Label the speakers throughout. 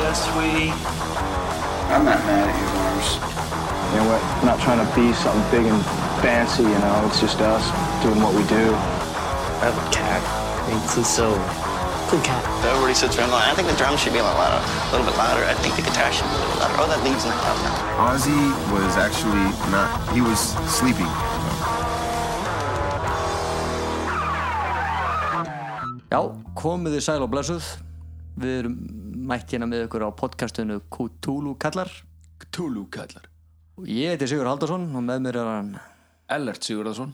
Speaker 1: Yeah, sweetie.
Speaker 2: I'm not mad at you, Lars.
Speaker 3: You know, we're not trying to be something big and fancy, you know, it's just us doing what we do.
Speaker 4: I have a cat. It's just so cool cat.
Speaker 5: Everybody sits around going, I think the drums should be a little louder, a little bit louder. I think the guitar should be a little louder. Oh, that lead's not loud enough.
Speaker 6: Ozzy was actually not, he was sleeping.
Speaker 7: Já, komið þið sæl og blessuð Við erum mætt hérna með ykkur á podcastinu Cthulhu kallar
Speaker 8: Cthulhu kallar
Speaker 7: og ég heiti Sigur Haldarsson og með mér er hann
Speaker 8: Ellert Sigurðarsson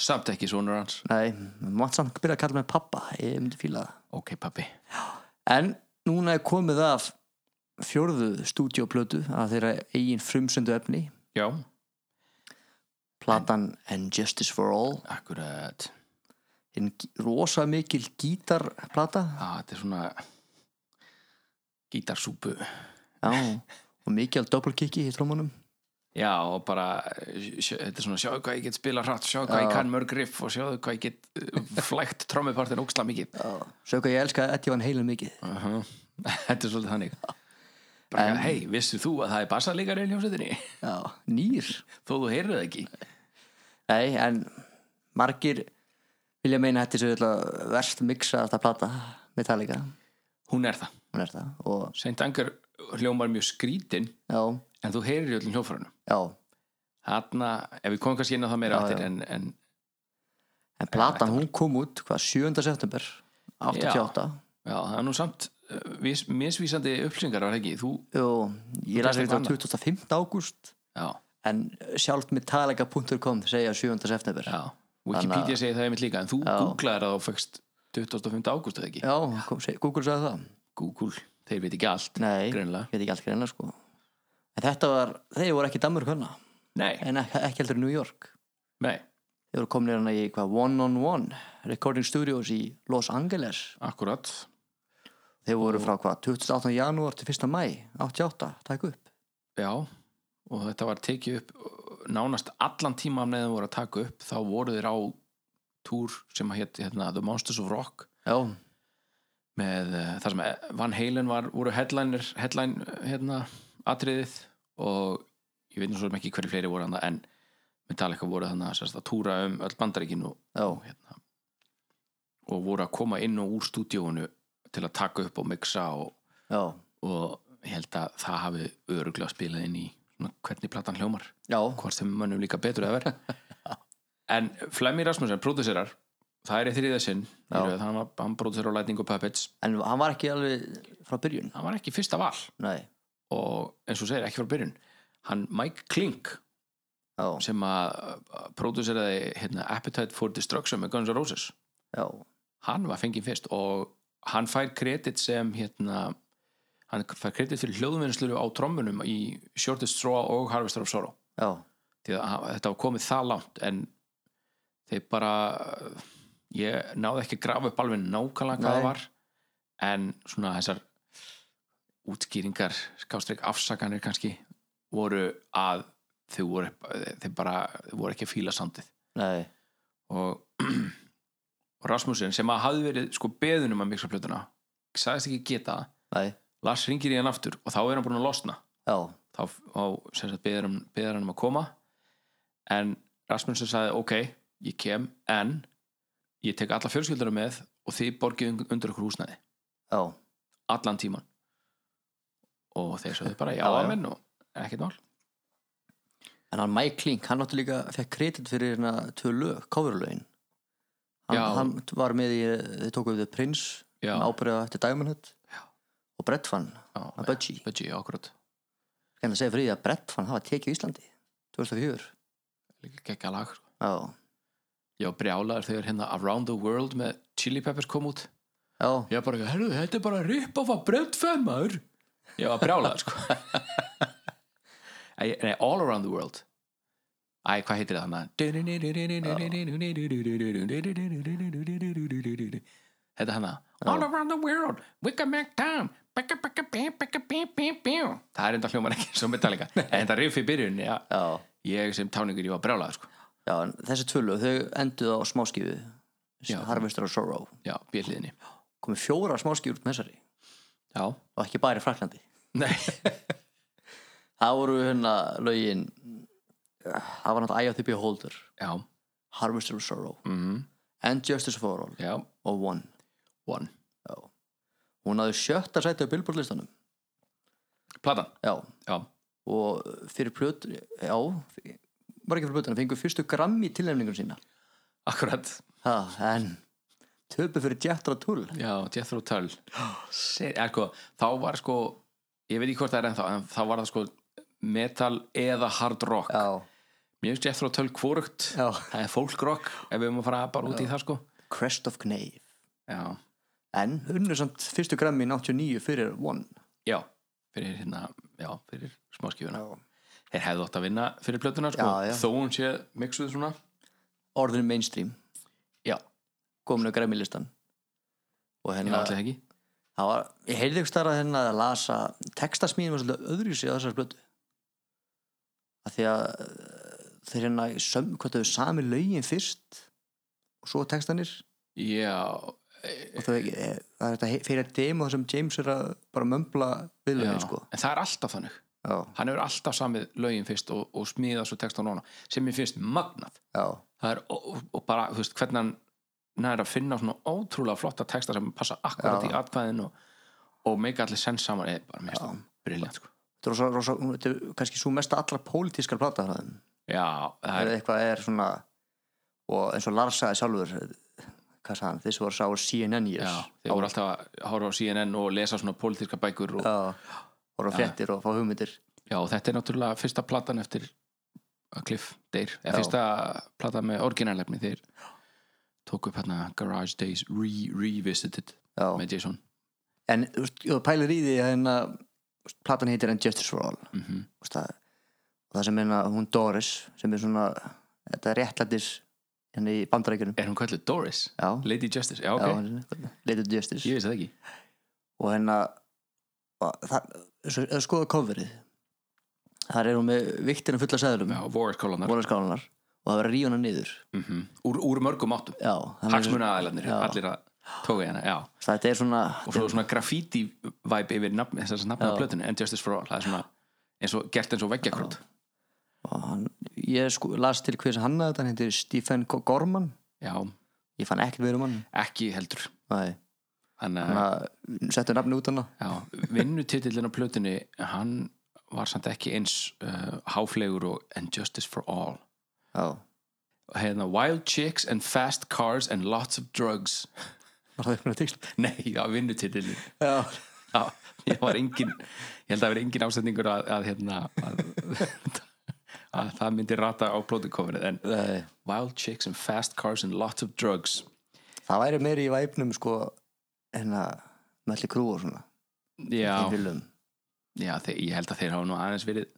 Speaker 8: Samt ekki sonur hans
Speaker 7: Nei, mátt samt byrja að kalla mig pappa Ég myndi fíla það
Speaker 8: Ok pappi
Speaker 7: En núna er komið af fjórðu stúdíoplötu að þeirra eigin frumsöndu efni
Speaker 8: Já
Speaker 7: Platan And Justice for All
Speaker 8: Akkurat
Speaker 7: En rosa mikil gítarplata
Speaker 8: ah, Þetta er svona Gítarsúpu
Speaker 7: Já, og mikil doppelkiki í trómunum
Speaker 8: Já og bara eh, sjö- Þetta er svona sjáðu hvað ég get spila hratt Sjáðu hvað ég kann mörg riff Og sjáðu hvað ég get eh, flækt trommupartin óksla mikið
Speaker 7: Svo hvað ég elska Eddie Van Halen mikið
Speaker 8: Þetta er svolítið þannig Bara,
Speaker 7: En-
Speaker 8: hei, vissir þú að það er bassalíkari í hljómsveitinni?
Speaker 7: Já, nýr
Speaker 8: Þó þú heyrðu það ekki
Speaker 7: Nei, en margir vilja meina að þetta er verst miksa þetta plata Metallica,
Speaker 8: Hún er það
Speaker 7: hún er það og
Speaker 8: Saint Anger hljómar mjög skrítin
Speaker 7: já,
Speaker 8: En þú heyrir í öllum hljófrænum
Speaker 7: já,
Speaker 8: Þarna, ef við komum kannski inn á það meira
Speaker 7: Já,
Speaker 8: aftur
Speaker 7: já.
Speaker 8: en, en
Speaker 7: en platan hún kom út hvað 7. september 88
Speaker 8: já, það er nú samt uh, vis, misvísandi upplýsingar var það ekki þú,
Speaker 7: og ég
Speaker 8: Þú
Speaker 7: lasi
Speaker 8: tókst
Speaker 7: þetta á 25.
Speaker 8: annað.
Speaker 7: ágúst
Speaker 8: já,
Speaker 7: en sjálft metallica.com segja 7. september
Speaker 8: já, Wikipedia
Speaker 7: Þannig
Speaker 8: segir það einmitt líka en þú
Speaker 7: Já.
Speaker 8: googlaðir það og fækst 25. ágúst eða ekki
Speaker 7: Já, kom, seg, Google sagði það
Speaker 8: Google, þeir veit ekki allt
Speaker 7: Nei,
Speaker 8: Greinilega.
Speaker 7: ég veit ekki allt greina sko en þetta var, þeir voru ekki í Danmörk hana
Speaker 8: nei,
Speaker 7: en ekki, ekki heldur í New York
Speaker 8: nei,
Speaker 7: þeir voru komin hérna í hvað One on One Recording Studios í Los Angeles
Speaker 8: akkurat
Speaker 7: Þeir voru frá hvað, 28. janúar til 1. mæ, 88, takk upp.
Speaker 8: já, og þetta var tekið upp uh, nánast allan tíma með þeim voru að taka upp, þá voru þeir á túr sem að hétt hérna, The Monsters of Rock
Speaker 7: Já,
Speaker 8: með uh, þar sem Van Halen var, voru headliner, headline eh, hérna, atriðið og ég veit nú svo sem ekki hverju fleiri voru hann en Metallica voru þannig sérst, að túra um öll bandaríkin og,
Speaker 7: já,
Speaker 8: og, hérna, og voru að koma inn og úr stúdíónu til að taka upp og mixa og,
Speaker 7: já,
Speaker 8: og ég held að það hafi öruglega spilað inn í svona, hvernig platan hljómar
Speaker 7: já,
Speaker 8: hvort þeim mönnum líka betur eða verð en Flemmi Rasmussen, pródusserar það er í þriðið sinn í
Speaker 7: Já.
Speaker 8: röð, hann var hann pródusserar á Lightning og Puppets
Speaker 7: en hann var ekki alveg frá byrjun.
Speaker 8: hann var ekki fyrsta val
Speaker 7: Nei,
Speaker 8: og eins og þú segir ekki frá byrjun hann Mike Klink
Speaker 7: já,
Speaker 8: sem að að pródúseraði hérna, Appetite for Destruction með Guns N' Roses
Speaker 7: já,
Speaker 8: hann var fengið fyrst og hann fær kredit sem hérna, hann fær kredit fyrir hljóðvinnslu á trommunum í Shortest Straw og Harvester of Sorrow
Speaker 7: já,
Speaker 8: því að hann- þetta var komið það langt en þeir bara ég náði ekki að grafa upp alveg nákvæmlega hvað
Speaker 7: Nei.
Speaker 8: það var en svona þessar útskýringar, skástrík afsakanir kannski, voru að þau voru, þeir bara þau voru ekki að fíla sandið
Speaker 7: nei,
Speaker 8: og, og Rasmussen sem að hafði verið sko beðunum að mikla plötuna sagðist ekki geta það,
Speaker 7: nei,
Speaker 8: Lars ringir í hann aftur og þá er hann búin að losna
Speaker 7: já,
Speaker 8: þá á, sem sagt, beðar hann, beðar hann um að koma en Rasmussen sagði ok, ég kem en ég tek alla fjölskyldara með og þið borgið un- undir okkur húsnæði
Speaker 7: já,
Speaker 8: allan tíman og þeir sagði bara
Speaker 7: Já,
Speaker 8: já,
Speaker 7: já.
Speaker 8: amen og ekkert mál
Speaker 7: en hann Mike Klink, hann átti líka, fekk kredit fyrir hérna tvö lög, coverlögin. Hann,
Speaker 8: Já.
Speaker 7: hann var með í, þið tókuðu þið Prince,
Speaker 8: Já.
Speaker 7: ábyrða eftir Diamond Head og Brett Van,
Speaker 8: já,
Speaker 7: að Budgie.
Speaker 8: Budgie, já, akkurat
Speaker 7: Kannu segja fyrir því að Brett Van hafa tekið Íslandi, 2004.
Speaker 8: líka gekkja lag sko.
Speaker 7: Já,
Speaker 8: ég var brjálaður þegar hérna Around the World með Chili Peppers kom út
Speaker 7: já,
Speaker 8: ég var bara, herru, þetta er bara rip of a brent femur ég var brjálaður sko Æ, nei, All Around the World Æ, hvað heitir það hann Þetta hann All around the world, we can make time Bicka, bicka, bim, bicka, bim, bim, bim Það er enda hljómar ekki svo metallega En það riff í byrjun, já
Speaker 7: já.
Speaker 8: Ég sem táningur, ég var brjálaður sko
Speaker 7: Já, en þessi tvölu, þau enduðu á smáskifu
Speaker 8: Já.
Speaker 7: Harvester of Sorrow
Speaker 8: Já, bjöliðinni
Speaker 7: komið fjóra smáskifur út með þessari
Speaker 8: já,
Speaker 7: og ekki bara í Fraklandi
Speaker 8: nei
Speaker 7: það voru hérna lögin það var náttúrulega IOTB Holder
Speaker 8: já,
Speaker 7: Harvester of Sorrow
Speaker 8: mhm,
Speaker 7: and Justice for All
Speaker 8: já,
Speaker 7: og One
Speaker 8: one
Speaker 7: já. hún hafði sjötta sæti á Billboard listanum
Speaker 8: platan,
Speaker 7: já.
Speaker 8: já,
Speaker 7: og fyrir plöt já, var ekki fyrir plötuna fengu fyrstu grammi tilnefningun sína
Speaker 8: akkurat
Speaker 7: ha, en töpu fyrir Jethro Tull
Speaker 8: já, Jethro Tull
Speaker 7: Oh,
Speaker 8: Shit, er, sko, þá var sko ég veit ekki hvort það er ennþá, en þá var það sko metal eða hard rock
Speaker 7: já.
Speaker 8: mér finnst Jethro Tull kvorugt
Speaker 7: Já.
Speaker 8: það er folk rock, ef við erum að fara bara út í það sko
Speaker 7: Crest of Knave
Speaker 8: já,
Speaker 7: en unnu samt fyrstu grammi 99 fyrir One
Speaker 8: já, fyrir hérna já, fyrir smáskifuna
Speaker 7: Já.
Speaker 8: þeir hefðu átt að vinna fyrir plötuna sko,
Speaker 7: Já, já.
Speaker 8: þó hún sé mixuð svona
Speaker 7: orðinu mainstream
Speaker 8: já,
Speaker 7: kominu grammi listan og
Speaker 8: ég
Speaker 7: hérna
Speaker 8: ætla ekki
Speaker 7: það var, ég heyrði ykkur starra hérna að lasa textasmíðin var svolítið öðruvísi á þessar blötu að því að eh, þeir hérna söm, hvað þau sami lögin fyrst og svo textanir
Speaker 8: já,
Speaker 7: og þau, e, það er þetta he- fyrir að demo þar sem James er að bara mömbla
Speaker 8: já.
Speaker 7: viðlögin sko
Speaker 8: en það er alltaf þannig
Speaker 7: já,
Speaker 8: hann hefur alltaf samið lögin fyrst og, og smíða svo textan ofan á sem ég finnst magnað
Speaker 7: já,
Speaker 8: það er, og, og bara, þú veist, hvernig hann næri að finna svona ótrúlega flotta texta sem passa akkurat
Speaker 7: Já.
Speaker 8: í atkvæðin og, og meika allir sens saman eða bara mér
Speaker 7: Já.
Speaker 8: stóðum, briljant sko
Speaker 7: þetta er, rosa, rosa, þetta er kannski svo mesta allra pólitískar plata frá þeim
Speaker 8: já, það
Speaker 7: ef
Speaker 8: er,
Speaker 7: eitthvað er svona og eins og Lars sagði sjálfur hvað sagði hann, þessu voru sá CNN
Speaker 8: já,
Speaker 7: years
Speaker 8: þeir voru alltaf að horfa á CNN og lesa svona pólitíska bækur og, já.
Speaker 7: já, voru á fréttir og fá hugmyndir
Speaker 8: og þetta er náttúrulega fyrsta platan eftir að Cliff deyr,
Speaker 7: Já.
Speaker 8: eða fyrsta platan með orginalefni þeir tók upp hérna Garage Days Re Revisited
Speaker 7: já.
Speaker 8: með Jason
Speaker 7: en þú veist, þú pælir í því að hérna þú veist, platan heitir And Justice for All mm
Speaker 8: Mhm.
Speaker 7: -hmm. það, og það sem hérna hún Doris sem er svona þetta réttlættis hérna í bandarækjunum
Speaker 8: er hún kallið Doris?
Speaker 7: já,
Speaker 8: Lady Justice, já ok,
Speaker 7: okay. Lady hérna, Justice
Speaker 8: ég veist það ekki
Speaker 7: og hérna og það, svo- ef þú skoða coverið þar er hún með viktina fulla sæðlum
Speaker 8: já, Warwick Kolonar
Speaker 7: vonarskálanar og það verður að rífa hana niður
Speaker 8: mm úr, úr mörgum áttum
Speaker 7: já, þannig að-
Speaker 8: hagsmuna aðeilarnir,
Speaker 7: Já.
Speaker 8: allir að tóka í hana já.
Speaker 7: þetta er svona,
Speaker 8: og svo svona graffiti vibe yfir nafn, þessar nafnaða
Speaker 7: Já.
Speaker 8: plötinu en Justice for All, það er svona eins og, gert eins og veggjakrönd
Speaker 7: og hann, ég sko, las til hvers hann að þetta hann heitir Stephen Go- Gorman
Speaker 8: já,
Speaker 7: ég fann ekkert meira um hann
Speaker 8: ekki heldur
Speaker 7: Nei,
Speaker 8: þannig að,
Speaker 7: hann settu nafni út hana
Speaker 8: já, vinnutitillin á plötinu hann var samt ekki eins uh, háflegur og And Justice for All
Speaker 7: já,
Speaker 8: og hérna Wild Chicks and Fast Cars and Lots of Drugs
Speaker 7: var það eitthvað tíksl
Speaker 8: nei, já, vinnutitillin
Speaker 7: já,
Speaker 8: Já, ég var engin ég held að það vera engin ásetningur að, að hérna að, að það myndi rata á plótukofrið en
Speaker 7: Nei.
Speaker 8: Wild Chicks and Fast Cars and Lots of Drugs
Speaker 7: það væri meiri í væpnum sko hérna, melli krú og svona
Speaker 8: já,
Speaker 7: einfylgum,
Speaker 8: já þeir, ég held að þeir hafa nú aðeins verið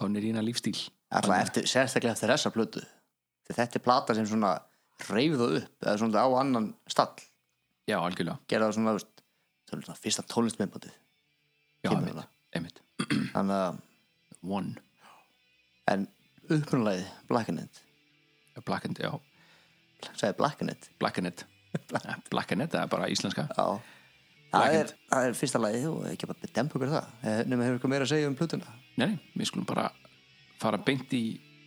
Speaker 8: konir í hérna lífstíl
Speaker 7: alltaf eftir, sérstaklega eftir þessa plötu Því þetta er plata sem svona reyfðu upp eða svona á annan stall
Speaker 8: já, algjörlega,
Speaker 7: gera það svona, veist, svona fyrsta tónlistmyndbandið
Speaker 8: já,
Speaker 7: Kemur
Speaker 8: einmitt,
Speaker 7: það.
Speaker 8: einmitt
Speaker 7: þannig að,
Speaker 8: One,
Speaker 7: en upprunalegið Blackened,
Speaker 8: Black and, já,
Speaker 7: sagði Blackened
Speaker 8: Black and It Black and It, það er bara íslenska
Speaker 7: já, það er, það er fyrsta lagið og ekki bara dempa ykkur það Eh, nema hefur ykkur meira að segja um plötuna
Speaker 8: nei, nei, við skulum bara fara beint í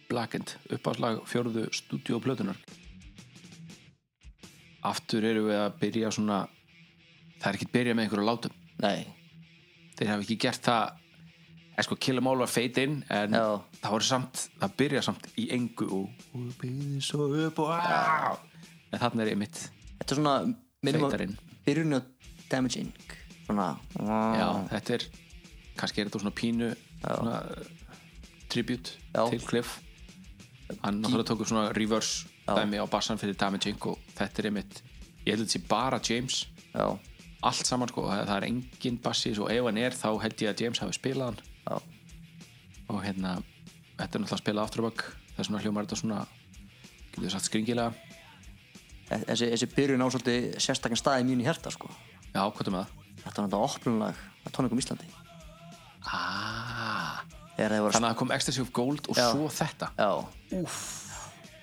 Speaker 8: Black and uppáslag fjórðu stúdíu og plötunar aftur eru við að byrja svona það er ekki að byrja með einhverju látum
Speaker 7: nei,
Speaker 8: þeir hafa ekki gert það eða sko Kill 'em All var feit inn en
Speaker 7: Já.
Speaker 8: það voru samt, það byrja samt í engu og, og byrði svo upp og aaa en þarna er ég mitt
Speaker 7: þetta er svona minnum á-
Speaker 8: Feitarinn.
Speaker 7: byrjun á Damage Inc svona,
Speaker 8: já,
Speaker 7: Ah.
Speaker 8: þetta er, kannski er þetta svona pínu svona uh, tribute
Speaker 7: Já.
Speaker 8: til Cliff hann náttúrulega tók upp svona reverse dæmi á bassan fyrir Damage Inc og þetta er ég mitt, ég held að þetta sé bara James
Speaker 7: já,
Speaker 8: allt saman sko, það það er engin bassis og ef hann er þá held ég að James hafi spilað hann
Speaker 7: já,
Speaker 8: og hérna þetta er náttúrulega að spila afturbak það er svona hljómar þetta svona getur þið sagt skringilega
Speaker 7: E-, þessi, þessi byrjun á svolítið sérstakann staði mjög í hérta sko
Speaker 8: já, hvað er með það?
Speaker 7: þetta var náttúrulega opnunlag á tónleikum Íslandi
Speaker 8: Ah,
Speaker 7: þegar þeir voru
Speaker 8: þannig að það kom Ecstasy of Gold og
Speaker 7: Já.
Speaker 8: svo þetta
Speaker 7: já, úff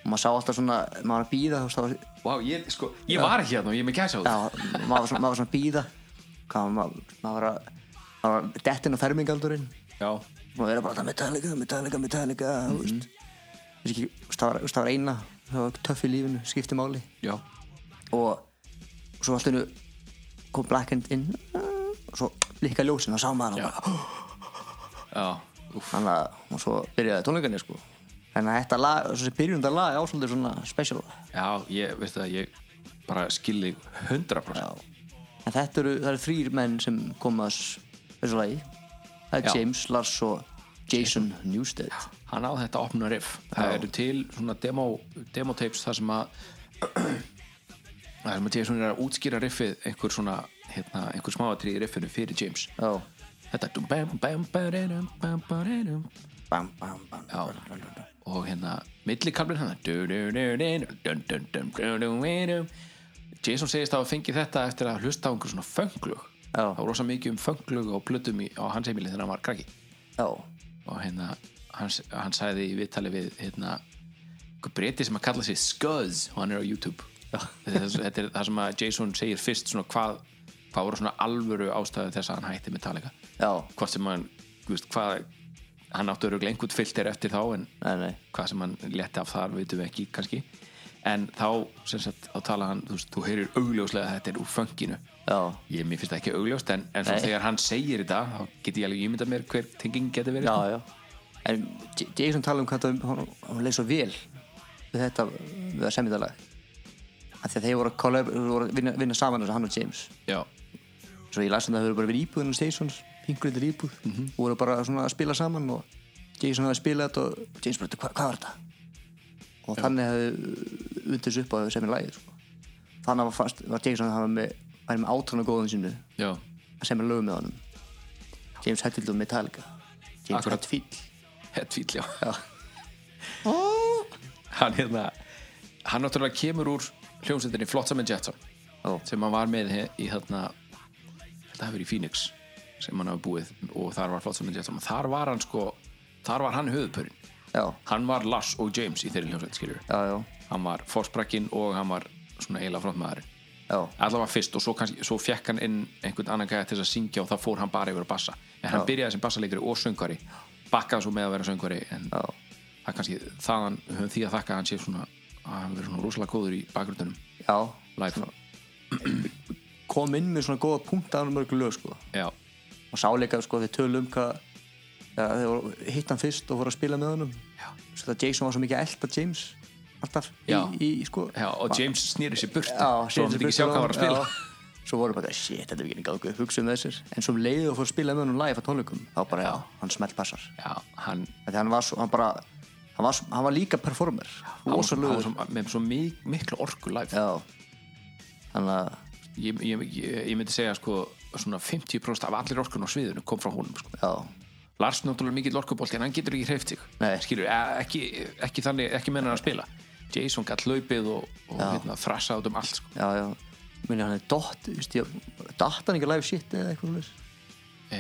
Speaker 7: og maður sá alltaf svona, maður var að býða þú veist, það var-
Speaker 8: wow, ég, sko, ég var ekki hérna og ég er með gæsa á
Speaker 7: já, maður var svona, maður var svona að býða hvað maður, maður var að maður var að dettin á fermingaldurinn
Speaker 8: já,
Speaker 7: og vera bara það Metallica, Metallica, Metallica mm -hmm. veist ekki, þú veist, það var, þú veist, það var eina það var töff í lífinu, skipti máli
Speaker 8: já,
Speaker 7: og svo allt hennu kom Black Hand inn og svo líka ljósin og sá maður
Speaker 8: Já.
Speaker 7: hann bara,
Speaker 8: já úff,
Speaker 7: þannig að og svo byrjaði tónleikarnir sko þannig að þetta lag, þessi byrjundar lag er á svolítið svona special
Speaker 8: já, ég, veistu það ég bara skilði 100%
Speaker 7: Já. en þetta eru, það eru þrýr menn sem koma að s- þessu lagi það er
Speaker 8: Já.
Speaker 7: James, Lars og Jason Newsted
Speaker 8: hann á þetta opna riff það
Speaker 7: Já.
Speaker 8: eru til svona demo, demo tapes þar sem að þar sem að Jason er að útskýra riffið einhver svona, hérna, einhver smáatrið í riffinu fyrir James
Speaker 7: já,
Speaker 8: þetta dum, bam, bam, ba-re-dum, bam, ba-re-dum.
Speaker 7: bam, bam, bam
Speaker 8: Já. og hérna millikalmin hann du, du, du, du, dun, dun, dun, du, du, du. Jason segist að hafa fengið þetta eftir að hlusta á einhver svona fönglug
Speaker 7: Já.
Speaker 8: það var rosa mikið um fönglug og plötum í, á hans heimili þegar hann var krakki
Speaker 7: já,
Speaker 8: og hérna hann, hann sagði í viðtali við hérna einhver breyti sem að kalla sig Scuzz og hann er á YouTube þetta er, þetta er það sem að Jason segir fyrst svona hvað, hvað voru svona alvöru ástæðu þess að hann hætti Metallica
Speaker 7: já,
Speaker 8: hvort sem hann, þú veist, hvað hann áttu örugglega einhvern filter eftir þá en
Speaker 7: nei, nei
Speaker 8: hvað sem hann leti af þar vitum við ekki kannski en þá, sem sagt, þá tala hann þú, veist, þú heyrir augljóslega að þetta er úr fanginu
Speaker 7: já,
Speaker 8: ég mér finnst það ekki augljóst en, en svo
Speaker 7: Nei.
Speaker 8: þegar hann segir þetta þá get ég alveg ímyndað mér hver tenging geti verið
Speaker 7: já, já en J- Jason tala um hvað það, hún, hún leið svo vel við þetta, við það semjöndalag af því að þeir voru að, collab, þeir voru að vinna, vinna saman þessu hann og James
Speaker 8: sko. já,
Speaker 7: svo ég las um það að þau voru bara verið íbúðin hans Jasons pingurindir íbúð og voru bara svona að spila saman og Jason hafði spilað þetta og James bara, "Hva- hvað var þetta? og þannig hafði undir þessu upp að þau semjönda lagið sko. þannig var, fast, var Jason að hafa með væri með átrán og góðum sínu
Speaker 8: já,
Speaker 7: að semja lögum með honum James Hetfield og Metallica James
Speaker 8: Akkurat.
Speaker 7: Hetfield
Speaker 8: hetfíl, já
Speaker 7: Já.
Speaker 8: hann hérna hann náttúrulega kemur úr hljómsveitinni Flotsam and Jetsam
Speaker 7: Já.
Speaker 8: sem hann var með he- í þarna þetta hafi verið í Phoenix sem hann hafi búið og þar var Flotsam and Jetsam og þar var hann sko, þar var hann höfupörinn
Speaker 7: já,
Speaker 8: hann var Lars og James í þeirri hljómsveit skiljur
Speaker 7: já, já,
Speaker 8: hann var fórsprakkin og hann var svona eiginlega frontmaðurinn
Speaker 7: já,
Speaker 8: allavega fyrst og svo, kannski, svo fekk hann inn einhvern annan gæði til þess að syngja og það fór hann bara yfir að bassa en hann
Speaker 7: Já.
Speaker 8: byrjaði sem bassaleikari og söngvari bakkaði svo með að vera söngvari en
Speaker 7: Já.
Speaker 8: það kannski þaðan höfum því að þakka að hann sé svona að hann verið svona rosalega góður í bakgrundunum
Speaker 7: já.
Speaker 8: live
Speaker 7: kom inn með svona góða punkt af mörg lög sko.
Speaker 8: já,
Speaker 7: og sáleika sko, þeir tölum um hvað ja, þeir voru, hitt hann fyrst og voru að spila með honum
Speaker 8: Já.
Speaker 7: svo það Jason var svo mikið að elta James alltaf í,
Speaker 8: Já.
Speaker 7: í, í sko
Speaker 8: já, og James snýri sér burt
Speaker 7: já,
Speaker 8: svo hann
Speaker 7: James
Speaker 8: myndi ekki
Speaker 7: Burt
Speaker 8: sjá hvað hann var að spila
Speaker 7: já. svo voru bara, shit, þetta er ekki gangu hugsa um þessir, en svo um leiðu og fór að spila með honum live á tónleikum, þá bara, já, hann smelt passar
Speaker 8: já, hann
Speaker 7: þannig hann var svo, hann bara hann var, svo- hann var líka performer
Speaker 8: hann var svo, hann var
Speaker 7: rosalögur
Speaker 8: svo, með svo mik miklu orku live
Speaker 7: já þannig að,
Speaker 8: ég, ég, ég, ég myndi segja sko svona 50% af allir orkun á sviðinu kom frá honum sko
Speaker 7: já
Speaker 8: Lars náttúrulega mikill orkubolti en hann getur ekki hreift sig
Speaker 7: Nei.
Speaker 8: skilur, e- ekki, ekki þannig, ekki menna að spila Jason gætt hlaupið og, og hérna, þrassa át um allt sko.
Speaker 7: já, já minni hann er dott, þú veist ég dott hann ekki live shit eða eitthvað svoleiðis?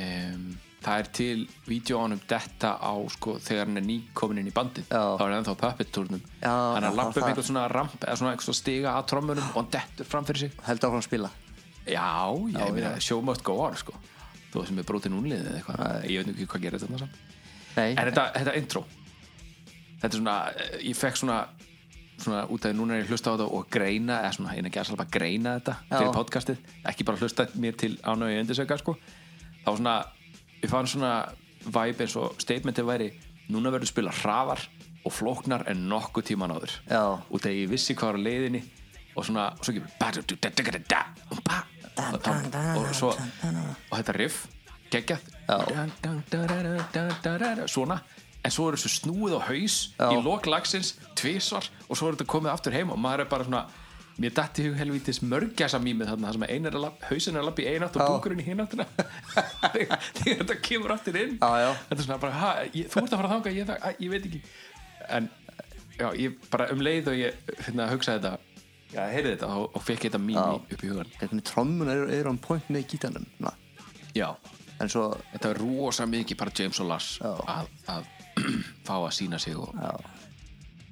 Speaker 8: um, það er til vídjóanum detta á sko, þegar hann er nýkomin inn í bandið
Speaker 7: Já.
Speaker 8: þá er hann ennþá puppet-turnum
Speaker 7: Já,
Speaker 8: hann er
Speaker 7: já,
Speaker 8: að lappa um
Speaker 7: það-
Speaker 8: einhvern svona ramp eða svona einhvern stiga að trommunum og hann dettur fram fyrir sig
Speaker 7: held áfram að spila
Speaker 8: já, já, ég meina, show must go on sko. þú sem er brotin únlið eða eitthvað ég veit nú ekki hvað gerir þetta samt
Speaker 7: nei,
Speaker 8: En þetta, þetta intro Þetta er svona, eh, ég fekk svona svona út af því núna er ég að hlusta á þetta og greina, eða svona, ég er ekki að greina þetta fyrir
Speaker 7: Já.
Speaker 8: podcastið, ekki bara hlusta mér til ánægja undirsöka, sko þá svona, ég fann svona vibe eins og statementið væri núna verður spila hraðar og flóknar en nokkuð tíman áður
Speaker 7: Já.
Speaker 8: út af ég vissi hvað var á leiðinni og svona, og svo kemur ba- du- du- du- du- du- da- um, ba- og þá- og svo Sko, og þetta riff, geggjað Dan- dan- da- da- da- da- da- da- da- svona en svo er þessu snúið á haus í lok lagsins, tvisvar og svo er þetta komið aftur heim og maður er bara svona mér dætti hug helvítis mörgjasa mýmið þarna þar sem einar er að lapp, hausin er að lappa í einatt og búkurinn í hináttina þegar þegar þetta kemur aftur inn
Speaker 7: Já, já.
Speaker 8: þetta er svona bara, ha, ég, þú ert að fara þangað ég, það, að, ég veit ekki en já, ég bara um leið og ég finna að hugsa þetta já, heyrði þetta og, og fekk þetta mými upp í hugan
Speaker 7: hvernig trommuna eru er on point með gítanum na.
Speaker 8: já,
Speaker 7: en svo,
Speaker 8: þetta er rosa mikið bara James og Lars
Speaker 7: Já.
Speaker 8: að, að fá að sína sig og,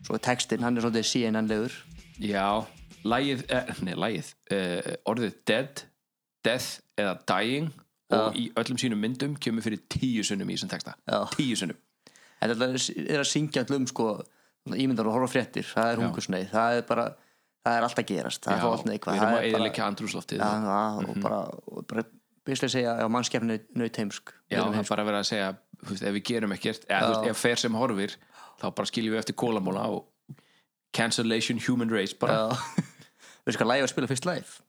Speaker 7: svo er textinn, hann er svolítið CNN-legur
Speaker 8: Já, lægið, eh, nei, lægið eh, orðið dead, death eða dying og í öllum sínum myndum kemur fyrir tíu sunnum í þessum texta
Speaker 7: Já.
Speaker 8: tíu sunnum
Speaker 7: En þetta er- er að syngja allum sko ímyndar og horfa á fréttir, það er hungursneið það er bara, það er allt að gerast það er þá allt neikvað
Speaker 8: við erum Mhm.
Speaker 7: það
Speaker 8: að
Speaker 7: er bara-
Speaker 8: eðilegja andrúsloftið
Speaker 7: Já, já, og bara, og bara byrjulega segja að mannskjafni nöyt heimsk
Speaker 8: Já,
Speaker 7: Verum
Speaker 8: það er
Speaker 7: heimsk.
Speaker 8: bara verið að segja þú veist, ef við gerum ekkert, eða þú veist, ef fer sem horfir þá bara skiljum við eftir kólamóla og cancellation human race bara,
Speaker 7: Já. Veistu hvað lægi var að spila fyrst live?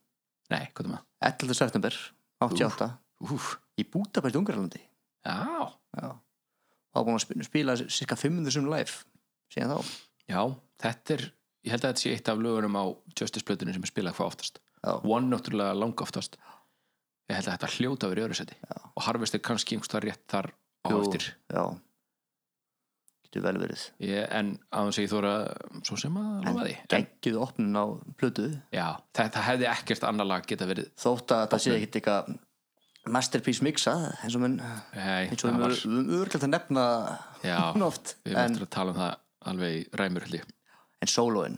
Speaker 8: nei, hvað er maður
Speaker 7: 11. september 88
Speaker 8: Úf,
Speaker 7: í Bútapest, Ungarlandi
Speaker 8: já,
Speaker 7: og búin að spila, spila cirka 500 sem live síðan þá
Speaker 8: já, þetta er ég held að þetta sé eitt af lögunum á Justice plötunum sem er spilað hvað oftast
Speaker 7: Já.
Speaker 8: One náttúrulega langa oftast ég held að þetta hljóta verið öðru seti og Harvest er kannski einhvers þar rétt þar á
Speaker 7: Jú,
Speaker 8: eftir
Speaker 7: Já Getur vel verið
Speaker 8: ég, en að hann segi þóra svo sem að lofa því en,
Speaker 7: Gækjuðu opnun á plötu
Speaker 8: já, þetta hefði ekkert annar lag geta verið
Speaker 7: þótt að það sé ekkit eitthvað masterpiece mixað eins og mun
Speaker 8: Nei,
Speaker 7: eins og
Speaker 8: það
Speaker 7: við
Speaker 8: var-
Speaker 7: höfum örgjöld að nefna
Speaker 8: Já,
Speaker 7: hún oft
Speaker 8: við erum
Speaker 7: en,
Speaker 8: eftir að tala um það alveg í ræmur held ég
Speaker 7: en soloinn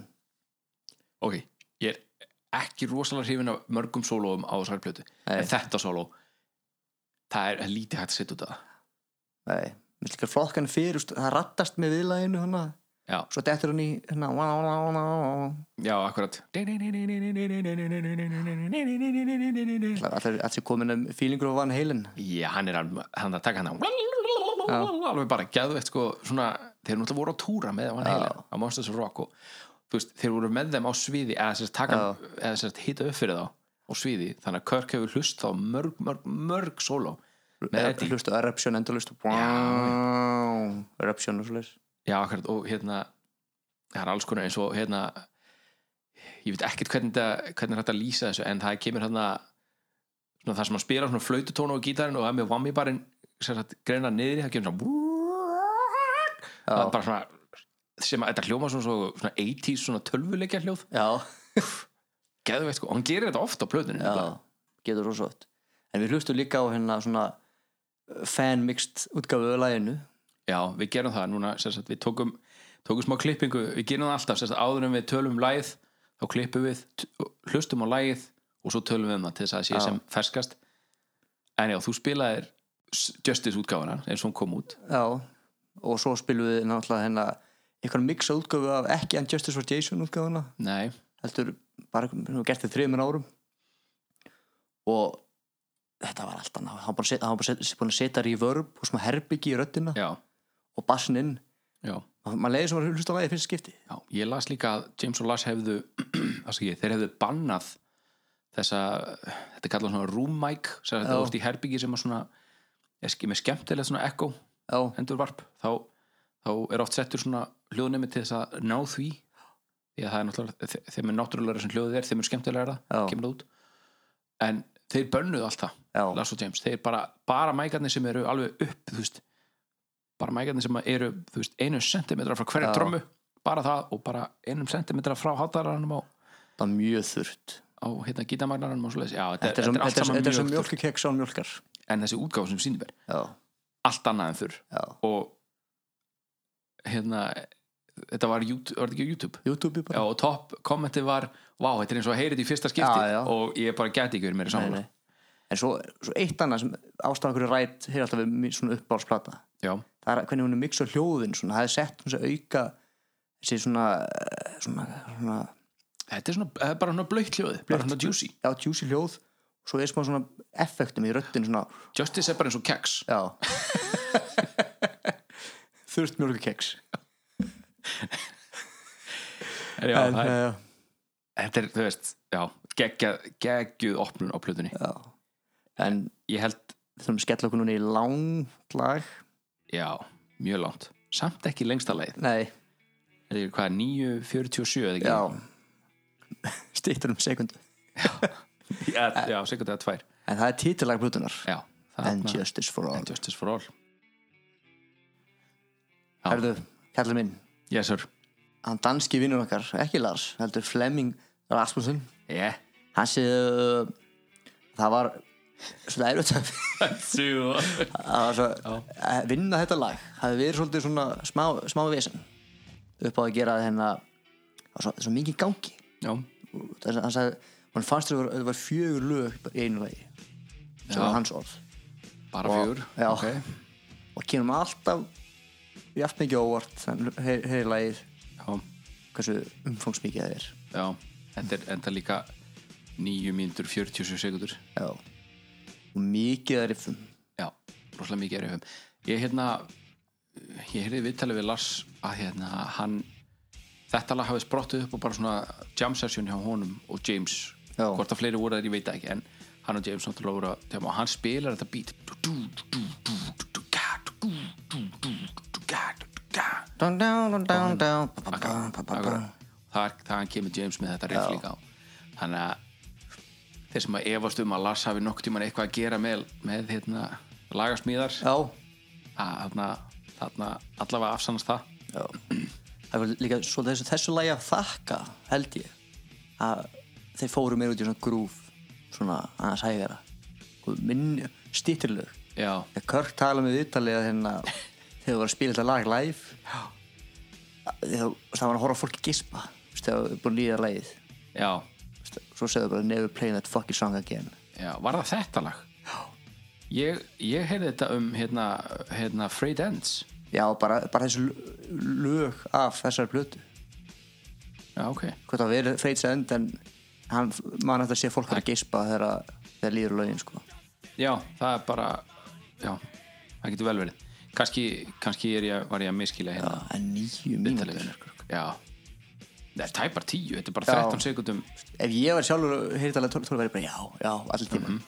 Speaker 8: ok, ég er ekki rosalega hrifin af mörgum sólóum á þessari plötu en þetta sóló það er lítið hægt að setja út af það
Speaker 7: Nei, mér líka flokkan fyrir þú veist, það rattast með viðlæginu hana,
Speaker 8: já,
Speaker 7: svo dettur hann í hérna, hana, wá, wá, wá, wá.
Speaker 8: já, akkurat
Speaker 7: allir, allir komin um fílingur á Van Halen
Speaker 8: já, hann er hann, hann að taka hann á alveg bara gæðveitt sko svona, þeir náttúrulega voru á túra með hann heilin á Monsters of Rock og þú veist, þeir voru með þeim á sviði eða sérst taka, eða sérst hita upp fyrir þá á sviði, þannig að Körk hefur hlust á mörg, mörg, mörg sóló með Eddie
Speaker 7: hlustu Eruption endalust Eruption og svoleiðis
Speaker 8: Já, akkurat, og hérna það er alls konar eins og hérna ég veit ekkert hvernig, þetta- hvernig er hægt að lýsa þessu en það kemur hérna svona það sem að spila svona flaututónu á gítarinn og það með whammy barinn sem sagt greina niður í, það kemur svona það er bara svona sem að þetta hljóma svona, svo- svona 80s svona tölvuleikja hljóð
Speaker 7: já,
Speaker 8: geðveitt sko, og hann gerir þetta oft á plötunni
Speaker 7: já,
Speaker 8: nefnilega.
Speaker 7: getur rosa oft en við hlustum líka á hérna svona uh, fan-mixed útgáfu af læginu
Speaker 8: já, við gerum það núna sem sagt, við tókum, tókum smá klippingu við gerum það alltaf, sem sagt, áður en við tölum um læð þá klippum við, t- hlustum á læð og svo tölum við um það til þess að það sé sem ferskast en já, þú spilaðir s- Justice útgáfana eins og hún kom út
Speaker 7: já, og svo spilum við náttúrulega hérna eitthvað mixa útgáfu af ekki Unjustice for Jason útgáfuna
Speaker 8: nei,
Speaker 7: heldur bara við höfum gert þið þrejumir árum og þetta var allt annað hann var búinn að setja- hann var búinn að setja- búinn að setja reverb og smá herbyggi í röddina
Speaker 8: já, og
Speaker 7: bassin inn
Speaker 8: já,
Speaker 7: og maður leiði sem var hlusta á lagið í fyrsta skipti
Speaker 8: já, ég las líka að James og Lars hefðu afsakið, þeir hefðu bannað þessa, þetta er kallað svona room mic sem þetta
Speaker 7: Já.
Speaker 8: vorst í herbyggi sem að svona er ske- með skemmtilegt svona echo
Speaker 7: já,
Speaker 8: endurvarp þá, þá er oft settur svona hljóðnemi til þess að ná því því að það er náttúrulega þe- þeim er náttúrulega sem hljóðið er, þeim er skemmtilega
Speaker 7: Já.
Speaker 8: það kemur það út en þeir bönnuðu alltaf,
Speaker 7: Já.
Speaker 8: Lars og James þeir bara, bara mækarnir sem eru alveg upp þú veist, bara mækarnir sem eru þú veist, einu sentimetra frá hverja
Speaker 7: Já.
Speaker 8: trommu bara það og bara einum sentimetra frá hátaranum á,
Speaker 7: það var mjög þurrt
Speaker 8: á hérna gítamagnaranum og svoleiðis, já, þetta,
Speaker 7: þetta er
Speaker 8: þetta er allt
Speaker 7: svo-
Speaker 8: saman
Speaker 7: þetta er svo
Speaker 8: mjög mjölk.
Speaker 7: mjölkukeks án mjölkar
Speaker 8: en þessi útgáfa sem sýnir mér,
Speaker 7: já,
Speaker 8: allt annað en þurr
Speaker 7: já,
Speaker 8: og hérna þetta var, YouTube, var þetta ekki á YouTube
Speaker 7: YouTube
Speaker 8: já,
Speaker 7: bara
Speaker 8: og topp kommenti var vá, þetta er eins og að heyra þetta í fyrsta skipti
Speaker 7: Já, já.
Speaker 8: og ég bara geti ekki verið meira
Speaker 7: nei,
Speaker 8: saman
Speaker 7: nei. en svo, svo eitt annað sem ástæðan hverju rætt hefur alltaf verið mín svona uppbálsplata
Speaker 8: já,
Speaker 7: það er hvernig hún er mixa hljóðin svona, það er sett hún sem auka þessi svona, eh, svona, svona
Speaker 8: þetta er svona, það er bara svona blöytt hljóði bara svona juicy,
Speaker 7: já, juicy hljóð og svo er smá svona effektum í röddin svona,
Speaker 8: Justice er bara eins og keks
Speaker 7: já þurft mjölkukeks
Speaker 8: já,
Speaker 7: en,
Speaker 8: það er,
Speaker 7: uh,
Speaker 8: þetta er, þú veist já, geggja, geggjuð opnun á plötunni
Speaker 7: en
Speaker 8: ég held,
Speaker 7: við þurfum að skella okkur núna í langt lag
Speaker 8: já, mjög langt samt ekki lengsta leið,
Speaker 7: nei,
Speaker 8: þetta er hvað 9.47 eða
Speaker 7: já
Speaker 8: ekki,
Speaker 7: stýttur um sekundu
Speaker 8: já, já sikkert eða tvær
Speaker 7: en það er títilag blutunar
Speaker 8: já,
Speaker 7: And
Speaker 8: þarna-
Speaker 7: Justice for All
Speaker 8: And Justice for All Já.
Speaker 7: Herðu, kallið minn,
Speaker 8: yes sir,
Speaker 7: hann danski vinnur okkar ekki Lars, heldur Flemming Rasmussen
Speaker 8: yeah
Speaker 7: hann sé uh, það var svolítið erut að
Speaker 8: Sjú.
Speaker 7: það var svo, að vinna þetta lag hafi verið svolítið svona smá, smá vesen upp á að gera hérna það var svo, svo mikið í gangi
Speaker 8: Já,
Speaker 7: þess að hann sagði, hann fannst þér að það var fjögur lög í einu lagi sem
Speaker 8: Já.
Speaker 7: var hans orð
Speaker 8: bara
Speaker 7: Og-
Speaker 8: fjögur
Speaker 7: já.
Speaker 8: ok,
Speaker 7: og kynum alltaf jafn mikið á óvart þannig hefur lagið
Speaker 8: já,
Speaker 7: hversu umfangsmikið það er
Speaker 8: já þetta er enda líka 9 mínútur 47 sekundur
Speaker 7: já. og mikið er riffum
Speaker 8: já, rosalega mikið er FM ég hérna ég heyrði viðtalið við Lars að hérna hann þetta lag hafi sprottið upp og bara svona jam session hjá honum og James
Speaker 7: Já.
Speaker 8: hvort að fleiri voru þær ég veit það ekki en hann og James náttúrulega voru að tjáma og hann spilar þetta beat Du- du- du- du- du- du- ga, du- du- du- du- du- ga, du- du- ga.
Speaker 7: down, down, down, down, down ba, ba, ba,
Speaker 8: Akkurat,
Speaker 7: ba, ba, ba.
Speaker 8: akkurat. þar þaðan kemur James með þetta riff líka á þannig að þeir sem að efast um að Lars hafi nokkuð tíman eitthvað að gera með, með hérna, lagasmíðar
Speaker 7: já,
Speaker 8: að þarna, þarna allavega afsannast það
Speaker 7: já það var líka svo þessu, þessu lagi að þakka held ég að þeir fóru meir út í svona grúf svona aðeins hægara og minn stýttirlög
Speaker 8: já,
Speaker 7: Þegar Körk tala með viðtalið að hérna þegar þú var að spila þetta lag live að- þegar þú- það var að horfa á fólki gispa þú veist, þegar þú er búin að líða lagið
Speaker 8: já,
Speaker 7: Þú veist, svo segðu bara never playing that fucking song again
Speaker 8: já var það þetta lag? ég, ég heyrði þetta um hérna, hérna Frey Dance
Speaker 7: já, bara, bara þessu l- lög af þessari blötu
Speaker 8: já, ok,
Speaker 7: hvort það verið freyts end en hann mann eftir að sé fólk að gispa þegar, að- þegar líður lögin sko.
Speaker 8: já, það er bara já, það getur vel verið kannski, kannski er ég, var ég að miskilja hérna
Speaker 7: Já, en nýju
Speaker 8: viðtalið
Speaker 7: mínútur
Speaker 8: já, það er tæpar tíu þetta er bara
Speaker 7: sko. Já.
Speaker 8: 13 sekundum
Speaker 7: ef ég var sjálfur heyrðalega tólf verið bara já, já, allir tíma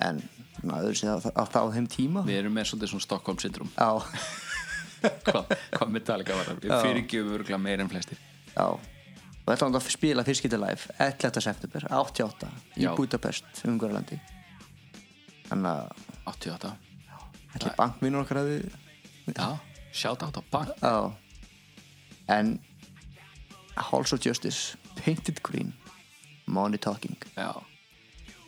Speaker 7: en maður sé að það á þeim tíma
Speaker 8: við erum með svolítið svona Stockholm syndrom
Speaker 7: já,
Speaker 8: hvað hva Metallica var það, við
Speaker 7: Já.
Speaker 8: fyrirgjöfum örgulega meira en flestir
Speaker 7: Já Og þetta var hann að spila fyrstskipti live 11. september 88 í
Speaker 8: Já.
Speaker 7: Budapest umhverjalandi Þannig að
Speaker 8: 88,
Speaker 7: allir bankvinnur okkar að við
Speaker 8: já, shout out á bank
Speaker 7: Já En Halls of Justice Painted Green Money Talking
Speaker 8: Já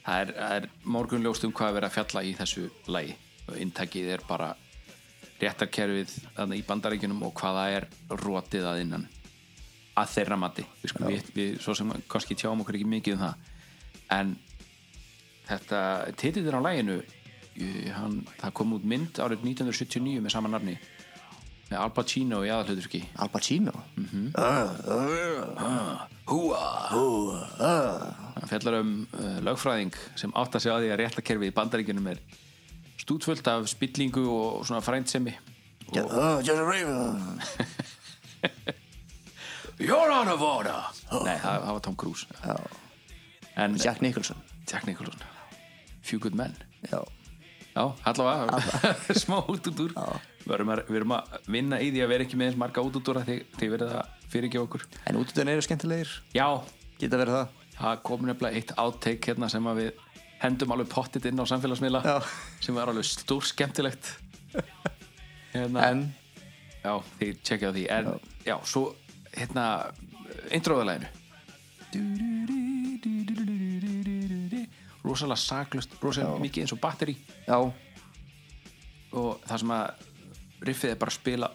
Speaker 8: Það er, það er morgun ljóst um hvað er verið að fjalla í þessu lægi og intakið er bara réttarkerfið þarna í bandaríkjunum og hvaða er rotið að innan að þeirra mati við, skulum, við, við svo sem kannski tjáum okkur ekki mikið um það en þetta titilir á læginu eh, hann, það kom út mynd árið 1979 með sama nafni með Al Pacino í aðalhauturki
Speaker 7: Al Pacino
Speaker 8: Hann fjallar um uh, lögfræðing sem átt að segja á því að réttakerfið í bandaríkjunum er stútfullt af spillingu og svona frændsemi
Speaker 7: Já, oh, Joseph Raven
Speaker 8: You're out of order Nei, það, það var Tom Cruise En Jack,
Speaker 7: Jack Nicholson
Speaker 8: Jack Nicholson Few Good Men
Speaker 7: Já,
Speaker 8: Já, allavega, smá útútúr við erum, að, við erum að vinna í því að vera ekki með eins marga útútúra þegar þið verið að fyrirgefa okkur
Speaker 7: en útudan eru skemmtilegir
Speaker 8: Já,
Speaker 7: Geta verið það
Speaker 8: það kom nefnilega eitt áteik hérna sem að við hendum alveg pottit inn á samfélagsmiðla
Speaker 7: Já.
Speaker 8: sem var alveg stór skemmtilegt hérna,
Speaker 7: En
Speaker 8: Já, þið tjekkja á því En já, svo hérna Indróðalæginu Rosalega saklust Rosalega mikið eins og batteri
Speaker 7: Já,
Speaker 8: Og það sem að Riffið er bara að spila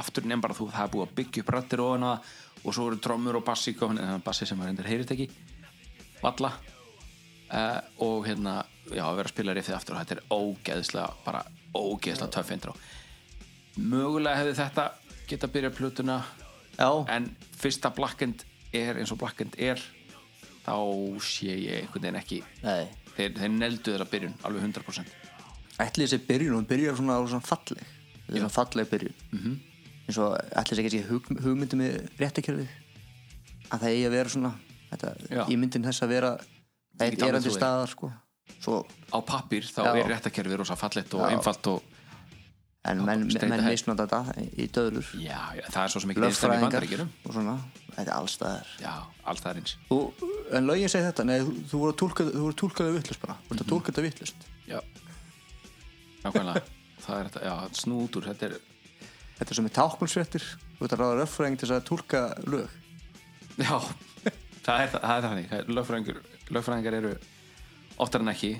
Speaker 8: Aftur nefn bara þú, það er búið að byggja upp rættir ofan á það Og svo eru trommur og bassi komin En það er bassi sem var endur heyrist ekki Valla uh, Og hérna, já, að vera að spila riffið aftur Og þetta er ógeðslega, bara ógeðslega töff intro Mögulega hefði þetta geta byrjað plötuna
Speaker 7: já,
Speaker 8: en fyrsta blakkend er eins og blakkend er þá sé ég einhvern veginn ekki
Speaker 7: nei
Speaker 8: þeir, þeir neldu þeirra byrjun alveg 100%
Speaker 7: ætli þessi byrjun, hún byrjar svona, svona falleg þetta er svona falleg byrjun -hmm. eins og ætli þessi kannski hug, hugmyndi með réttakjörfið að það eigi að vera svona þetta,
Speaker 8: Já.
Speaker 7: í myndin þess að vera
Speaker 8: Ég
Speaker 7: þetta
Speaker 8: get
Speaker 7: er
Speaker 8: alveg
Speaker 7: andri
Speaker 8: trúið.
Speaker 7: staðar sko. Svo,
Speaker 8: á pappir þá
Speaker 7: Já.
Speaker 8: er réttakerfið rosa fallett og
Speaker 7: Já.
Speaker 8: einfalt og
Speaker 7: en menn,
Speaker 8: straight
Speaker 7: menn
Speaker 8: ahead.
Speaker 7: misnanda þetta í döðlur
Speaker 8: já, já, það er svo sem ekki einstam í
Speaker 7: löffræðingar
Speaker 8: bandaríkjunum
Speaker 7: og svona, þetta er allstaðar
Speaker 8: já, allt það er eins
Speaker 7: þú, en lögin segi þetta, nei, þú, þú voru að túlka þú voru að túlka þetta vittlust bara, þú voru
Speaker 8: Mhm.
Speaker 7: að túlka þetta vittlust
Speaker 8: já, nákvæmlega það er þetta, já, snútur þetta er,
Speaker 7: þetta er sem er tákmálsréttir þú voru að ráða röffræðing til þess að túlka lög
Speaker 8: já það er, það er þannig, Það er- lögfræðingur lögfræðingar eru oftar en ekki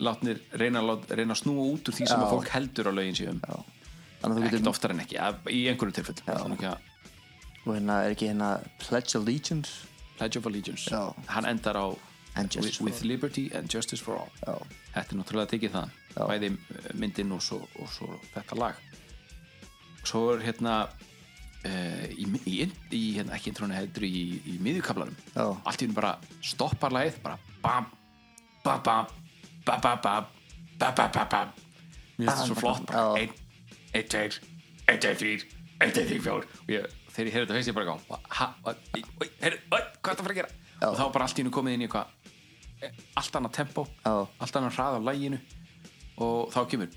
Speaker 8: látnir reyna, að lát- reyna að snúa út úr því sem
Speaker 7: Já.
Speaker 8: að fólk heldur á lögin síðum
Speaker 7: Já. þannig að þú getur
Speaker 8: ekkert oftar en ekki, að- í einhverjum tilfellum Það er nú ekki að
Speaker 7: og hérna er ekki hérna Pledge Allegiance
Speaker 8: Pledge of Allegiance
Speaker 7: Já.
Speaker 8: hann endar á
Speaker 7: And Justice
Speaker 8: with,
Speaker 7: for
Speaker 8: with Liberty and Justice for All
Speaker 7: Já.
Speaker 8: Þetta er náttúrulega tekið þaðan
Speaker 7: Já.
Speaker 8: bæði eh, myndin og svo, og svo þetta lag Svo er hérna uh, í, í, í hérna, ekki intrónu heldur í, í miðjukablanum
Speaker 7: Já.
Speaker 8: allt í hún bara stoppar lagið bara bam, bam, bam bam, bam, bam, bam, bam, bam, bam Mér finnst þetta svo flott bara
Speaker 7: Já.
Speaker 8: einn, einn, tveir, einn, tveir, þrýr einn, tveir, þrýr, fjór og ég, þegar ég heyrði þetta finnst ég bara gá ha, ha, í, oi, heyrðu, oi, hvað er það að fara að gera og þá var bara allt í hennu komið inn í eitthvað eh, allt annað tempo,
Speaker 7: Já.
Speaker 8: allt annað hrað á læginu og þá kemur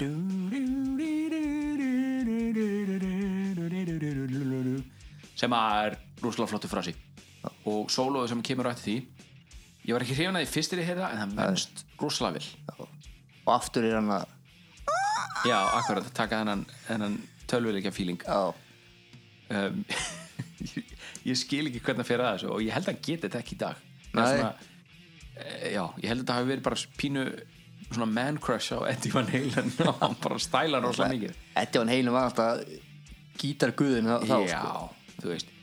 Speaker 8: sem að er rúslega flottu frasi og sólóðu sem kemur á eftir því ég var ekki hrifin að því fyrst er ég heyrða en það vennst rúslega vel
Speaker 7: og aftur er hann að
Speaker 8: Já, akkurat, taka þennan, þennan tölvuleikja feeling
Speaker 7: já,
Speaker 8: um, ég, ég skil ekki hvernig að fyrir að þessu og ég held að hann geti þetta ekki í dag Það er
Speaker 7: Nei.
Speaker 8: eh, Já, ég held að þetta hafi verið bara pínu svona man crush á Eddie Van Halen og hann bara stæla hann rosalega mikið
Speaker 7: Eddie Van Halen var alltaf gítarguðin þá, þá
Speaker 8: Já,
Speaker 7: sko,
Speaker 8: þú veist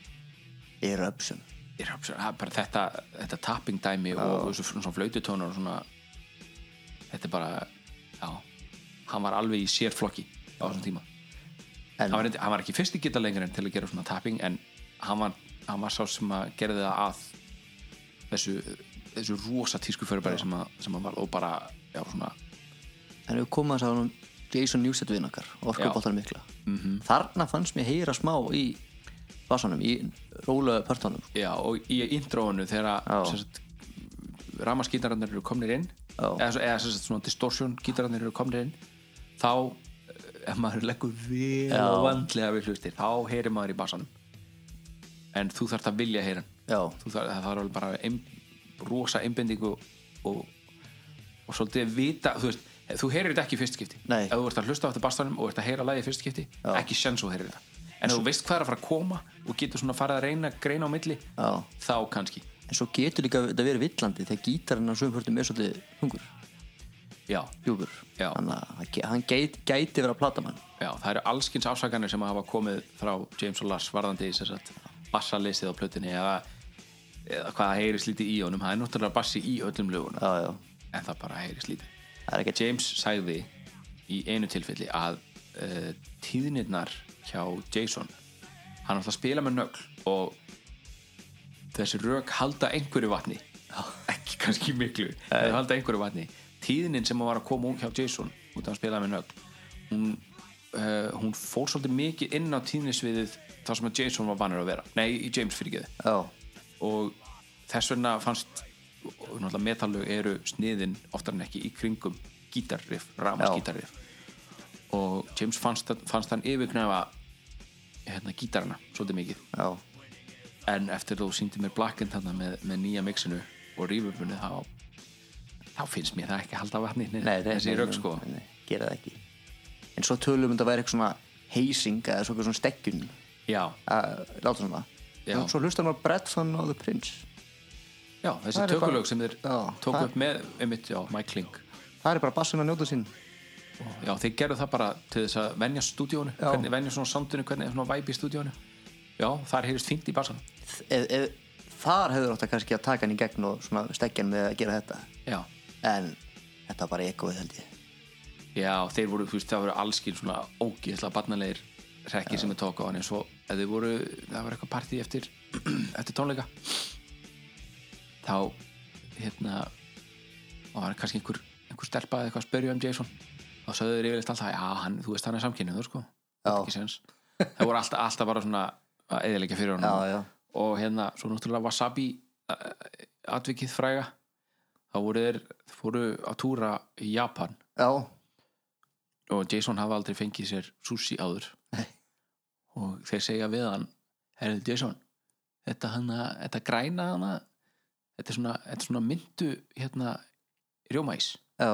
Speaker 7: eruption
Speaker 8: ég er absurd, það er bara þetta, þetta tapping dæmi og þessu svona, svona flaututónar og svona þetta er bara já, hann var alveg í sér flokki á þessum tíma
Speaker 7: En-
Speaker 8: hann, var, reyndi- hann var ekki fyrst í geta lengur en til að gera svona tapping en hann var, hann var sá sem að gerði það að þessu, þessu rosa tísku fyrirbæri sem, að, sem að var og bara já, svona,
Speaker 7: en við komum að sá hann Jason Newsted við okkar, orkubóttan mikla
Speaker 8: Mhm.
Speaker 7: -hmm. þarna fannst mér heyra smá í bassanum, í rólega pörtunum
Speaker 8: já, og í intróinu þegar
Speaker 7: Já.
Speaker 8: sem sagt, ramaskítararnir eru komnir inn
Speaker 7: Já.
Speaker 8: eða, svo- eða sem sagt, svona distortion gítararnir eru komnir inn þá eh, ef maður leggur vel
Speaker 7: Já.
Speaker 8: og vandlega við hlustir þá heyrir maður í bassanum en þú þarft að vilja heyra hann
Speaker 7: já,
Speaker 8: þú þarf, það þarf alveg bara ein, rosa einbendingu og, og svolítið vita þú veist, þú heyrir þetta ekki í fyrst skipti
Speaker 7: Nei.
Speaker 8: ef þú ert að hlusta á þetta bastanum og ert að heyra lagið í fyrst skipti,
Speaker 7: Já.
Speaker 8: ekki sens þú heyrir þetta en þú veist hvað er að fara að koma og getur svona farið að reyna greina á milli
Speaker 7: Já.
Speaker 8: þá kannski,
Speaker 7: en svo getur líka þetta verið villandi þegar gítarinn á sögum pörtum er svolítið hungur,
Speaker 8: já,
Speaker 7: djúkur
Speaker 8: Já.
Speaker 7: þannig að hann ge- hann gæti, gæti verið að plata mann
Speaker 8: já það eru allskins afsakanir sem hafa komið frá James og Lars varðandi í þess að bassalisið á plötunni eða, eða hvað heyrist lítið í honum það er náttúrulega bassi í öllum lögunum
Speaker 7: já, já,
Speaker 8: en það bara heyrist lítið
Speaker 7: það er ekki
Speaker 8: James sagði í einu tilfelli að uh, tíðnirnar hjá Jason hann ætla að spila með nögl og þessi rök halda einhverju vatni ekki kannski miklu þeir halda einhverju vatni tíðnin sem hann var að koma úr hjá Jason út af að spila með nögl hún, uh, hún fór svolítið mikið inn á tíðnisviðið þar sem að Jason var vanur að vera nei, James fyrirgeði
Speaker 7: já,
Speaker 8: og þess vegna fannst og náttúrulega metallög eru sniðin oftar en ekki í kringum gítarriff, ramasgítarriff og James fannst, það- fannst hann yfirknefa hérna gítarana svolítið mikið
Speaker 7: já,
Speaker 8: en eftir þú síndi mér blakkend þarna með, með nýja mixinu og rýfubunni þá þá finnst mér það ekki að halda vatni nei,
Speaker 7: nei, nei,
Speaker 8: þessi
Speaker 7: nei,
Speaker 8: rögg
Speaker 7: nei,
Speaker 8: sko
Speaker 7: nei, nei, gera það ekki en svo tölum um þetta væri eitthvað svona heysing eða svo eitthvað svona stekkjun
Speaker 8: já,
Speaker 7: að láta svona
Speaker 8: Já.
Speaker 7: en svo hlustar maður Bretton og The Prince
Speaker 8: já, þessi
Speaker 7: Það er bara-
Speaker 8: tökulög sem þeir
Speaker 7: Já,
Speaker 8: tóku
Speaker 7: það-
Speaker 8: upp með einmitt, já, Mike Kling
Speaker 7: það er bara bassin að njóta sín
Speaker 8: Já, þeir gerðu það bara til þess að venja stúdíónu
Speaker 7: Já.
Speaker 8: hvernig venja svona soundinu, hvernig svona væpi í stúdíónu Já, þar heyrist fínt í bassan
Speaker 7: ef, ef, þar hefur átt að kannski að taka hann í gegn og svona stekkja hann með að gera þetta
Speaker 8: Já,
Speaker 7: en þetta var bara ekkoið held ég
Speaker 8: já þeir voru, þú veist, það voru allskil svona ógeðslega barnalegir rekki sem þeir tóku á hann en svo, ef þeir voru, það var eitthvað partí eftir, eftir tónleika þá hérna og var kannski einhver, einhver stelpa eða eitthvað að spyrja um Jason og sögðu þeir yfirleitt alltaf, já, hann, þú veist, hann er samkynniður sko,
Speaker 7: Já.
Speaker 8: ekki sens það voru alltaf, alltaf bara svona að eðilegja fyrir honum
Speaker 7: já, já,
Speaker 8: og hérna svo náttúrulega Wasabi eh, atvikið fræga þá voru þeir fóru að túra í Japan
Speaker 7: já,
Speaker 8: og Jason hafa aldrei fengið sér sushi áður
Speaker 7: Nei.
Speaker 8: og þeir segja við hann herrðu Jason þetta, hana, þetta græna hana þetta er svona, þetta er svona myndu hérna rjómaís
Speaker 7: já,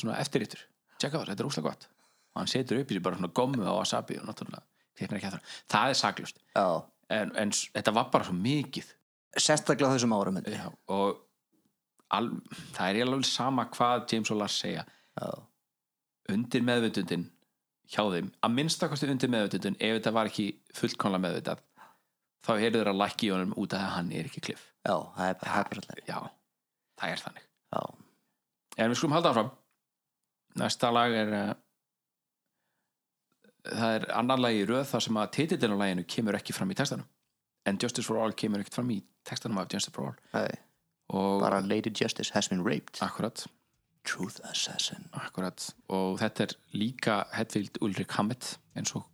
Speaker 8: svona eftirrýttur, tjekka það, þetta er óslega gott og hann setur upp í sig bara svona gommu á Wasabi og náttúrulega kviknar ekki að það það er saklust
Speaker 7: já.
Speaker 8: en, en s- þetta var bara svo mikið
Speaker 7: sérstaklega á þessum árum held ég.
Speaker 8: Já, og al, það er eiginlega alveg sama hvað James og Lars segja
Speaker 7: já,
Speaker 8: undir meðvutundin hjá þeim, að minnstakosti undir meðvutundin ef þetta var ekki fullkomlega meðvutað þá heyrðu þeir að lækki í honum út af að hann er ekki kliff
Speaker 7: já, það er bara hæparallega
Speaker 8: já, það er þannig
Speaker 7: Já.
Speaker 8: en við skulum halda áfram næsta lag er uh, það er annar lag í röð þar sem að titillin á laginu kemur ekki fram í textanum en Justice for All kemur ekkert fram í textanum af Justice for All
Speaker 7: Nei,
Speaker 8: og
Speaker 7: bara Lady Justice has been raped
Speaker 8: akkurat,
Speaker 7: Truth Assassin
Speaker 8: akkurat og þetta er líka Hetfield Ulrik Hammett eins og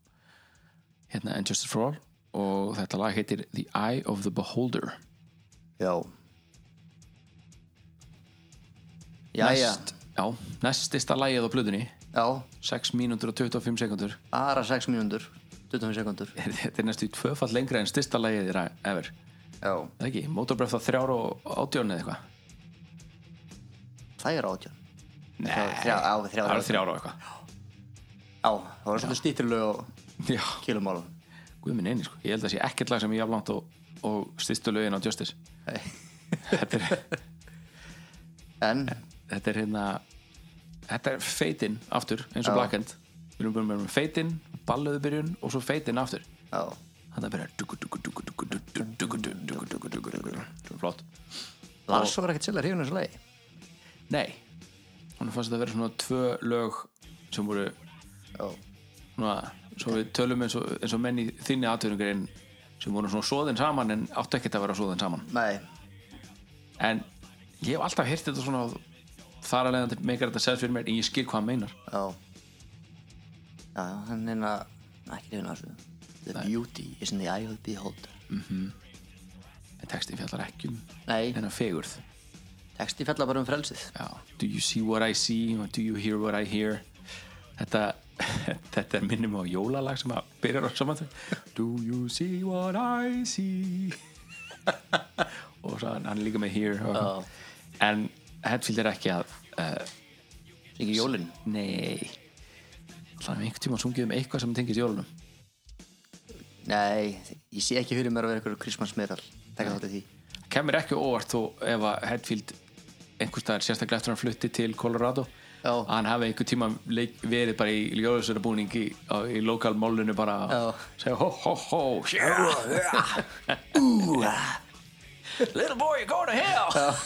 Speaker 8: hérna And Justice for All og þetta lag heitir The Eye of the Beholder
Speaker 7: Já Jæja,
Speaker 8: Næst, já, næstista lagið á blöðunni
Speaker 7: já,
Speaker 8: 6 mínútur og 25 sekundur
Speaker 7: aðra 6 mínútur 25 sekundur
Speaker 8: þetta er næstu tvöfall lengra en stista lagið þeirra ever
Speaker 7: Já,
Speaker 8: Það ekki, Motorbref það þrjár og átjón eða eitthvað
Speaker 7: það er átján
Speaker 8: Nei,
Speaker 7: þrjá- á, þrjár og
Speaker 8: það er
Speaker 7: átján.
Speaker 8: þrjár og eitthvað
Speaker 7: Já, það var svolítið stýttirlög og
Speaker 8: Já,
Speaker 7: kilumálum
Speaker 8: guð minn eini sko Ég held að sé ekkert lag sem ég aflangt og, og styrstu lögin á Justice
Speaker 7: Nei.
Speaker 8: þetta, er,
Speaker 7: En,
Speaker 8: þetta er hérna Þetta er feitinn aftur eins og Black End Við erum búin með feitinn, ballöðu byrjun og svo feitinn aftur
Speaker 7: já,
Speaker 8: Þannig að byrja dugu, dugu, dugu, dugu, dugu, dugu, dugu, dugu, dugu, dugu, dugu. Svo Flott
Speaker 7: Lars var ekkert sérlega hrifin þessu lagi
Speaker 8: Nei, hann fannst þetta að vera svona tvö lög sem voru
Speaker 7: Já,
Speaker 8: svona, svo við tölum eins og, eins og menn í þinni aðtöðungarinn sem voru svona svoðin saman en áttu ekkert að vera svoðin saman
Speaker 7: nei,
Speaker 8: en ég hef alltaf heyrt þetta svona og þar að leiðandi meikar þetta sens fyrir mér en ég skil hvað hann meinar
Speaker 7: já Já, hann er hérna ekki hrifin þessu The beauty is in the eye of the beholder
Speaker 8: en textin fjallar ekki um
Speaker 7: Nei,
Speaker 8: þennan fegurð
Speaker 7: texti fjallar bara um frelsið
Speaker 8: Já. Do you see what I see or do you hear what I hear þetta þetta er minnum á jólalag sem að byrjar á saman þegar Do you see what I see og svo hann hann er líka með hear og, en Hetfield er ekki að uh,
Speaker 7: Syngi jólin
Speaker 8: Nei Alltaf hefur einhvern tímann sungið um eitthvað sem tengist jólunum
Speaker 7: Nei, ég sé ekki fyrir mér að vera eitthvað Christmas medal Takk þátt í því
Speaker 8: Kemur ekki á óvart þó ef að Hetfield einhvers staðar sérstaklega eftir að hann flutti til Colorado
Speaker 7: Já.
Speaker 8: að hann hafi einhvern tímann leik, verið bara í ljóðsverðabúning í, á- í lokalmálunum bara
Speaker 7: Já.
Speaker 8: og segja ho ho ho yeah, yeah. Little boy you're going to hell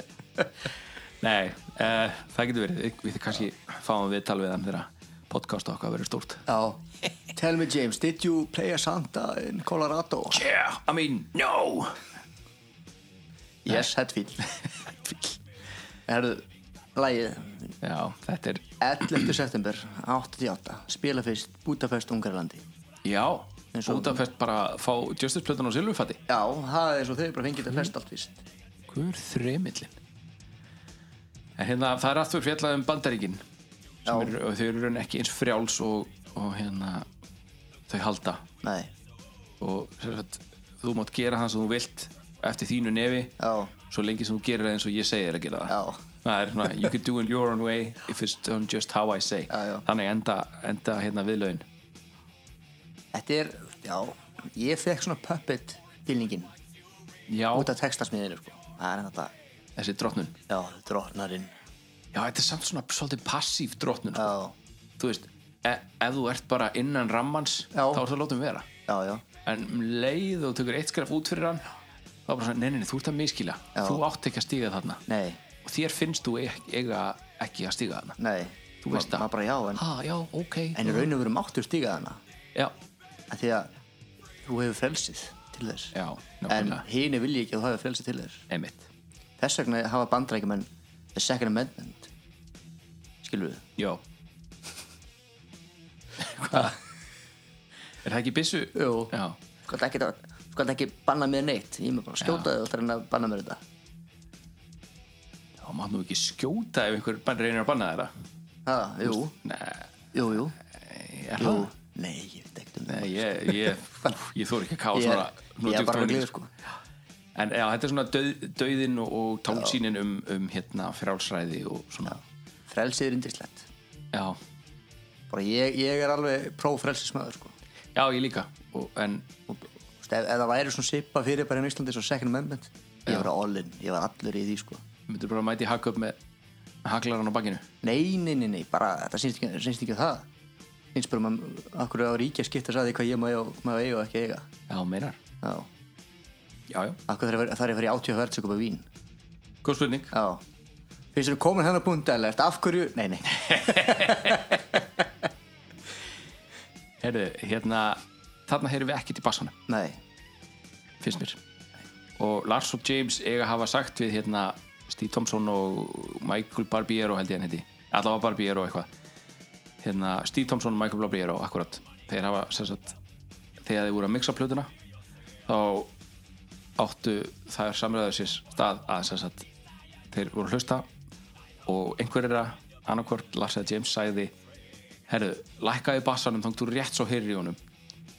Speaker 8: Nei, uh, það getur verið Við- við kannski fáum við tal við hann þegar podcast okkar verður stórt
Speaker 7: Já, tell me James, did you play a Santa in Colorado?
Speaker 8: Yeah, I mean, no
Speaker 7: Yes, Hetfield Herðu, lægið
Speaker 8: Já, þetta er
Speaker 7: 11. september 88 Spila fyrst Budapest, Ungarlandi
Speaker 8: Já,
Speaker 7: Eins og-
Speaker 8: Budapest bara fá Justice Plötan og Silvufatti
Speaker 7: Já, það er svo þeir bara fengið þetta flest allt fyrst
Speaker 8: Hver þremillin En hérna, það er aftur fjallað um Bandaríkin
Speaker 7: Já,
Speaker 8: er, og þau eru raun ekki eins frjáls og, og hérna þau halda
Speaker 7: nei,
Speaker 8: og sem sagt, þú mátt gera það sem þú vilt eftir þínu nefi
Speaker 7: já,
Speaker 8: svo lengi sem þú gerir það eins og ég segi þér að gera það
Speaker 7: Já.
Speaker 8: Það er svona, you can do it your own way if it's done just how I say
Speaker 7: Já, já.
Speaker 8: Þannig enda, enda hérna viðlaun
Speaker 7: þetta er, já Ég fekk svona puppet fílningin
Speaker 8: Já,
Speaker 7: út af textasmiðinu sko. Það er þetta,
Speaker 8: þessi drottnun
Speaker 7: já, drotnarinn
Speaker 8: Já, þetta er samt svona svolítið passív drottnun sko.
Speaker 7: Já,
Speaker 8: Þú veist, e ef þú ert bara innan rammans
Speaker 7: Já.
Speaker 8: þá er það að láta um vera
Speaker 7: já, já,
Speaker 8: en um leið og þú tekur eitt skref út fyrir hann þá er bara svona, nei, nei, nei, þú ert að miskila
Speaker 7: Já.
Speaker 8: þú átt ekki að stíga þarna
Speaker 7: nei,
Speaker 8: og þér finnst þú ek- eiga ekki að stíga þarna
Speaker 7: nei
Speaker 8: Þú
Speaker 7: Ma-
Speaker 8: veist það.
Speaker 7: maður bara já, en,
Speaker 8: Ha, já, ok
Speaker 7: en í raun og veru máttur stíga þarna
Speaker 8: Já,
Speaker 7: að því að þú hefur frelsið til þess
Speaker 8: já,
Speaker 7: en
Speaker 8: nákvæmlega,
Speaker 7: hini vil ég ekki að þú hefur frelsið til þess
Speaker 8: einmitt
Speaker 7: þess vegna hafa bandrækjumenn the second amendment skilur við
Speaker 8: Já Hvað? Er það ekki byssu?
Speaker 7: Jú.
Speaker 8: Já,
Speaker 7: skalt ekki, skalt ekki banna mér neitt ég með bara skjóta þig og þarna að banna mér þetta
Speaker 8: þá mátt nú ekki skjóta ef einhver bann reynir að banna þér það
Speaker 7: ha, jú,
Speaker 8: Nei,
Speaker 7: jú, jú,
Speaker 8: er
Speaker 7: jú
Speaker 8: það?
Speaker 7: nei, ég veit ekkert um
Speaker 8: Nei,
Speaker 7: það
Speaker 8: ég, ég, ég þóri ekki að káða
Speaker 7: ég
Speaker 8: svona
Speaker 7: er,
Speaker 8: nú
Speaker 7: ég er
Speaker 8: djúpt
Speaker 7: bara
Speaker 8: ofan í
Speaker 7: glíð
Speaker 8: mig,
Speaker 7: sko
Speaker 8: sko. En já, þetta er svona döð, döðin og, og tálsýnin um, um hérna frálsræði og svona
Speaker 7: frelsið er indislegt
Speaker 8: Já,
Speaker 7: bara ég, ég er alveg prófrelsismöður sko
Speaker 8: já, ég líka og, En
Speaker 7: og, þú veist, ef, ef það væri svona sipa fyrir bara í Íslandi svo second amendment ég var all in, ég var allur í því sko
Speaker 8: myndur bara að mæti hakka upp með haklaran á bakinu
Speaker 7: Nei, nei, nei, nei, bara þetta syns ekki, syns ekki um það syns bara um að hverju á ríkja skipta sæði hvað ég má eiga og- má eiga og ekki eiga
Speaker 8: Já, meinar
Speaker 7: Já,
Speaker 8: Já, já,
Speaker 7: akkur þarf ég að fara- þarf ég að fara í 80 verðsökum á vín
Speaker 8: góð spurning
Speaker 7: Já Finnst þér komin hennar punkt alert Af hverju? Nei, nei
Speaker 8: Herðu, hérna, þarna heyrðum við ekki til bassanum
Speaker 7: Nei
Speaker 8: finnst mér og Lars og James eiga að hafa sagt við hérna Steve Thompson og Michael Barbiero held ég hann heiti allavega Barbiero eitthvað hérna Steve Thompson og Michael Barbiero akkurat þeir hafa sem sagt þegar þeir voru að mixa plötuna þá áttu þær samræður sér stað að sem sagt þeir voru að hlusta og einhverjara annarkvort Lars eða James sagði herru, lækkaði bassanum þangt úr rétt svo heyrir í honum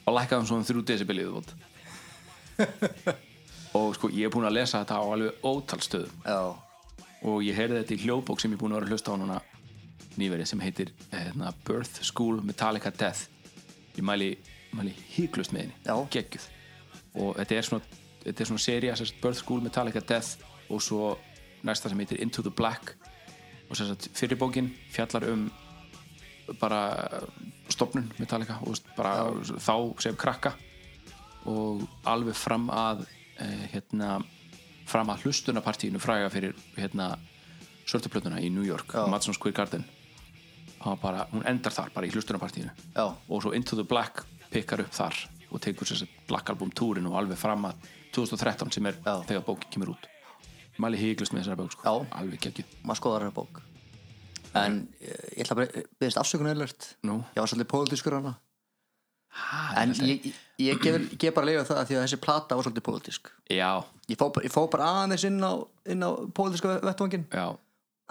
Speaker 8: og lækkaði hann svo um 3 decibelið út og sko ég er búin að lesa þetta á alveg ótal stöðum
Speaker 7: Já
Speaker 8: og ég heyrði þetta í hljóðbók sem ég er búin að vera að hlusta á núna nýverið sem heitir hérna, Birth School Metallica Death ég mæli, mæli híklust með
Speaker 7: Já.
Speaker 8: henni geggjuð og þetta er svona, þetta er svona seria sérst, Birth School Metallica Death og svo næsta sem heitir Into the Black og sérst, fyrir bókin fjallar um bara stopnun Metallica og bara þá sem krakka og alveg fram að eh, hérna, fram að hlustunapartíinu fræga fyrir hérna, svörtuplötuna í New York
Speaker 7: Já.
Speaker 8: Madison Square Garden Það var bara, hún endar þar bara í hlustunapartíinu
Speaker 7: Já.
Speaker 8: og svo Into the Black pikkar upp þar og tekur sér Black Album túrin og alveg fram að 2013 sem er
Speaker 7: Já.
Speaker 8: þegar bókin kemur út Mæli híklust með þessari bók sko.
Speaker 7: Já.
Speaker 8: alveg geggju
Speaker 7: Maður skoðar þessa bók En eh, ég ætla bara Byrðist afsökun alert
Speaker 8: Nú.
Speaker 7: Ég var svolítið pólitískur hana
Speaker 8: ha,
Speaker 7: En ég, ég, ég, gef, ég bara leifa það að Því að þessi plata var svolítið pólitísk
Speaker 8: Já,
Speaker 7: Ég fó, bara- ég fó bara aðeins inn á, inn á pólitíska vettvangin
Speaker 8: já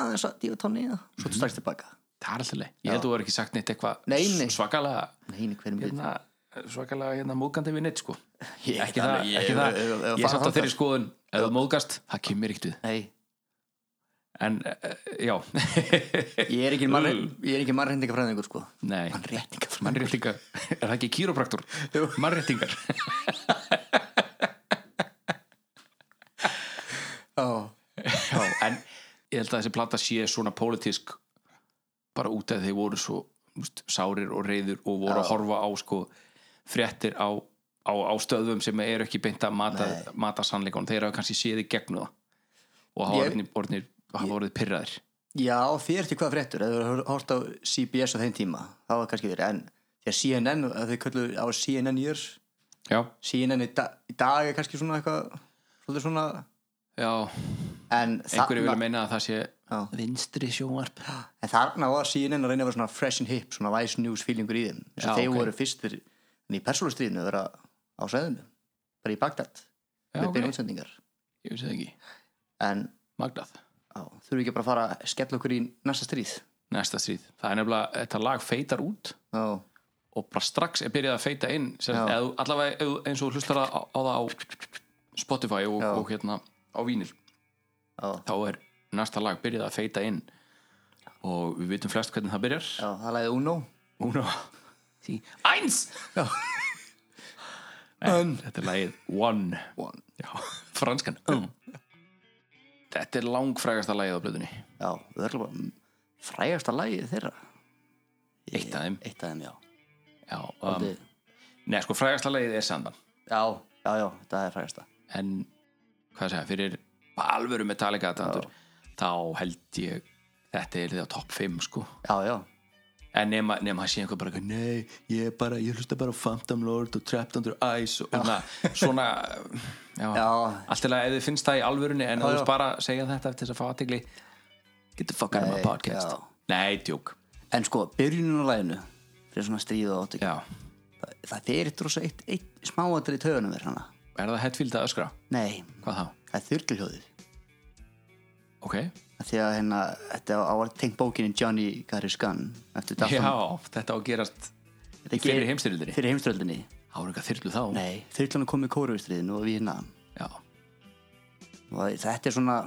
Speaker 7: Aðeins að dífa tónni í það Svo mm strax tilbaka
Speaker 8: Það er alltaf leið. Ég held að þú var ekki sagt neitt eitthvað
Speaker 7: Nei, nei.
Speaker 8: svakalega,
Speaker 7: Nei, nei, hverjum við
Speaker 8: hérna, svakalega hérna, móðgandi við neitt, sko.
Speaker 7: Ég-
Speaker 8: ekki það,
Speaker 7: ég-
Speaker 8: ekki það.
Speaker 7: ef- ef- ef-
Speaker 8: Ég er
Speaker 7: fara
Speaker 8: samt á
Speaker 7: þangað.
Speaker 8: þeirri skoðun, ef þú móðgast, það kemur ekkert við.
Speaker 7: Nei,
Speaker 8: En, uh, já,
Speaker 7: ég er ekki mannre- ég er ekki mannreindingafræðingur sko
Speaker 8: nei,
Speaker 7: Mannréttingafræðingur
Speaker 8: mannréttingar, er það ekki kýrópraktur? Mannréttingar.
Speaker 7: Já,
Speaker 8: Já, en ég held að þessi plata sé svona pólitísk bara út að þeir voru svo úst, sárir og reyður og voru að horfa á sko fréttir á, á, á stöðum sem eru ekki beint að mata, mata sannleikon þeir hafa kannski séð í gegnu það og hafa
Speaker 7: Ég-
Speaker 8: orðnir, orðnir hafa orðið pyrraðir
Speaker 7: Já, þér til hvað fréttur ef þú hórt á CBS á þeim tíma þá var kannski verið, en þegar CNN að þau köllu á CNN years
Speaker 8: já,
Speaker 7: CNN í, da, í dag er kannski svona eitthvað svolítið svona
Speaker 8: já,
Speaker 7: en
Speaker 8: einhverju vilja meina að það sé
Speaker 7: Já.
Speaker 8: vinstri sjónvarp
Speaker 7: en þarna var CNN að reyna að vera svona fresh and hip svona vice news feelingur í þeim þess
Speaker 8: Já,
Speaker 7: að þeir
Speaker 8: ok.
Speaker 7: voru fyrstir en í persólustriðinu að vera á sveðinu bara í Bagdad
Speaker 8: já,
Speaker 7: með
Speaker 8: ok,
Speaker 7: beinu útsendingar
Speaker 8: ég vissi það ekki
Speaker 7: en
Speaker 8: magnað,
Speaker 7: á, þurfum við ekki bara að fara að skella okkur í næsta stríð
Speaker 8: næsta stríð það er nefnilega, þetta lag feitar út
Speaker 7: Já,
Speaker 8: og bara strax er byrjað að feita inn sem,
Speaker 7: Já.
Speaker 8: eð, allavega eð, eins og þú hlustar á, á það á Spotify og,
Speaker 7: Já.
Speaker 8: og hérna á vínil
Speaker 7: Já.
Speaker 8: þá er næsta lag byrjað að feita inn og við vitum flest hvernig það byrjar
Speaker 7: já það læði Uno
Speaker 8: Uno sí. Eins en, Þetta er lagið One
Speaker 7: One.
Speaker 8: Já, franskan um. Þetta er langfrægasta lagið á blöðunni
Speaker 7: Já, við erum bara frægasta lagið þeirra
Speaker 8: Eitt af þeim
Speaker 7: Eitt af þeim, já
Speaker 8: Já, um, Nei, sko frægasta lagið er Sandan
Speaker 7: Já, já, já, þetta er frægasta
Speaker 8: en hvað segja, fyrir alvöru Metallica aðtandur, þá held ég þetta er því á topp 5 sko
Speaker 7: Já, já,
Speaker 8: en nema, nema að sé einhver bara eitthvað, nei, ég er bara, ég hlusta bara á Phantom Lord og Trapped Under Ice og na, svona já,
Speaker 7: Já.
Speaker 8: allt til að ef þið finnst það í alvörunni en
Speaker 7: Já,
Speaker 8: ef þú
Speaker 7: já.
Speaker 8: vilt bara segja þetta eftir þess að fá aðtegli get the fuck out of my
Speaker 7: Nei,
Speaker 8: podcast
Speaker 7: já.
Speaker 8: nei, djúk,
Speaker 7: En sko, byrjunin á laginu Fyrir svona stríð og átökja
Speaker 8: já
Speaker 7: Það, það fyrir drosa eitt, eitt smáatir í taugunum verð hana
Speaker 8: er það Hetfield að öskra,
Speaker 7: Nei,
Speaker 8: hvað þá?
Speaker 7: það er þurrgljóðið
Speaker 8: ok,
Speaker 7: Því að hérna, þetta á að tengt bókinni Johnny Gary's Gun Eftir Daft
Speaker 8: já,
Speaker 7: Punk.
Speaker 8: þetta á að gerast
Speaker 7: Þetta
Speaker 8: í fyrri
Speaker 7: ger-
Speaker 8: heimsstyrjöldinni.
Speaker 7: Fyrir heimstyrjöldinni
Speaker 8: þá er eitthvað þyrlu þá
Speaker 7: Nei, þurrgljóðan kom í kóruvistriðinu og við hérna
Speaker 8: já,
Speaker 7: Og þetta er svona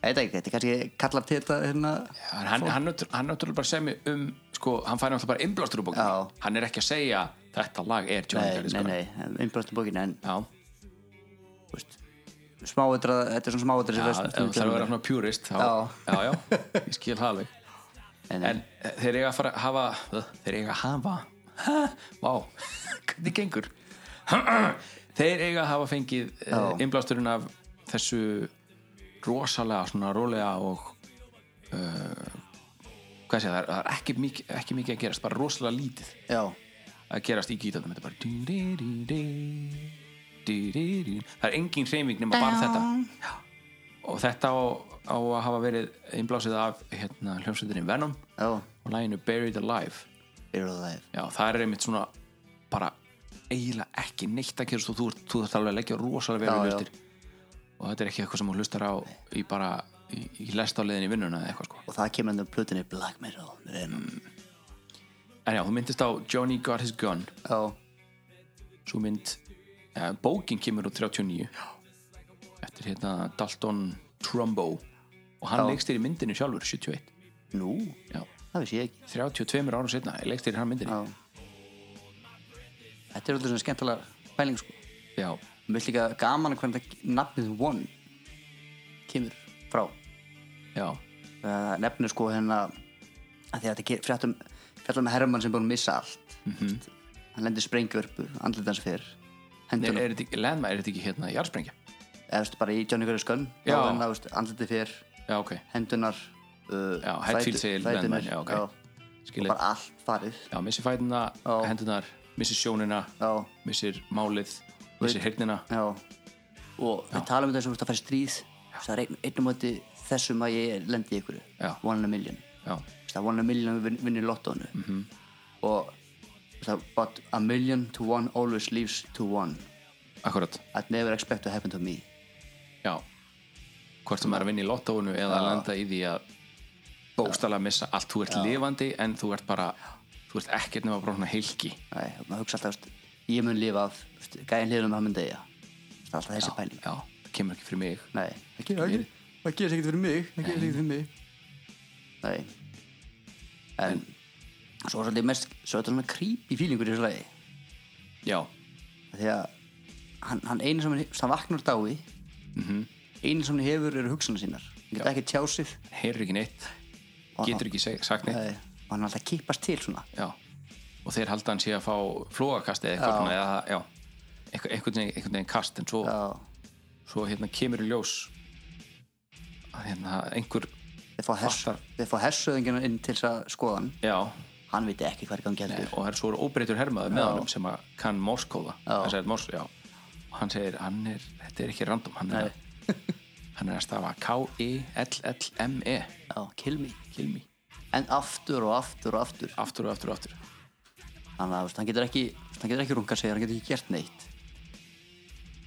Speaker 7: Ég veit ekki, þetta er kannski kallar til þetta hérna
Speaker 8: En hann, hann, náttúr- hann náttúrulega bara semi um sko, hann fær náttúrulega bara innblástur úr
Speaker 7: Já.
Speaker 8: bókinu hann er ekki að segja þetta lag er Johnny
Speaker 7: Nei,
Speaker 8: Garris
Speaker 7: nei, nei, innbræstum bókinni En
Speaker 8: Já,
Speaker 7: þú veist, smáutra, þetta er svona smáutra sem
Speaker 8: já, ef
Speaker 7: verður
Speaker 8: þú þarf að vera
Speaker 7: stundum.
Speaker 8: svona purist þá,
Speaker 7: Já.
Speaker 8: já, já, ég skil það alveg
Speaker 7: en,
Speaker 8: en eh, þeir eiga að fara að hafa Ugh, þeir eiga að hafa Ha, vá, hvernig gengur þeir eiga að hafa fengið
Speaker 7: Já.
Speaker 8: innblásturinn af þessu rosalega svona rólega og uh, hvað sé það er, það er ekki, mikið, ekki mikið að gerast bara rosalega lítið
Speaker 7: já,
Speaker 8: að gerast í gítarnum þetta er bara dú-dí-dí-dí, dú-dí-dí. það er engin hreyfing nema bara þetta Já. og þetta á, á að hafa verið einblásið af hérna, hljómsveitinni Venom
Speaker 7: já,
Speaker 8: og læginu Buried Alive
Speaker 7: byrjuðu það
Speaker 8: Já, það er einmitt svona bara eiginlega ekki neitt að gerast og þú, ert- þú þarf alveg að leggja rosalega vel
Speaker 7: Já,
Speaker 8: í
Speaker 7: já.
Speaker 8: hlustir og þetta er ekki eitthvað sem hún hlustar á í bara í, í lestáliðin í vinnuna eða eitthvað sko
Speaker 7: og það kemur endur plötinni Black Metal mm.
Speaker 8: En já, hún myndist á Johnny Got His Gun
Speaker 7: já,
Speaker 8: svo mynd ja, bókin kemur úr 39 eftir hérna Dalton Trumbo og hann
Speaker 7: Já.
Speaker 8: leikstir í myndinu sjálfur 71
Speaker 7: nú,
Speaker 8: já,
Speaker 7: það vissi ég ekki
Speaker 8: 32 árum setna leikstir hann myndinu
Speaker 7: já þetta er alltaf svona skemmtilega pæling sko
Speaker 8: já,
Speaker 7: Mér finnst líka gaman að hvernig það- nafnið One kemur frá
Speaker 8: já,
Speaker 7: uh, nefnir sko hérna að því að þetta ger- fréttum fjallar með Hermann sem búin að missa allt hann lendir sprengjörpu, andlit hans fyrir
Speaker 8: Nei,
Speaker 7: hendunum,
Speaker 8: er þetta ekki, Lenma, er þetta ekki hérna jarðsprengja?
Speaker 7: eða veist bara í Johnny Garris Gunn
Speaker 8: Já.
Speaker 7: þá en það veist andlitið fyrir
Speaker 8: Já, ok,
Speaker 7: hendunar uh,
Speaker 8: Já, Hetfield
Speaker 7: fætur-
Speaker 8: segir
Speaker 7: fæturnir,
Speaker 8: Landmine, já, ok.
Speaker 7: og
Speaker 8: skilja
Speaker 7: bara allt farið
Speaker 8: Já, missir fætina,
Speaker 7: Já.
Speaker 8: hendunar, missir sjónina
Speaker 7: já,
Speaker 8: missir málið, missir heyrnina
Speaker 7: já og við talum um þessum að fara í stríð það er einn- einn og móti þessum að ég lendi í ykkur
Speaker 8: Já.
Speaker 7: one in a million
Speaker 8: Já,
Speaker 7: Veist það one in a million vin- vinnir lottónu mm -hmm. og veist það, but a million to one always leaves to one
Speaker 8: akkurat
Speaker 7: I'd never expect to happen to me
Speaker 8: Já, hvort sem er að vinna í lottóinu eða að lenda í því að bókstala missa allt, þú ert lifandi en þú ert bara, þú ert ekkert nema bara svona heilki
Speaker 7: Æ, maður hugsa alltaf, veist, ég mun lifa af veist, gæðin hliðunum hann mun deyja það er alltaf þessi pæling
Speaker 8: Já, það kemur ekki fyrir mig
Speaker 7: Nei, það gerir ekki Það gerir ekkert fyrir mig Það gerir ekkert fyrir mig Nei En Svo er svolítið mest Svo er þetta svona creepy feelingur í þessu lagi
Speaker 8: Já,
Speaker 7: Því að Hann, hann einu sem hann Hann vaknar úr dái Einu sem hann hefur eru hugsanir sínar Hann getur ekki tjá sig
Speaker 8: heyrir ekki neitt
Speaker 7: Og-
Speaker 8: getur ekki seg- sagt neitt
Speaker 7: Nei, Og hann er alltaf að kippast til svona
Speaker 8: Já, og þeir halda hann sé að fá flóakasti eða eitthvað svona, eða, já, eitthvað, einhvern veginn- einhvern veginn kast en svo,
Speaker 7: Já
Speaker 8: svo hérna kemur í ljós að hérna einhver
Speaker 7: Þeir fá, hers,
Speaker 8: Fattar.
Speaker 7: þeir fá hersöðingina inn til þess að skoða hann
Speaker 8: já,
Speaker 7: Hann viti ekki hvað er gangi heldur
Speaker 8: og það er svo óbreytur hermaður með honum sem að kann morskóða hann segir mors, já og hann segir, hann er, þetta er ekki random hann er, hann er að stafa E K-I-L-L-M-E
Speaker 7: Já, kill me
Speaker 8: E, kill me,
Speaker 7: En aftur og aftur og aftur
Speaker 8: aftur og aftur og aftur
Speaker 7: Þannig að þú veist, hann getur ekki Hann getur ekki runga sig Hann getur ekki gert neitt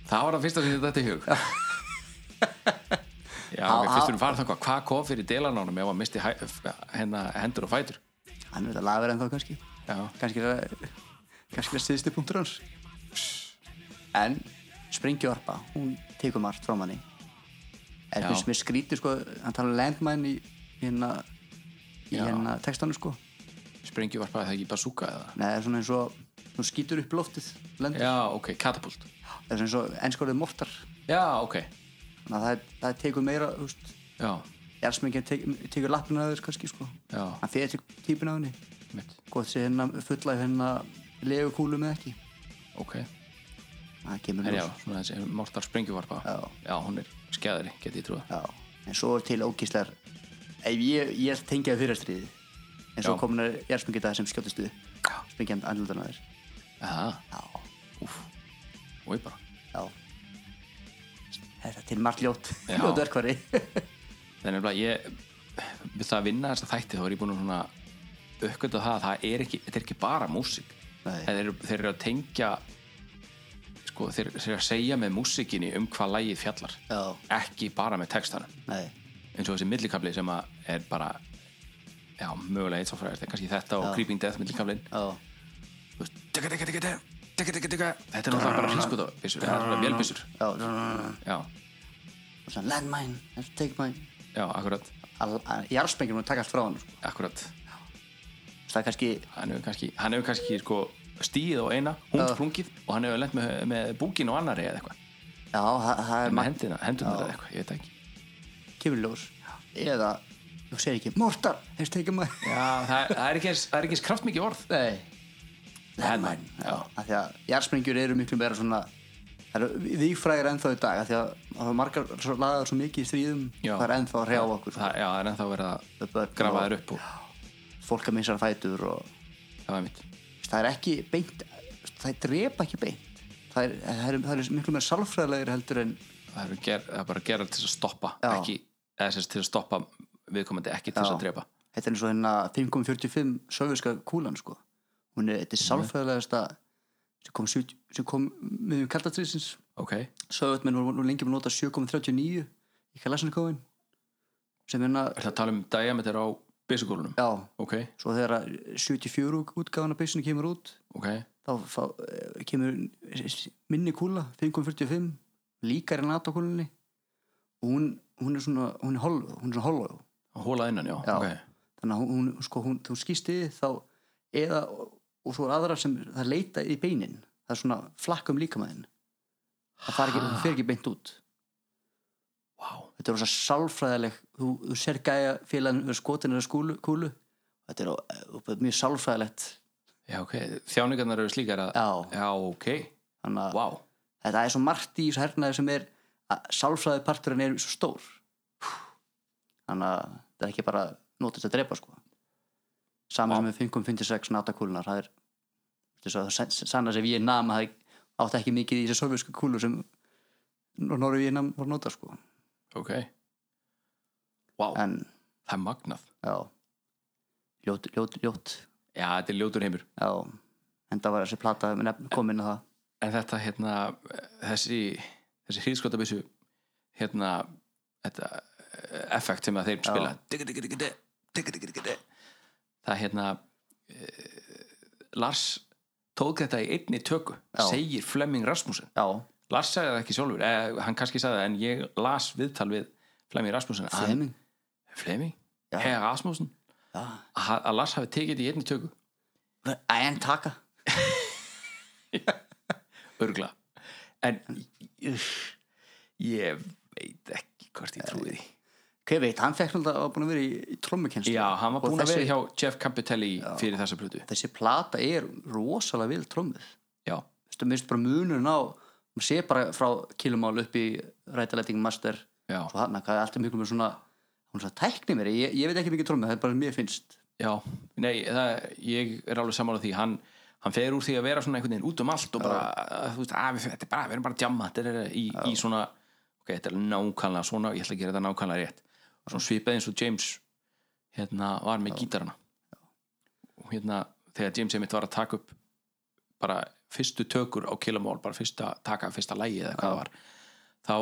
Speaker 8: það var það fyrsta sem þetta í hug já,
Speaker 7: Á-
Speaker 8: ok,
Speaker 7: á-
Speaker 8: fyrst erum farið þannig hvað kom fyrir delanánum ef hann misti hæ, hennar, hendur og fætur
Speaker 7: hann er þetta lagar en þá kannski
Speaker 8: já,
Speaker 7: kannski er það kannski er það stiðsti punktur hans en springjóarpa hún tekur margt frá manni en
Speaker 8: Já.
Speaker 7: finnst mér skrítið sko hann tala um landmine í hérna í
Speaker 8: Já.
Speaker 7: hérna textanu sko
Speaker 8: sprengjuvarpaði það ekki bazooka eða
Speaker 7: Nei, það er svona eins og hún skýtur upp í loftið lendur,
Speaker 8: já, ok, katapult
Speaker 7: það er svona eins og ennskórið mortar
Speaker 8: já, ok,
Speaker 7: þannig að það, það tekur meira þú veist
Speaker 8: já,
Speaker 7: Jarsmengin tek, tekur lappina að þess kannski sko
Speaker 8: Já.
Speaker 7: hann fyrir típin á henni
Speaker 8: mitt
Speaker 7: gott sé hérna fulla hérna legukúlu með ekki
Speaker 8: ok,
Speaker 7: það kemur
Speaker 8: En
Speaker 7: ljós.
Speaker 8: já, svona þessi mortar sprengjuvarpa
Speaker 7: Já.
Speaker 8: hún er skæðari, geti ég trúið
Speaker 7: Já, en svo er til ógíslar ef ég, ég tengja fyrir stríði en svo
Speaker 8: Já.
Speaker 7: komin er jarðspengjita sem skjóttist við spengjand andlutan að þér
Speaker 8: Það,
Speaker 7: já,
Speaker 8: úf Og ég bara,
Speaker 7: já þetta er til margt ljót
Speaker 8: Já.
Speaker 7: ljót verkvari
Speaker 8: það er nefnilega ég við það að vinna þessa þætti þá er ég búin að svona aukvönda það að það er ekki, þetta er ekki bara músík
Speaker 7: Nei.
Speaker 8: þeir, eru- þeir eru að tengja sko, þeir, þeir eru að segja með músíkinni um hvað lagið fjallar
Speaker 7: Já.
Speaker 8: ekki bara með textanum
Speaker 7: nei,
Speaker 8: eins og þessi millikafli sem að er bara já, mögulega eitt svo fræðist kannski þetta og Creeping Death millikablin
Speaker 7: já,
Speaker 8: Þú veist, digga, digga, digga, digga, digga, digga, digga. þetta er náttúrulega bara hrinskotavissur eða svona vélbissur
Speaker 7: já og
Speaker 8: já,
Speaker 7: svona landmine, let's take mine
Speaker 8: já, akkurat,
Speaker 7: jarðspengjum og taka allt frá hann sko.
Speaker 8: akkurat.
Speaker 7: það er kannski,
Speaker 8: hann hefur kannski, hann hefur kannski sko, stíð á eina, hún sprungið og hann hefur lent með, með búkin á annari eða eitthvað
Speaker 7: já, það, það er
Speaker 8: með
Speaker 7: margt
Speaker 8: hendina, hendurnar eða eitthvað, ég veit það ekki
Speaker 7: kemur í ljós eða, þú segir ekki, mortar let's take mine
Speaker 8: já, það, það er ekki eins, það er ekki eins kraftmikið orð
Speaker 7: Nei Landmæn, já Af Því að jarðsprengjur eru miklu meira svona Það eru vígfrægir ennþá í dag af Því að það var margar svo- lagðar svo mikið í stríðum
Speaker 8: Já.
Speaker 7: Það er ennþá að hrjá okkur
Speaker 8: það, já, það er ennþá verið að
Speaker 7: Upp öll
Speaker 8: grafa
Speaker 7: og
Speaker 8: þær upp og
Speaker 7: Fólk að missa fætur og
Speaker 8: það var mitt
Speaker 7: Það er ekki beint Það drepa ekki beint Það er, það er, það er miklu meira salfræðilegir heldur en
Speaker 8: það er, ger, það er bara að gera til að stoppa
Speaker 7: Já.
Speaker 8: ekki, eða sem sagt til að stoppa viðkomandi ekki til þess
Speaker 7: Já.
Speaker 8: að drepa
Speaker 7: Þetta er eins og hérna 5.45 Sovjerska kúlan sko Hún er,
Speaker 8: Mhm.
Speaker 7: þetta er salfræðilegasta sem kom, 70 sem kom miðjum kaldastriðsins
Speaker 8: ok,
Speaker 7: Sovjetmenn voru nú lengi búin að nota 7.39 í Kalasnikóin sem hérna,
Speaker 8: er það að tala um diameter á byssugólunum,
Speaker 7: já
Speaker 8: ok,
Speaker 7: svo þegar að 74 út- útgáfan af byssunni kemur út
Speaker 8: ok
Speaker 7: þá, þá eh, kemur minni kúla 5.45 líkar en NATO kúlunni og hún, hún er svona hún er holv, hún er svona holv
Speaker 8: að hóla innan, já,
Speaker 7: Já.
Speaker 8: ok
Speaker 7: þannig að hún, hún sko, hún, þú skýst yfir þá eða, og þú er aðra sem það leita í beinin, það er svona flakk um líkamæðin það fari ekki,
Speaker 8: Ha.
Speaker 7: hún fer ekki beint út
Speaker 8: wow.
Speaker 7: þetta er rosa sálfræðileg þú, þú sér gæja félagin við skotin eða skúlu, kúlu þetta er á, á, mjög sálfræðilegt
Speaker 8: já, ok, þjáningarnar eru slíkar að
Speaker 7: já,
Speaker 8: já, ok,
Speaker 7: þannig að
Speaker 8: wow
Speaker 7: þetta er svo margt í þessu hernaði sem er að sálfræði parturinn er svo stór þannig að þetta er ekki bara notist að drepa sko
Speaker 8: Vá.
Speaker 7: saman sem við fengum 56 natakúlunar það er þess að sanna sem ég nam það átti ekki mikið í þessu sovjösku kúlu sem Norður ég nam var nota sko
Speaker 8: ok wow,
Speaker 7: en
Speaker 8: það er magnað
Speaker 7: já ljót, ljót, ljót
Speaker 8: já, þetta er ljótur heimur
Speaker 7: Já, en það var þessi plata komin að það
Speaker 8: en þetta hérna þessi, þessi hríðskotabissu hérna þetta eh, effekt sem að þeir spila digga, digga, digga, digga, digga, digga, digga, digga. það hérna eh, Lars tók þetta í einni töku
Speaker 7: Já.
Speaker 8: segir Flemming Rasmussen
Speaker 7: Já,
Speaker 8: Lars sagði það ekki sjálfur, eh, hann kannski sagði það en ég las viðtal við Flemming Rasmussen að hann-
Speaker 7: Fleming
Speaker 8: Flemming?
Speaker 7: Já.
Speaker 8: Herra Rasmussen
Speaker 7: Já.
Speaker 8: að hann- að Lars hafi tekið þetta í einni töku
Speaker 7: En taka
Speaker 8: örgla en ég- ég veit ekki hvort ég trúi því
Speaker 7: Hver veit, hann fekk náttúrulega að var búin að vera í, í trommukenslu
Speaker 8: já, hann var búinn að vera hjá Jeff Campitelli fyrir þessa plötu
Speaker 7: Þessi plata er rosalega vil trommuð
Speaker 8: já,
Speaker 7: Vistu, minnst bara munurinn á Hún sé bara frá kilumál upp í Rætalæting Master
Speaker 8: já,
Speaker 7: Svo hann, hvað er alltaf miklu með svona Hún er svona tækni mér, ég, ég veit ekki mikið trommuð Það er bara mér finnst
Speaker 8: já nei, það, ég er alveg sammála því hann, hann fer úr því að vera svona einhvern veginn út um allt og bara, að, þú veist, að við, þetta er bara við erum bara að djamma, þetta er í, í svona ok, þetta er nákvæmlega svona, ég ætla að gera þetta nákvæmlega rétt svona svipað eins og James hérna, var með gítarana og hérna, þegar James einmitt var að taka upp bara fyrstu tökur á Killamall, bara fyrsta taka fyrsta lægi eða hvað það var þá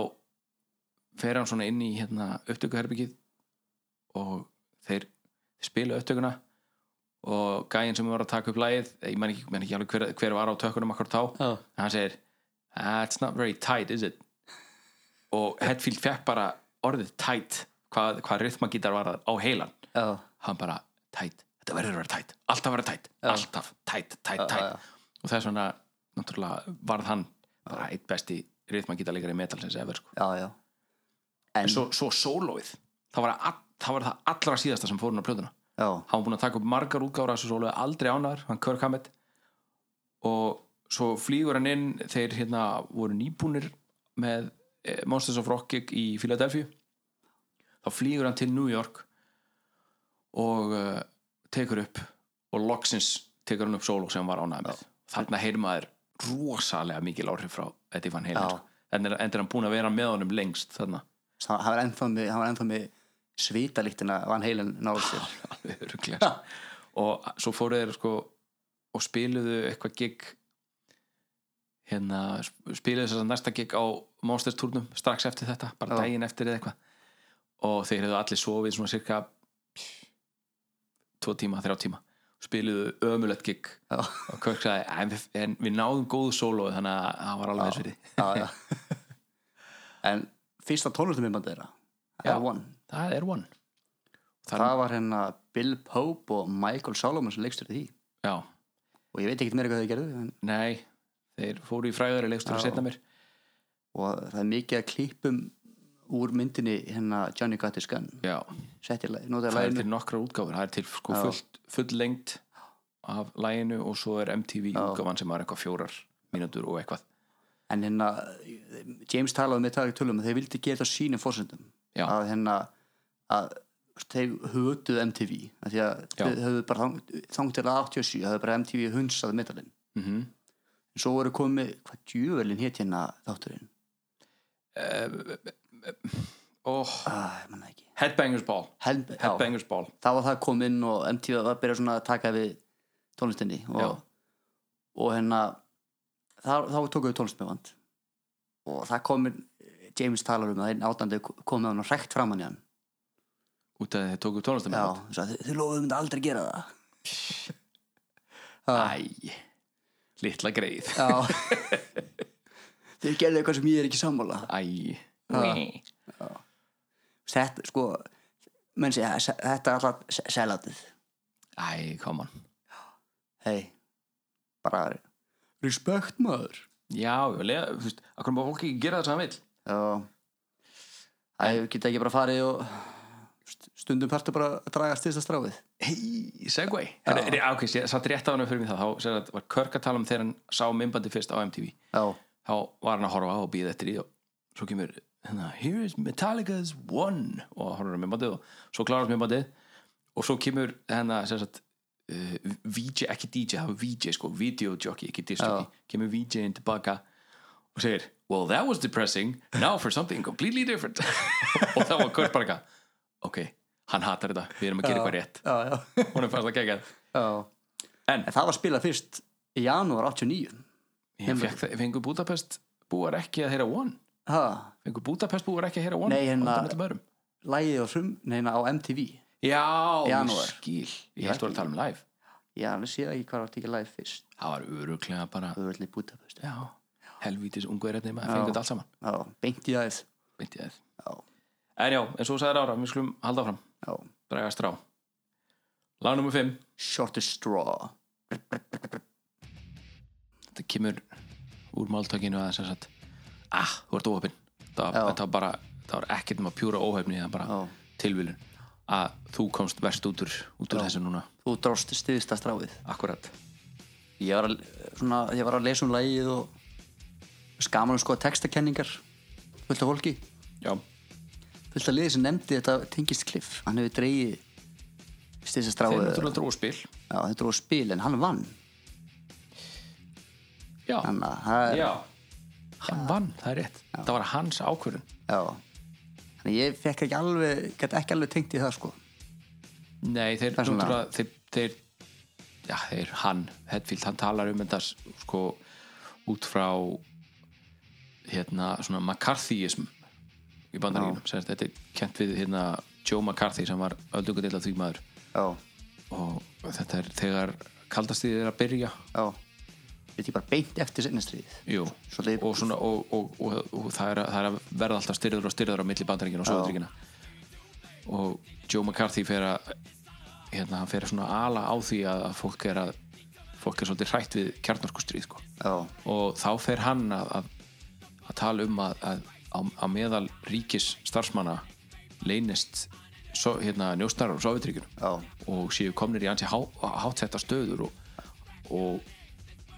Speaker 8: fer hann svona inn í hérna, upptökuherbyggið og þeir, þeir spila upptökuna og gæinn sem var að taka upp lægið ég man ekki, man ekki alveg hver, hver var á tökunum akkur þá,
Speaker 7: Já.
Speaker 8: en hann segir that's not very tight, is it? og Hetfield fekk bara orðið tight, hvað, hvað rithmagítar var það á heilan,
Speaker 7: Já,
Speaker 8: hann bara tight, þetta verður að vera tight, alltaf að vera tight alltaf, tight, tight, tight
Speaker 7: já.
Speaker 8: og þess vegna, náttúrulega varð hann bara eitt besti rithmagítarleikari metalsins ever, sko.
Speaker 7: já, já. En,
Speaker 8: en svo, svo sólóið það var, all, það var það allra síðasta sem fór hann á plötuna
Speaker 7: já,
Speaker 8: hann var búinn að taka upp margar útgára þessu sólu aldrei ánæður, hann Kirk Hammett og svo flýgur hann inn þeir hérna voru nýbúnir með eh, Monsters of Rock gig í Philadelphia þá flýgur hann til New York og uh, tekur upp og loksins tekur hann upp sólu sem hann var ánæður með þarna heyrir maður rosalega mikil áhrif frá Eddie Van
Speaker 7: Já.
Speaker 8: Halen sko. en er, en er hann búinn að vera með honum lengst þarna
Speaker 7: það það var ennþá með, það var ennþá með svítalíktina Van Halen náðu sér
Speaker 8: alveg örugglega, sko. og svo fóru þeir sko og spiluðu eitthvað gig hérna sp- spiluðu þess að næsta gig á Monsters turnum strax eftir þetta, bara
Speaker 7: Já.
Speaker 8: daginn eftir eða eitthvað og þeir hefðu allir sofið svona cirka tvo tíma, þrjá tíma spiluðu ömulegt gig
Speaker 7: Já.
Speaker 8: og Kirk sagði, en við, en við náðum góðu sóló þannig að það var alveg þess fyrir
Speaker 7: já, já. en fyrsta tónlistumimbandu þeirra
Speaker 8: Já.
Speaker 7: R1,
Speaker 8: það er one
Speaker 7: það var hérna Bill Pope og Michael Solomon sem leikstur því
Speaker 8: já,
Speaker 7: og ég veit ekkert meira hvað þau gerðu en,
Speaker 8: nei, þeir fóru í fræðari leikstur að
Speaker 7: Já.
Speaker 8: setna mér
Speaker 7: og það er mikið að klippum úr myndinni hérna Johnny Got His Gun
Speaker 8: já,
Speaker 7: setti, notaði
Speaker 8: það er
Speaker 7: læginu
Speaker 8: til nokkra útgáfur það er til sko
Speaker 7: Já.
Speaker 8: fullt, full lengt af læginu og svo er MTV útgáfan sem var eitthvað fjórar mínútur og eitthvað
Speaker 7: en hérna James talaði um með talaði tölum að þeir vildi gera þetta á sínum fórsöndum
Speaker 8: Já.
Speaker 7: að hérna að þeir hötuðu MTV af því að
Speaker 8: Já.
Speaker 7: þeir höfðu bara þang, þangt til að 87 höfðu bara MTV hunsað metalin
Speaker 8: mm -hmm.
Speaker 7: en svo voru komið hvað djúvelin hétt hérna þátturinn
Speaker 8: oh,
Speaker 7: ah, ég manna ekki
Speaker 8: Headbangers Ball
Speaker 7: Hel, já,
Speaker 8: Headbangers Ball
Speaker 7: þá var það komið inn og MTV var að byrja svona að taka við tónlistinni
Speaker 8: Já.
Speaker 7: og, og hérna þá, þá tókuðu tónlist með vand og það komið James talar um að einn átandi komið hann og rekt fram hann í hann
Speaker 8: út af því þeir tóku tónlistum
Speaker 7: Já, svo, þau, þau lofuðu myndi aldrei gera það
Speaker 8: Æ, litla greið
Speaker 7: Já Þau gerðu eitthvað sem ég er ekki sammála
Speaker 8: Æ,
Speaker 7: Já. Þetta, sko menn segja, se- þetta er alltaf se- selatið
Speaker 8: æ, come on
Speaker 7: Hei, bara Respekt maður
Speaker 8: Já, ég vil lega, þú veist, að hvernig má fólk ekki gera það sem það vill
Speaker 7: Já Það geta ekki bara farið og st- stundum partur bara að draga styrsta stráið
Speaker 8: Hei, segway Herra, er, Ok, sé- satt rétt af hann fyrir mig það þá sér að var Körk að tala um þegar hann sá mymbandi fyrst á MTV
Speaker 7: Já,
Speaker 8: þá var hann að horfa og býða eftir því og svo kemur hérna, here is Metallica's One og horfður á mymbandið og svo klárast mymbandið og svo kemur hérna sem sagt uh, VJ, ekki DJ, það var VJ sko videojockey, ekki disjockey, kemur VJ inn tilbaka og segir well that was depressing, now for something completely different og þá var Kurt bara eitthvað, ok, hann hatar þetta við erum að gera eitthvað rétt,
Speaker 7: já, já,
Speaker 8: hún er fast að gegja
Speaker 7: já.
Speaker 8: En-
Speaker 7: það var spilað fyrst í janúar 89
Speaker 8: ég fekk það, fengur Budapest búar ekki að heyra One
Speaker 7: Ha,
Speaker 8: fengur Budapest búar ekki að heyra One
Speaker 7: Nei, hérna-
Speaker 8: á undan öllum öðrum.
Speaker 7: lægið á hrum, neina á MTV
Speaker 8: Já,
Speaker 7: Janúar.
Speaker 8: ég skil Ég held þú voru að tala um live
Speaker 7: Já, hann sé ekki hvað var tekið live fyrst
Speaker 8: Það var öruglega bara
Speaker 7: Öðvöldin í Budapest
Speaker 8: já, Helvítis ungu er þetta maður
Speaker 7: Já.
Speaker 8: fengið þetta allt saman
Speaker 7: Já, beint í aðeins
Speaker 8: veit ég það.
Speaker 7: Já,
Speaker 8: En já, en svo sagði Rára, við skulum halda áfram
Speaker 7: já
Speaker 8: Draga strá Lag nummer 5
Speaker 7: Shortest straw
Speaker 8: Þetta kemur úr máltökinu að sem sagt Ah, þú ert óhefn Það
Speaker 7: Já.
Speaker 8: þetta var bara, það var ekkert um að pjúra óhefni Það var bara
Speaker 7: Já.
Speaker 8: tilvílun Að þú komst verst út úr, út úr þessu núna
Speaker 7: Þú dróst stiðista stráið
Speaker 8: Akkurat
Speaker 7: Ég var að, svona, ég var að lesa um lægið og skaman um sko textakenningar fullt af fólki
Speaker 8: Já,
Speaker 7: fullt af liðið sem nefndi þetta tengist kliff hann hefur dreigið stiðista
Speaker 8: þeir
Speaker 7: stráið
Speaker 8: náttúrulega dróðspil
Speaker 7: Já, þetta var spil en hann vann
Speaker 8: Já,
Speaker 7: Þannig að það er
Speaker 8: já Hann vann, það er rétt Það var hans ákvörðun
Speaker 7: Já Þannig að ég fekk ekki alveg, gæti ekki alveg tengt í það sko
Speaker 8: Nei, þeir
Speaker 7: Persónulega.
Speaker 8: náttúrulega þeir, þeir, já, þeir hann, Hetfield, hann talar um þetta sko út frá hérna svona McCarthyism í bandaríkjum sem sagt, þetta er kent við hérna Joe McCarthy sem var öldungadeild af því maður
Speaker 7: Já,
Speaker 8: og þetta er þegar kaldastíðið er að byrja
Speaker 7: já Þetta er bara beint eftir sinnestriðið
Speaker 8: Jú,
Speaker 7: Svolítið-
Speaker 8: og, svona, og, og, og, og það, er að, það er að verða alltaf styrður og styrður á milli bandaríkina og soðuríkina og Joe McCarthy fer að hérna, hann fer að svona ala á því að að fólk er að fólk er svolítið hrætt við kjarnorkustríð sko.
Speaker 7: Já,
Speaker 8: og þá fer hann að, að, að tala um að, að, að, að meðal ríkis starfsmanna leynist so, hérna, njóstarar og sofitryggjunum
Speaker 7: já,
Speaker 8: og séu komnir í hansi há, hátsetta stöður og, og,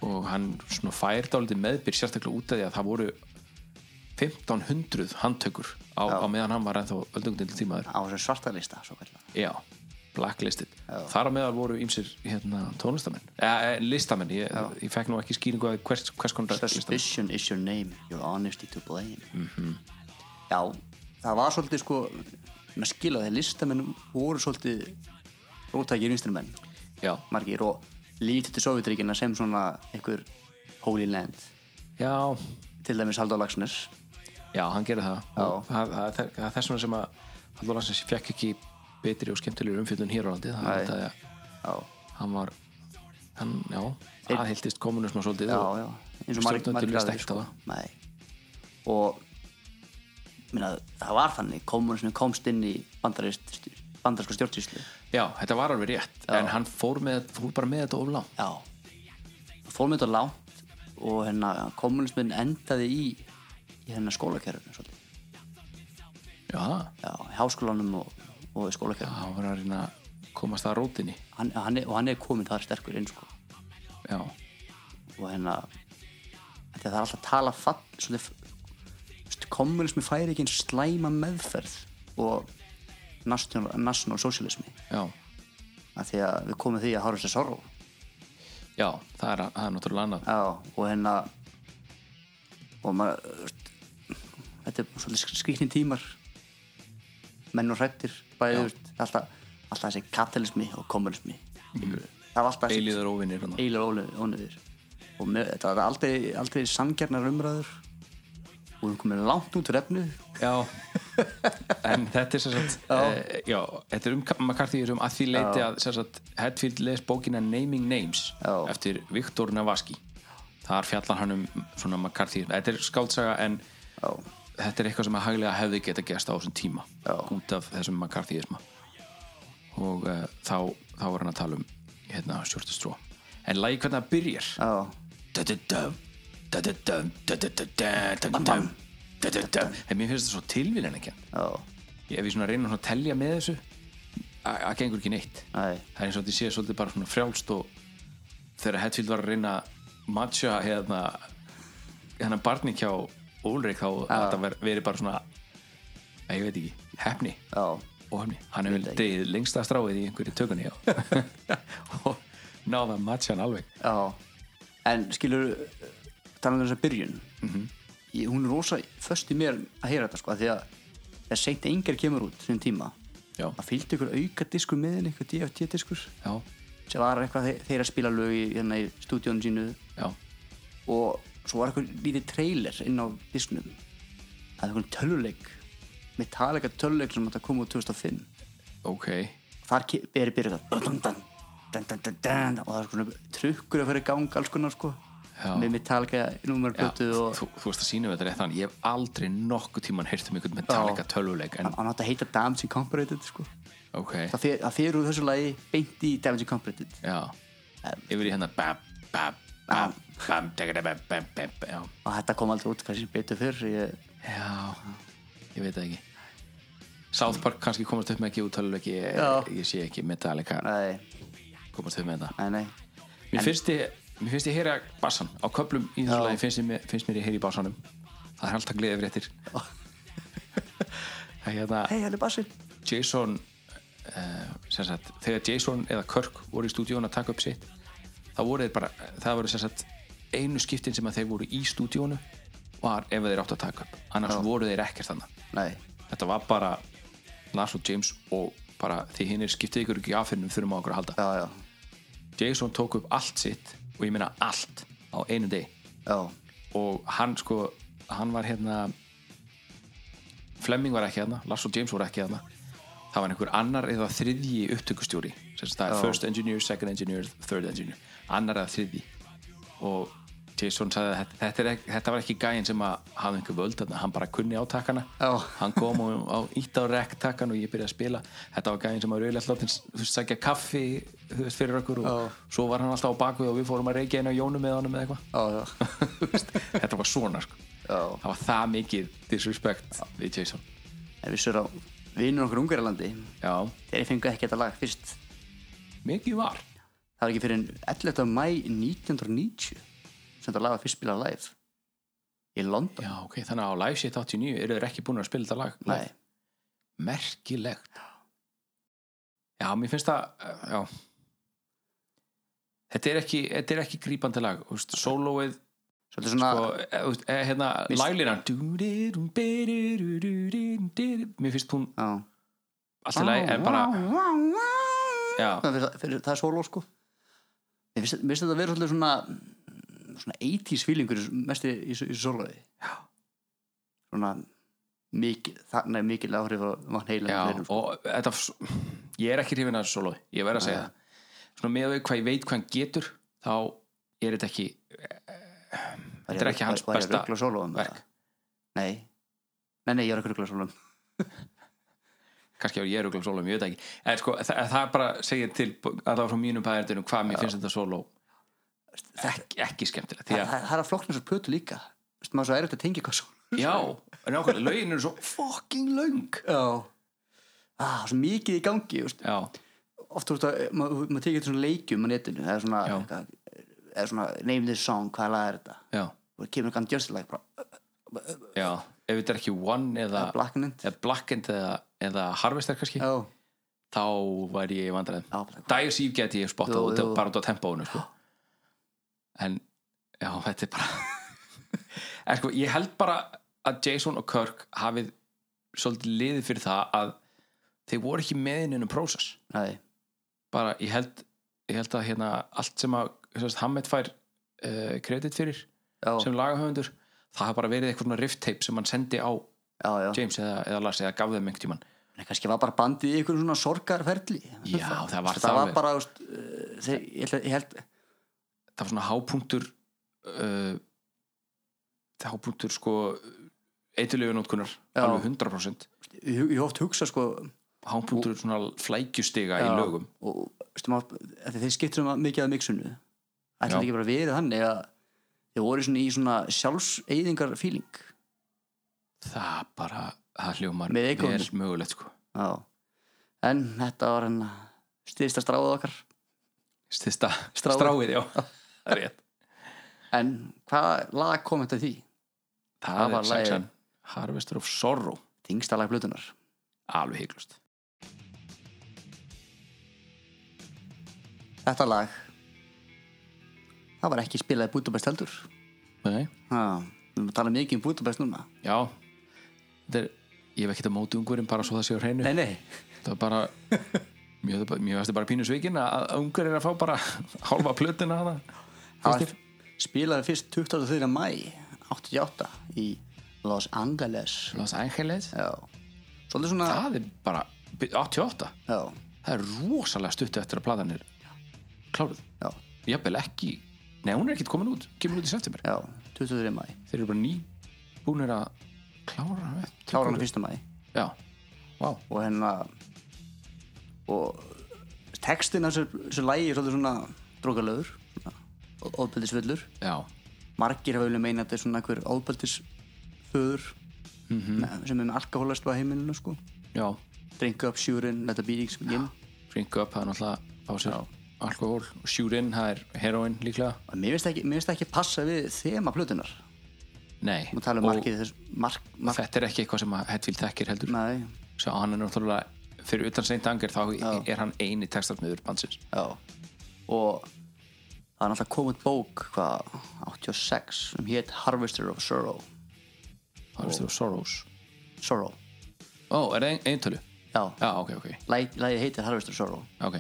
Speaker 8: og hann svona fær dálítið meðbyr sérstaklega út af því að það voru 1500 handtökur á, á meðan hann var ennþá öldungdil tímaður
Speaker 7: á þessum svartalista svo kallar
Speaker 8: já, blacklisted þar á meðal voru ýmsir hérna, tónlistamenn eh, eh, listamenn, ég, ég fekk nú ekki skýringu að hvers, hvers konar listamenn
Speaker 7: Suspicion is your name, your honesty to blame
Speaker 8: Mhm.
Speaker 7: Já, það var svolítið sko maður skil að þeir listamenn voru svolítið rótækir vinstrimenn
Speaker 8: já,
Speaker 7: margir og lítið til Sovjetríkina sem svona einhver holy land
Speaker 8: já,
Speaker 7: til dæmis Halldór Laxnes
Speaker 8: já, hann gerði það
Speaker 7: Já.
Speaker 8: Og það það- það- það er þess vegna sem að Halldór Lansins fekk ekki betri og skemmtilegur umfjöldun hér á landi það
Speaker 7: Nei.
Speaker 8: er þetta að
Speaker 7: Já,
Speaker 8: hann var hann, já, aðhildist kommunism og svolítið
Speaker 7: já,
Speaker 8: og
Speaker 7: já eins og margir
Speaker 8: Stjórnvöld
Speaker 7: margir
Speaker 8: virðast
Speaker 7: aðrir,
Speaker 8: ekkert
Speaker 7: sko.
Speaker 8: hafa.
Speaker 7: Nei. og minna, það var þannig komunismin komst inn í bandarinsko stjórnsýslu
Speaker 8: já, þetta var alveg rétt en hann fór, með, fór bara með þetta of langt
Speaker 7: Já Fór mér þetta langt og hérna kommunismin endaði í í hérna skólakerfinu svolítið
Speaker 8: já,
Speaker 7: Já, í háskólanum og, og í skólakerfinu
Speaker 8: hann var að reyna að komast að rótinni
Speaker 7: hann, hann er, og hann er komin það sterkur inn sko
Speaker 8: já,
Speaker 7: og hérna en því að það er alltaf að tala fall svolítið, þú veist, kommunismi færi ekki eins slæma meðferð og national, national socialismi
Speaker 8: já,
Speaker 7: af því að við komum því að horfa sér sorg
Speaker 8: já, það er, það er náttúrulega annað
Speaker 7: Já, og hérna og maður þú veist, þetta er svolítið skrýtni tímar menn og hrættir bæði, þú veist, alltaf, alltaf þessi kapitalismi og kommunismi það var alltaf þessi
Speaker 8: eilíður óvinnir hann
Speaker 7: eilir ónöður og með, þetta var aldrei, aldrei sangjarnar umræður og við komum langt út úr efnu
Speaker 8: Já En þetta er sem sagt já. já, þetta er um McCarthyism að því leiti að sem sagt, Hetfield les bókina Naming Names
Speaker 7: Já.
Speaker 8: eftir Viktor Navaski Þar fjallar hann um svona McCarthyism Þetta er skáldsaga en
Speaker 7: Já.
Speaker 8: þetta er eitthvað sem að hæglega hefði geta gæst á þessum tíma
Speaker 7: Já.
Speaker 8: út af þessum McCarthyisma og uh, þá, þá var hann að tala um hérna Sjórtastró En lagi hvernig það byrjar
Speaker 7: Já.
Speaker 8: Da-da-dum, da-da-dum, da-da-da-da, da-da-dum, da-da-dum. En Mér finnst þetta svo tilvíðan ekki
Speaker 7: Já,
Speaker 8: ef ég svona reyna svona að telja með þessu að að gengur ekki neitt
Speaker 7: Nei.
Speaker 8: það er eins og þetta sé svolítið bara svona frjálst og þegar Hetfield var að reyna að matcha hérna hérna barni kjá Úlrik þá að þetta ver- verið bara svona að ég veit ekki, hefni
Speaker 7: já,
Speaker 8: og hefni, hann hefur degið lengsta stráið í einhverju tökunni já. og náða að matcha hann alveg
Speaker 7: já en skilur talað um þess að byrjun ég, hún er rosa föst í mér að heyra þetta sko af því að þegar seint engar kemur út þessum tíma
Speaker 8: já,
Speaker 7: að fylgdi ykkur auka diskur með henni ykkur DFT diskur
Speaker 8: já,
Speaker 7: sem var eitthvað þe- þeir að spila lög í, hérna, í stúdíónu sínu
Speaker 8: já,
Speaker 7: og svo var eitthvað lítið trailer inn á disnum það er eitthvað töluleik Metallica töluleik sem átti að koma úr 2005
Speaker 8: ok
Speaker 7: þar ke- er byrjað það dun, dun, dun, dun, dun, dun, og það er svona trukkur að fara í gang alls konar sko
Speaker 8: Já.
Speaker 7: með Metallica
Speaker 8: Já,
Speaker 7: nummerblötu og
Speaker 8: þú, þú veist að sýnum þetta rétt þannig ég hef aldrei nokkuð tíman heyrt um einhvern Metallica tölvuleik en
Speaker 7: hann hann átti að heita Damage Incorporated sko
Speaker 8: ok
Speaker 7: Ah. það fer, það fer úr þessu lagi beint í Damage Incorporated
Speaker 8: Já, yfir í hérna bam, bam,
Speaker 7: Ah.
Speaker 8: bam, bam, tegada, bam, bam, bam, bam, já.
Speaker 7: og þetta kom aldrei út kannski betur fyrr ég,
Speaker 8: já, ég veit það ekki South Park kannski komast upp með ekki úttaluleiki,
Speaker 7: Já.
Speaker 8: ég, ég sé ekki Metallica
Speaker 7: nei,
Speaker 8: komast upp með þetta
Speaker 7: nei, nei
Speaker 8: Mér finnst ég, mér finnst ég heyra bassan á köplum í þessu lagi, finnst, ég mér- finnst mér ég heyri í bassanum Það er alltaf gleðið fréttir Það er hérna
Speaker 7: hei, hann er bassinn
Speaker 8: Jason uh, sem sagt, þegar Jason eða Kirk voru í stúdíón að taka upp sitt þá voru þeir bara, það voru sem sagt einu skiptin sem að þeir voru í stúdíónu var ef þeir áttu að taka upp annars voru þeir ekkert þannig
Speaker 7: nei,
Speaker 8: þetta var bara Lars og James og bara því hinn er skiptið ykkur ekki aðfinnum þurfum á okkur að halda
Speaker 7: já, já,
Speaker 8: Jason tók upp allt sitt og ég meina allt á einu degi
Speaker 7: já
Speaker 8: og hann sko hann var hérna Flemming var ekki hérna, Lars og James voru ekki hérna það var einhver annar eða þriðji upptökustjóri sem sagt, það er first engineer, second engineer, third engineer annar eða þriðji og Jason sagði að þetta, þetta, er ekki, þetta var ekki gæinn sem að hafði einhver völd þarna, hann bara kunni átakana
Speaker 7: Já.
Speaker 8: hann kom og, og ítt á rektakan og ég byrjaði að spila þetta var gæinn sem að rauðlega hláttins þú veist, sækja kaffi þú veist, fyrir okkur og svo var hann alltaf á bakvið og við fórum að reykja einu á Jónu með honum eða eitthvað
Speaker 7: Já, já.
Speaker 8: Þú veist, þetta var svona sko.
Speaker 7: Já.
Speaker 8: það var það mikið disrespect við Jason
Speaker 7: En við sér á vinnur okkur Ungarlandi
Speaker 8: já,
Speaker 7: þeir fengu ekki þetta lag fyrst það
Speaker 8: mikið var
Speaker 7: var ekki fyrir 11. mæ 1990 sem þetta lag var fyrst spilað live í London
Speaker 8: já, ok, þannig að á Live Shit 89 eru þeir ekki búin að spila þetta lag
Speaker 7: Nei,
Speaker 8: merkilegt já, mér finnst það eh, já þetta er ekki, þetta er ekki grípandi lag þú veist, sólóið
Speaker 7: svolítið svona
Speaker 8: sko, eh, þú veist, eh, hérna,
Speaker 7: Mér-
Speaker 8: laglínan mér finnst hún
Speaker 7: já.
Speaker 8: alltaf læg en bara, já,
Speaker 7: Það, fyrir, fyrir, það er sóló sko Mér finnst, mér finnst þetta að vera svolítið svona svona 80s feelingur mest í, í, í, í sólóði svona mikil, þannig mikil áhrif og mann heila
Speaker 8: Já, og þetta ég er ekki hrifin að þessu sólói, ég verð að segja það svona með að við hvað ég veit hvað hann getur þá er þetta ekki þetta er ekki hans besta verk.
Speaker 7: Nei, nei, nei, ég var ekki ruggla sólóðum
Speaker 8: kannski ef ég er auðvitað sólói, ég veit það ekki en sko, það, það bara segja til allavega frá mínum pæðardunum hvað mér finnst þetta sóló ekki, ekki skemmtilegt því
Speaker 7: það,
Speaker 8: að,
Speaker 7: það, það er að flokkna svo plötu líka Þú veist maður svo erut að tengja hvað svo
Speaker 8: já, en ákveðlega lögin eru svo fucking löng
Speaker 7: já ah, svo mikið í gangi þú veist.
Speaker 8: já,
Speaker 7: oft þú veist að eh, maður ma tekið svona leikjum á netinu það er svona,
Speaker 8: Já.
Speaker 7: eitthvað- er svona name this song, hvað lag er þetta
Speaker 8: já,
Speaker 7: Þú og kemur kannan just like bara,
Speaker 8: já, ef þetta er ekki One eða,
Speaker 7: blackened
Speaker 8: eða Blackened eða, eða Harvester kannski,
Speaker 7: já,
Speaker 8: þá væri ég vandræðum
Speaker 7: já, bara-
Speaker 8: Dire Eve geti ég spottað
Speaker 7: Jú,
Speaker 8: út af-
Speaker 7: jú.
Speaker 8: bara út á tempóinu sko. en já, þetta er bara en sko, ég held bara að Jason og Kirk hafið svolítið liðið fyrir það að þeir voru ekki meðininu prósess
Speaker 7: nei,
Speaker 8: bara, ég held, ég held að hérna allt sem að sem sagt, Hammett fær uh, kredit fyrir
Speaker 7: já,
Speaker 8: sem lagahöfundur það hafa bara verið eitthvað svona rift tape sem hann sendi á
Speaker 7: já, já.
Speaker 8: James eða, eða Lars eða gaf þeim einhvern tímann
Speaker 7: Nei, kannski var bara bandið í einhverjum svona sorgarferli
Speaker 8: Já, það var
Speaker 7: það
Speaker 8: það
Speaker 7: var
Speaker 8: alveg.
Speaker 7: bara, þú veist, uh, þeir, ég, held- ég held
Speaker 8: það var svona hápunktur uh, hápunktur sko eitilegu nótkunar,
Speaker 7: Já.
Speaker 8: alveg 100%
Speaker 7: ég, ég oft hugsa sko
Speaker 8: hápunktur svona flækjustiga í
Speaker 7: Já.
Speaker 8: lögum
Speaker 7: og stum, að, að þeir skiptur um mikið að mixunu ætlum
Speaker 8: Já.
Speaker 7: ekki bara verið þannig að þeir voru svona í svona sjálfseyðingar feeling
Speaker 8: það bara, það hljómar
Speaker 7: Með eikonum.
Speaker 8: vel mögulegt sko
Speaker 7: já. en þetta var henn styrsta stráð okkar
Speaker 8: Stista,
Speaker 7: Stráið.
Speaker 8: stráið, já það er rétt
Speaker 7: en hvað lag kom þetta því?
Speaker 8: það,
Speaker 7: Það var
Speaker 8: er
Speaker 7: lagið.
Speaker 8: sexan Harvester of Sorrow,
Speaker 7: þingsta lag blutunar
Speaker 8: alveg heiklust
Speaker 7: þetta lag það var ekki spilað í Budapest heldur
Speaker 8: Nei.
Speaker 7: ha, við erum að tala mikið um Budapest núna
Speaker 8: já Þetta er, ég hef ekkert að móti ungurum bara svo það sé á hreinu
Speaker 7: nei nei
Speaker 8: það var bara mjög, mjög varstu bara pínu svikin að ungar er að fá bara hálfa plötina hana
Speaker 7: Það var- spilaði fyrst 23. mæ 88 í Los Angeles
Speaker 8: Los Angeles
Speaker 7: já. svolítið svona
Speaker 8: það er bara 88
Speaker 7: já,
Speaker 8: það er rosalega stutt eftir að platan er kláruð
Speaker 7: já,
Speaker 8: jafnvel ekki nei hún er ekkert komin út kemur út í september
Speaker 7: já, 23. mæ
Speaker 8: þeir eru bara ný búinir að klára hana upp.
Speaker 7: klára hann 1. mæ
Speaker 8: já Vá.
Speaker 7: og hérna og textin af þessu, þessu lægi er svolítið svona drókalögur ofbeldisfullur
Speaker 8: já
Speaker 7: margir hafa vilja meina að þetta er svona einhver ofbeldisföður
Speaker 8: Mhm.
Speaker 7: mm. sem er með alkoholast á heimilinu sko
Speaker 8: já
Speaker 7: drink up, sjúrin, þetta býðing sem ginn
Speaker 8: drink up það er náttúrulega á sér alkohól shoot in það er heroin líklega
Speaker 7: og mér finnst ekki, mér finnst ekki passa við þema plötunar
Speaker 8: nei
Speaker 7: Nú tala um
Speaker 8: Og
Speaker 7: markið þess, mark, mark,
Speaker 8: þetta er ekki eitthvað sem að Hetfield þekkir heldur
Speaker 7: nei,
Speaker 8: svo hann er náttúrulega fyrir utan seint angir þá er hann eini textarsmiður bandsins
Speaker 7: já og það er náttúrulega komið bók hvað, 86 sem hétt Harvester of Sorrow
Speaker 8: Harvester of Sorrows
Speaker 7: Sorrow,
Speaker 8: ó, er það ein- eintölu?
Speaker 7: já,
Speaker 8: já, ok, ok,
Speaker 7: Læg, lægið heitir Harvester of Sorrow
Speaker 8: ok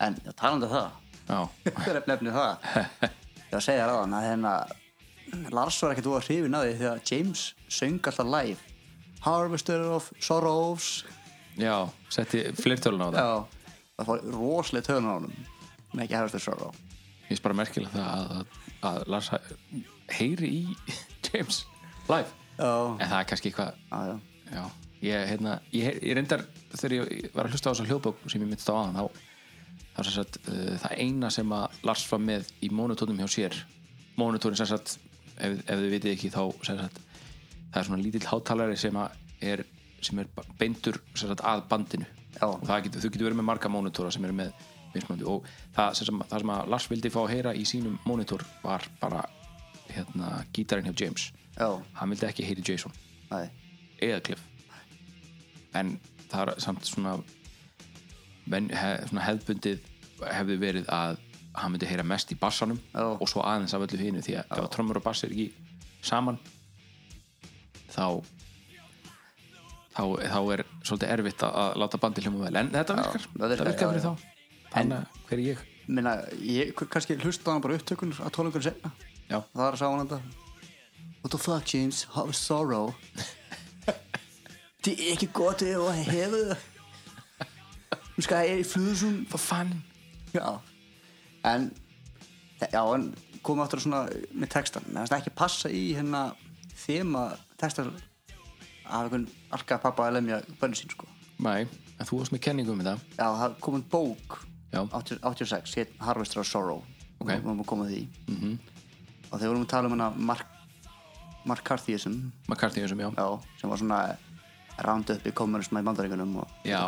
Speaker 7: en já, talandi um það,
Speaker 8: já,
Speaker 7: hver er nefnir það ég var að segja ráðan að hérna Lars var ekkert úr að hrifin að því þegar James söng alltaf live Harvester of Sorrows
Speaker 8: já setti fleirtölun á það
Speaker 7: já, það fór rosalega töðun á honum en ekki Harvester of Sorrow
Speaker 8: ég finnst bara merkilega það að, að, að Lars Hæ- heyri í James live
Speaker 7: já,
Speaker 8: en það er kannski eitthvað
Speaker 7: já, já
Speaker 8: já, ég, hérna, ég, heyr- ég reyndar þegar ég var að hlusta á þessa hljóðbók sem ég myndist á aðan þá þá sem sagt, uh, það eina sem að Lars var með í mónutónum hjá sér mónutónin sem sagt ef, ef þið vitið ekki þá sem sagt það er svona lítill hátalari sem að er sem er ba- beintur sem sagt, að bandinu
Speaker 7: Já.
Speaker 8: og það getur, þú getur verið með marga mónitóra sem eru með mismunandi og það sem, sem, það sem að Lars vildi fá að heyra í sínum mónitór var bara hérna, gítarinn hjá James
Speaker 7: Já.
Speaker 8: hann vildi ekki heyri Jason
Speaker 7: Nei.
Speaker 8: eða Cliff en það er samt svona, men, hef, svona hefðbundið hefði verið að hann myndi heyra mest í bassanum
Speaker 7: Já.
Speaker 8: og svo aðeins af öllu hinu því að ef að trommur og bass er ekki saman þá þá, þá er svolítið erfitt að, að láta bandi hljóma vel en þetta virkar,
Speaker 7: það virkar,
Speaker 8: það virkar
Speaker 7: já,
Speaker 8: fyrir
Speaker 7: já.
Speaker 8: þá þannig að hver er ég
Speaker 7: Minna, ég kannski hlusta hann bara upptökunur að tónleikunum senna
Speaker 8: Já.
Speaker 7: það var að sá hann þetta What the fuck James, how is sorrow Þið er ekki gott ef að hefðu það Nú skal ég er í flugusum
Speaker 8: for fun
Speaker 7: Já En, já, en komum aftur að svona með textan Mér finnst ekki passa í hérna þema textar af einhvern arka pappa að lemja bönni sín sko
Speaker 8: Nei, en þú varst með kenningum um það
Speaker 7: Já, það kom inn bók
Speaker 8: Já.
Speaker 7: 80 86, hétt Harvester of Sorrow
Speaker 8: Ok. Mhm.
Speaker 7: og við vorum að koma að því -hmm. og þegar vorum að tala um hana Mark, Mark Carthyism
Speaker 8: McCartney eins og mjög
Speaker 7: já, sem var svona roundup í kommunisma í bandaríkunum og
Speaker 8: Já,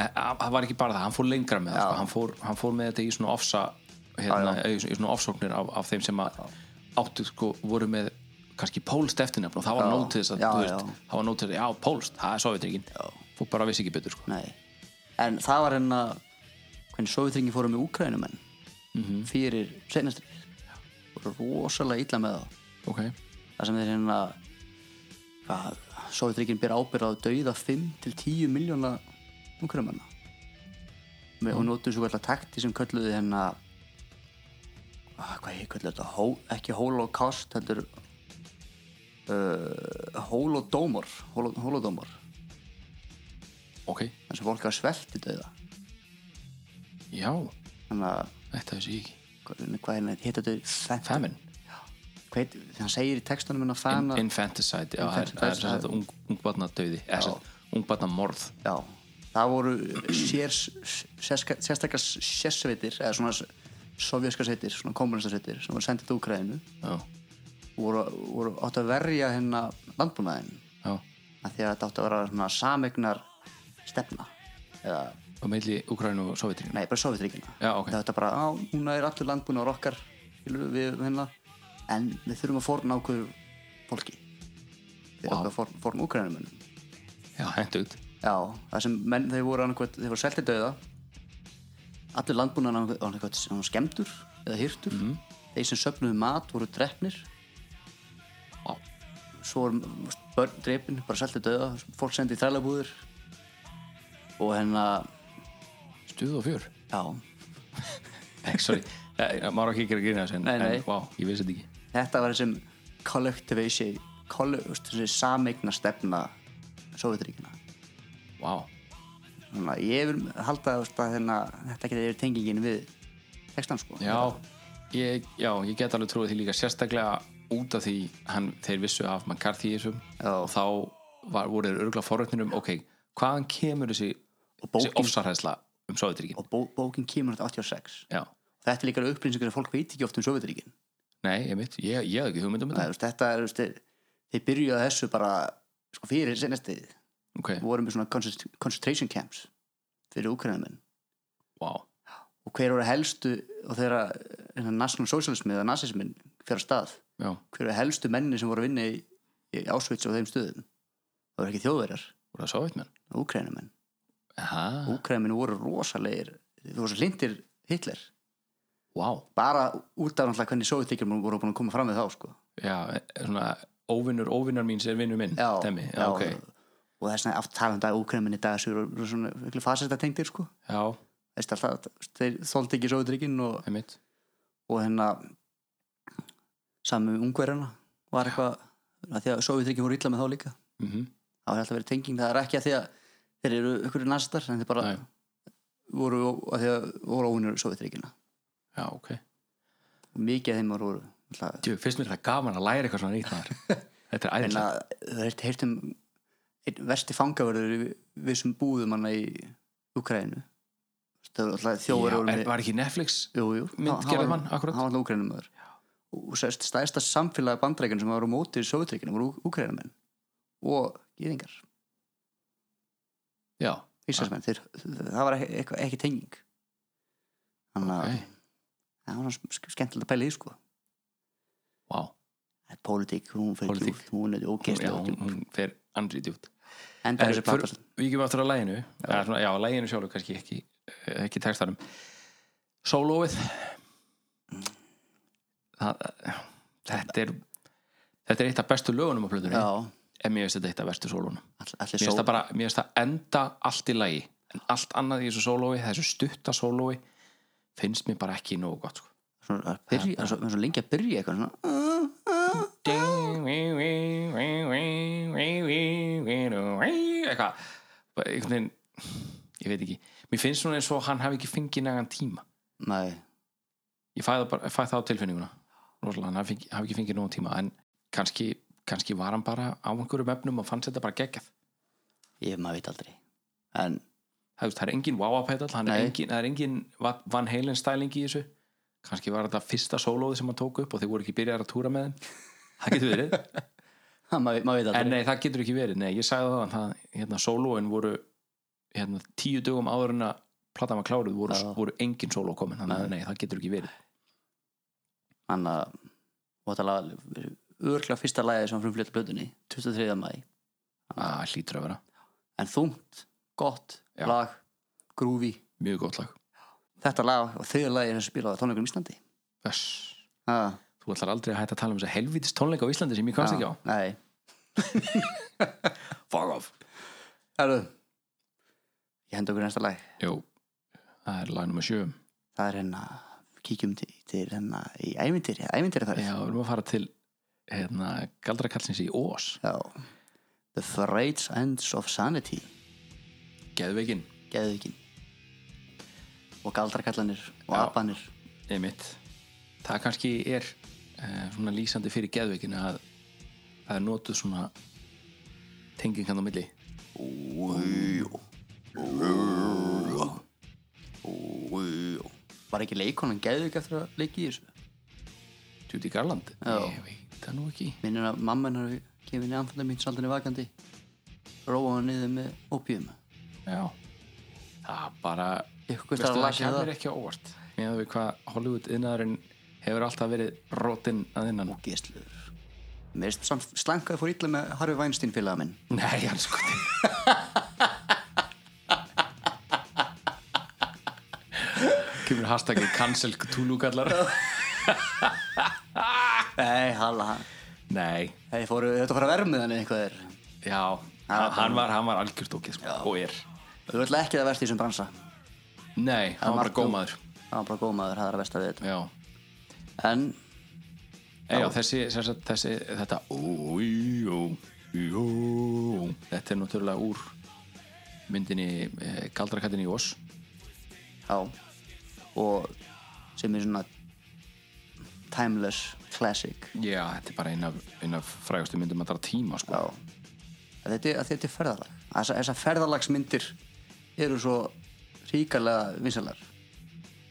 Speaker 8: e- a- það var ekki bara það, hann fór lengra með það, sko. hann, fór, hann fór með þetta í svona ofsa hérna, í svona- í svona ofsóknir af, af þeim sem að áttu sko, voru með kannski pólst eftirnafn og það
Speaker 7: Já,
Speaker 8: var nóg til þess
Speaker 7: já,
Speaker 8: að þú
Speaker 7: já.
Speaker 8: veist, það var nóg til þess að já, pólst, það er sovjetrygin fólk bara vissi ekki betur sko.
Speaker 7: Nei, en það var hérna hvernig Sovjetringi fóru með Úkrænumenn
Speaker 8: Mhm.
Speaker 7: fyrir seinastri og rosalega illa með það
Speaker 8: ok,
Speaker 7: það sem þeir hérna hvað, Sovjetringi byrja ábyrð á að dauða 5-10 miljóna Úkrænumenna mm. og notuðu svo kallar takti sem kölluðu hérna ah, hvað ég kölluðu þetta Hó, ekki holocaust, þetta er uh, holodómor holo- holodómor,
Speaker 8: ok,
Speaker 7: þannig sem fólk að svelti dauða
Speaker 8: já
Speaker 7: þannig að
Speaker 8: þetta vissi ég ekki,
Speaker 7: hvað hvað er þetta, hétt þetta
Speaker 8: famine
Speaker 7: hvað, hann segir í textunum hennar
Speaker 8: In,
Speaker 7: fana
Speaker 8: infanticide, já, það er- það er sem sagt ung, ungbarna döði, ungbarna morð
Speaker 7: já, það voru sér, sérska, sérstakar sérsveitir eða svona sovjaskar sveitir svona kommunistar sveitir sem voru sendið til Ukraínu
Speaker 8: já,
Speaker 7: og voru, voru átt að verja hérna landbúnaðin
Speaker 8: já,
Speaker 7: að því að þetta átt að vera svona samegnar stefna eða,
Speaker 8: og meðli Ukraínu og sovjetrygin
Speaker 7: nei, bara sovjetríkina
Speaker 8: Já, ok.
Speaker 7: þetta bara, á, núna er allur landbúnaður okkar skilurðu, við hérna en við þurfum að forna ákveðu fólki við
Speaker 8: Vá.
Speaker 7: wow. ákveðu forn, forn Ukraínumönnum
Speaker 8: já, hendugt,
Speaker 7: Já, það sem menn, þeir voru annarkvæmt, þeir voru seltið dauða Allir landbúnaðan annarkvæmt, annarkvæmt sem var skemmtur eða hirtur
Speaker 8: Mhm.
Speaker 7: Þeir sem söfnuðu mat voru drefnir
Speaker 8: Vá.
Speaker 7: Svo voru þú veist, börn drefin, bara seltið dauða Fólk sendið í þrælabúðir Og hérna,
Speaker 8: stuð og fjör
Speaker 7: já
Speaker 8: Nei, sorry, Eh, maður á ekki að gera grína þessu en,
Speaker 7: Nei, nei.
Speaker 8: en wow, ég vissi þetta ekki
Speaker 7: Þetta var þessum collectivation kolle, þú veist, Þessi sameigna stefna Sovjetríkina
Speaker 8: wow.
Speaker 7: Þannig að ég vil halda þú veist, að hérna, þetta geti yfir tengingin við textan sko
Speaker 8: já, ég, já, ég get alveg trúið því líka sérstaklega út af því hann, þeir vissu af McCarthy í þessum
Speaker 7: Já.
Speaker 8: og þá var, voru þeir örgla forréttinum ok, hvaðan kemur þessi,
Speaker 7: Og bókin-
Speaker 8: þessi ofsarhæðsla um Sovjetrygin
Speaker 7: og bó, bókin kemur 86
Speaker 8: já,
Speaker 7: þetta er líka upplýsingar sem fólk veit ekki oft um Sovjetaríkin
Speaker 8: nei, ég mitt, ég, ég hafði ekki hugmynd um þetta
Speaker 7: þetta er, þú veist, þeir- þeir byrjuðu á þessu bara sko fyrir senesti
Speaker 8: ok,
Speaker 7: voru með svona concent- concentration camps fyrir úkrænamenn
Speaker 8: wow,
Speaker 7: og hver voru helstu og þeirra hérna, national socialism eða nazismin fyrir stað,
Speaker 8: já,
Speaker 7: hver voru helstu menni sem voru að vinna í, í Auschwitz og þeim stöðum það voru ekki þjóðverjar
Speaker 8: voru það Sovjetmenn
Speaker 7: úkrænamenn,
Speaker 8: aha,
Speaker 7: úkrænamenn voru rosalegir þú voru svo hlindir Hitler
Speaker 8: wow,
Speaker 7: bara út af náttúrulega hvernig Sovjetaríkjum voru búin að koma fram við þá sko
Speaker 8: já, eh, svona óvinnur, óvinnar mín sem vinnur minn
Speaker 7: já,
Speaker 8: dæmi, já,
Speaker 7: já,
Speaker 8: ok,
Speaker 7: og það er svona aftur talandi að úkræmin í dag sem eru svona ykkur fasista tengdir sko
Speaker 8: já,
Speaker 7: Veist alltaf, þeir þóldi ekki sóðutrykkin og,
Speaker 8: ég mitt
Speaker 7: og hérna sami ungverjana var eitthvað að því að sóðutrykkin voru illa með þá líka
Speaker 8: mm
Speaker 7: það var alltaf verið tenging, það er ekki að því að þeir eru ykkur nasistar en þeir bara
Speaker 8: Nei.
Speaker 7: voru að því að voru óunir sóðutrykkina
Speaker 8: já, ok,
Speaker 7: og mikið af þeim voru alltaf,
Speaker 8: Djú, fyrst mér það gaman að læra eitthvað svona nýtt maður þetta er
Speaker 7: en
Speaker 8: æðislega
Speaker 7: að það er heyrt um einn versti fangavörður við, við sem búðum hana í Ukraínu þjóður
Speaker 8: Já,
Speaker 7: voru
Speaker 8: er,
Speaker 7: með
Speaker 8: var ekki Netflix
Speaker 7: jú, jú,
Speaker 8: Mynd gerði mann, akkurat.
Speaker 7: hann var úkrænumöður og sérst, stæðsta samfélagi bandrækjum sem var á móti í Sovjetreikinu voru úkrænumenn og gýðingar,
Speaker 8: já, Ah.
Speaker 7: íslandsmenn þeir, það var ekki, ekki, ekki tenging þannig að
Speaker 8: ok,
Speaker 7: það var svona sk- skemmtilegt að pæla í því, sko
Speaker 8: vá
Speaker 7: Það er Pólitík, hún fyrir
Speaker 8: Pólitík.
Speaker 7: djúpt, hún er
Speaker 8: já,
Speaker 7: ógeðslega
Speaker 8: hún,
Speaker 7: djúpt
Speaker 8: hún fer andri djúpt
Speaker 7: Enda þessi plata
Speaker 8: Fyrir- við ekki aftur að læginu já, svona, já læginu sjálfu kannski ekki eh, ekki textanum sólóið það, þetta er þetta er eitt af bestu lögunum á plötunni
Speaker 7: Já,
Speaker 8: en mér finnst þetta eitt af bestu sólónum
Speaker 7: all- allir
Speaker 8: mér
Speaker 7: sól
Speaker 8: finnst það bara, mér finnst það enda allt í lagi en allt annað í þessu sólói, þessu stutta sólói finnst mér bara ekki nógu gott sko.
Speaker 7: svona að byrja, það er svo- það er svo lengi að byrja eitthvað svona "Uh,
Speaker 8: eitthvað bara einhvern veginn ég veit ekki, mér finnst svona eins og hann hafi ekki fengið nægan tíma,
Speaker 7: Nei,
Speaker 8: ég fæ það, bara, fæ það á tilfinninguna rosalega, hann hafi, fengi- hafi ekki fengið nógan tíma en kannski, kannski var hann bara á einhverjum efnum og fannst þetta bara geggjað
Speaker 7: ég maður veit aldrei En
Speaker 8: það, þú veist, það er engin wow-up-pedal það
Speaker 7: Nei.
Speaker 8: er engin, það er engin Va- Van Halen stæling í þessu kannski var þetta fyrsta sólóði sem hann tók upp og þeir voru ekki byrjar að túra með þeim það getur verið
Speaker 7: Ha, maður, maður veit
Speaker 8: en
Speaker 7: aldrei
Speaker 8: nei, það getur ekki verið, nei, ég sagði það, það hérna, sólóin voru hérna, tíu dögum áður en að platan var kláruð voru,
Speaker 7: Já.
Speaker 8: voru engin sóló komin þannig að nei, það getur ekki verið
Speaker 7: þannig að og þetta lag örgla fyrsta lagið sem frumflýtt blöðunni 23. mæ
Speaker 8: að Ah, hlýtur að vera
Speaker 7: en þungt, gott
Speaker 8: Já.
Speaker 7: lag, grúfi
Speaker 8: mjög gott lag
Speaker 7: þetta lag og þegar lagið sem spilaði á tónleikunum í Íslandi
Speaker 8: Þess.
Speaker 7: ah,
Speaker 8: þú ætlar aldrei að hætta að tala um þess að helvítist tónleika á Íslandi sem ég komst ekki á
Speaker 7: nei,
Speaker 8: fuck off
Speaker 7: herru ég henda okkur í næsta lag
Speaker 8: Jú, það er lag nummer sjö
Speaker 7: það er hérna, kíkjum til, til hérna í æmyndir, æmyndir þar
Speaker 8: Já, við erum að fara til hérna, galdrakallsins í Ós
Speaker 7: Já. The Freight Ends of Sanity
Speaker 8: Geðveikin,
Speaker 7: geðvíkin og galdrakallanir og
Speaker 8: Já.
Speaker 7: apanir
Speaker 8: einmitt Það kannski er eh, svona lýsandi fyrir geðveikin að það er notuð svona tenging hann á milli
Speaker 7: var ekki leikonan geðvík eftir að leiki í þessu
Speaker 8: Judy Garland
Speaker 7: Já.
Speaker 8: Ég veit það nú ekki
Speaker 7: minnir að mamma hennar kemur niður anfandar mín saldinni vakandi róa hann niður með opium
Speaker 8: Já Það bara
Speaker 7: Ykkur veist að
Speaker 8: það
Speaker 7: lasa
Speaker 8: kemur
Speaker 7: það
Speaker 8: ekki á óvart Meðan við hvað Hollywood yðnaðurinn hefur alltaf verið rótin að innan
Speaker 7: geðsluður mér erst samt slankaði fór illa með Harfi Weinstein félaga minn
Speaker 8: Nei, hann sko Kemur hashtagið cancel Cthulhu kallar
Speaker 7: nei, hala
Speaker 8: Nei,
Speaker 7: hey, fóru, þetta fór að verða með hann eitthvað er
Speaker 8: já hann, hann var, hann var algjörst okkið sko, og er
Speaker 7: þú ætla ekki það verst í þessum bransa
Speaker 8: Nei, hann var bara gómaður
Speaker 7: það var bara gómaður, það er að versta við þetta
Speaker 8: Já,
Speaker 7: en
Speaker 8: já, já þessi, þessi, þessi þetta ó, jó, jó Þetta er náttúrulega úr myndinni eh, Galdrakattin í Ós
Speaker 7: Já Og sem er svona Timeless classic
Speaker 8: Já, þetta er bara eina af, ein af frægustu myndum að dara tíma sko.
Speaker 7: Já Að Þetta, að þetta er ferðalag Þessa, þessar ferðalagsmyndir eru svo ríkalega vinsalar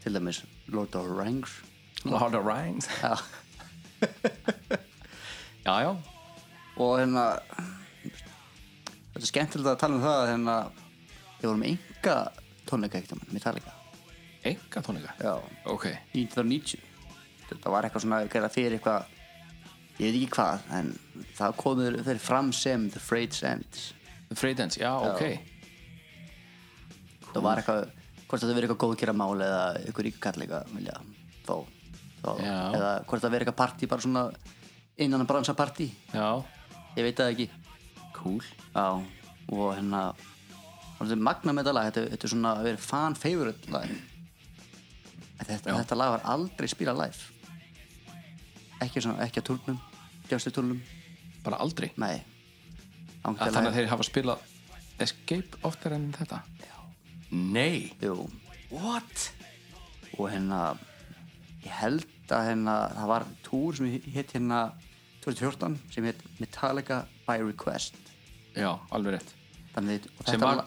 Speaker 7: Til dæmis Lord of the Rings
Speaker 8: Lord of Rings
Speaker 7: Já
Speaker 8: Já, já,
Speaker 7: Og hérna Þetta er skemmtilegt að tala um það að hérna Við vorum enga tónleika ekkert um hann Metallica
Speaker 8: enga tónleika
Speaker 7: Já
Speaker 8: Ok,
Speaker 7: 1990 þetta var eitthvað svona eitthvað fyrir eitthvað ég veit ekki hvað en það komur þeir fram sem The Freight Ends
Speaker 8: The Freight Ends, já, ok
Speaker 7: það var eitthvað hvort þetta verið eitthvað góðkera mál eða eitthvað ríku kall eitthvað vilja fá fá.
Speaker 8: Já.
Speaker 7: eða hvort það verið eitthvað partí bara svona innan að bransa partí
Speaker 8: Já,
Speaker 7: ég veit það ekki
Speaker 8: cool
Speaker 7: já og hérna og þetta er magna með þetta lag þetta, þetta er svona að vera fan favorite lag En þetta,
Speaker 8: Já.
Speaker 7: þetta lag var aldrei spila live ekki, svona, ekki að turnum djástu turnum,
Speaker 8: Bara aldrei
Speaker 7: nei
Speaker 8: að Þannig að þeir hafa spilað Escape oftar enn þetta já. Nei
Speaker 7: Jú,
Speaker 8: What?
Speaker 7: og hérna ég held að hérna það var túr sem hitt hérna 2014 sem hitt Metallica by Request
Speaker 8: Já, alveg rétt
Speaker 7: þannig og
Speaker 8: Sem
Speaker 7: þetta
Speaker 8: var,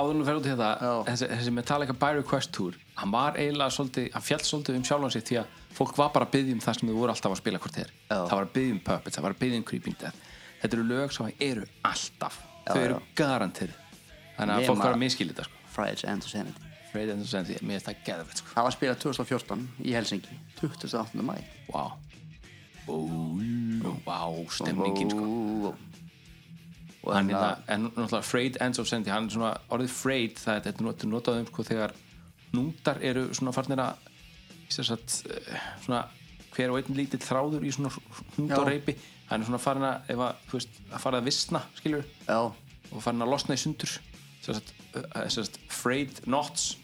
Speaker 8: áðurlega fer út í þetta
Speaker 7: Já.
Speaker 8: þessi, þessi Metallica by request tour Hann var eiginlega svolítið, hann fjall svolítið um sjálfan sig Því að fólk var bara að biðja um það sem þau voru alltaf að spila hvort þeir
Speaker 7: Já.
Speaker 8: Það var að biðja um Puppets, það var að biðja um Creeping Death Þetta eru lög sem eru alltaf
Speaker 7: Já,
Speaker 8: Þau eru
Speaker 7: já.
Speaker 8: garantið Þannig að
Speaker 7: Nema-
Speaker 8: fólk var að miskilita sko.
Speaker 7: Fridays and Sanity
Speaker 8: Freight Ends sem því, mér er þetta geðvegt sko.
Speaker 7: það var spilað 2014 í Helsingi 28. mæ
Speaker 8: Vá Vá, stemningin sko
Speaker 7: og
Speaker 8: Hann er
Speaker 7: hérna
Speaker 8: það, en náttúrulega Freyt Ends of Sandy Hann er svona, orðið Freyt, það er þetta not- notað um sko þegar núndar eru svona farnir að sem sagt, eh, svona hver og einn lítill þráður í svona núndareipi Hann er svona farin að, ef að, þú veist, að fara að visna, skilur
Speaker 7: já
Speaker 8: og farin að losna í sundur sem sagt, eh, sem sagt, Freyt Knots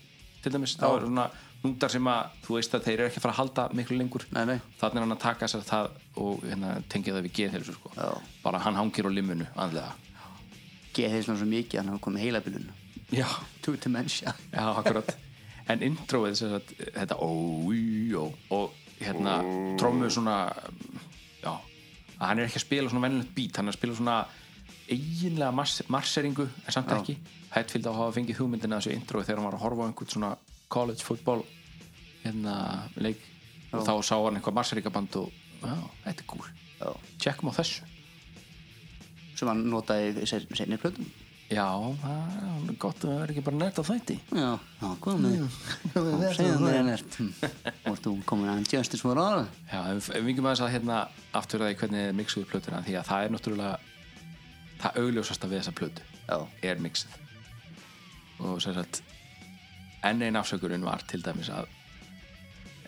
Speaker 8: til dæmis, þá er svona núndar sem að, þú veist að þeir eru ekki að fara að halda miklu lengur
Speaker 7: Nei, nei.
Speaker 8: þannig er hann að taka sér það og hérna, tengja það við geðhelsu sko. bara hann hangir á limunu andlega
Speaker 7: geði þeir svona svo mikið að hann hafa komið heilabilun
Speaker 8: já,
Speaker 7: two dementia
Speaker 8: já akkurat en introið sem sagt, þetta ójó og hérna trómmu svona já, að hann er ekki að spila svona venjulegt beat, hann er að spila svona eiginlega mars marseringu en samt ekki, Hættfíld á að hafa fengið hugmyndina af þessu introið þegar hann var að horfa á einhvern svona college football hérna leik og þá sá hann eitthvað marseringaband og já, þetta er cool,
Speaker 7: Já.
Speaker 8: tjekkum á þessu
Speaker 7: sem hann notaði í seinni plötum
Speaker 8: Já, það er alveg gott að það er ekki bara nerd á þætti
Speaker 7: Já, já, hvað með þér? Segðu mér ennert Vart þú komin að justice for all?
Speaker 8: Já, ef ef við vingum aðeins að hérna aftur að því hvernig þið mixuðu plötuna því að það er náttúrulega það augljósasta við þessa plötu
Speaker 7: Já,
Speaker 8: er mixið og sem sagt enn einn afsökurinn var til dæmis að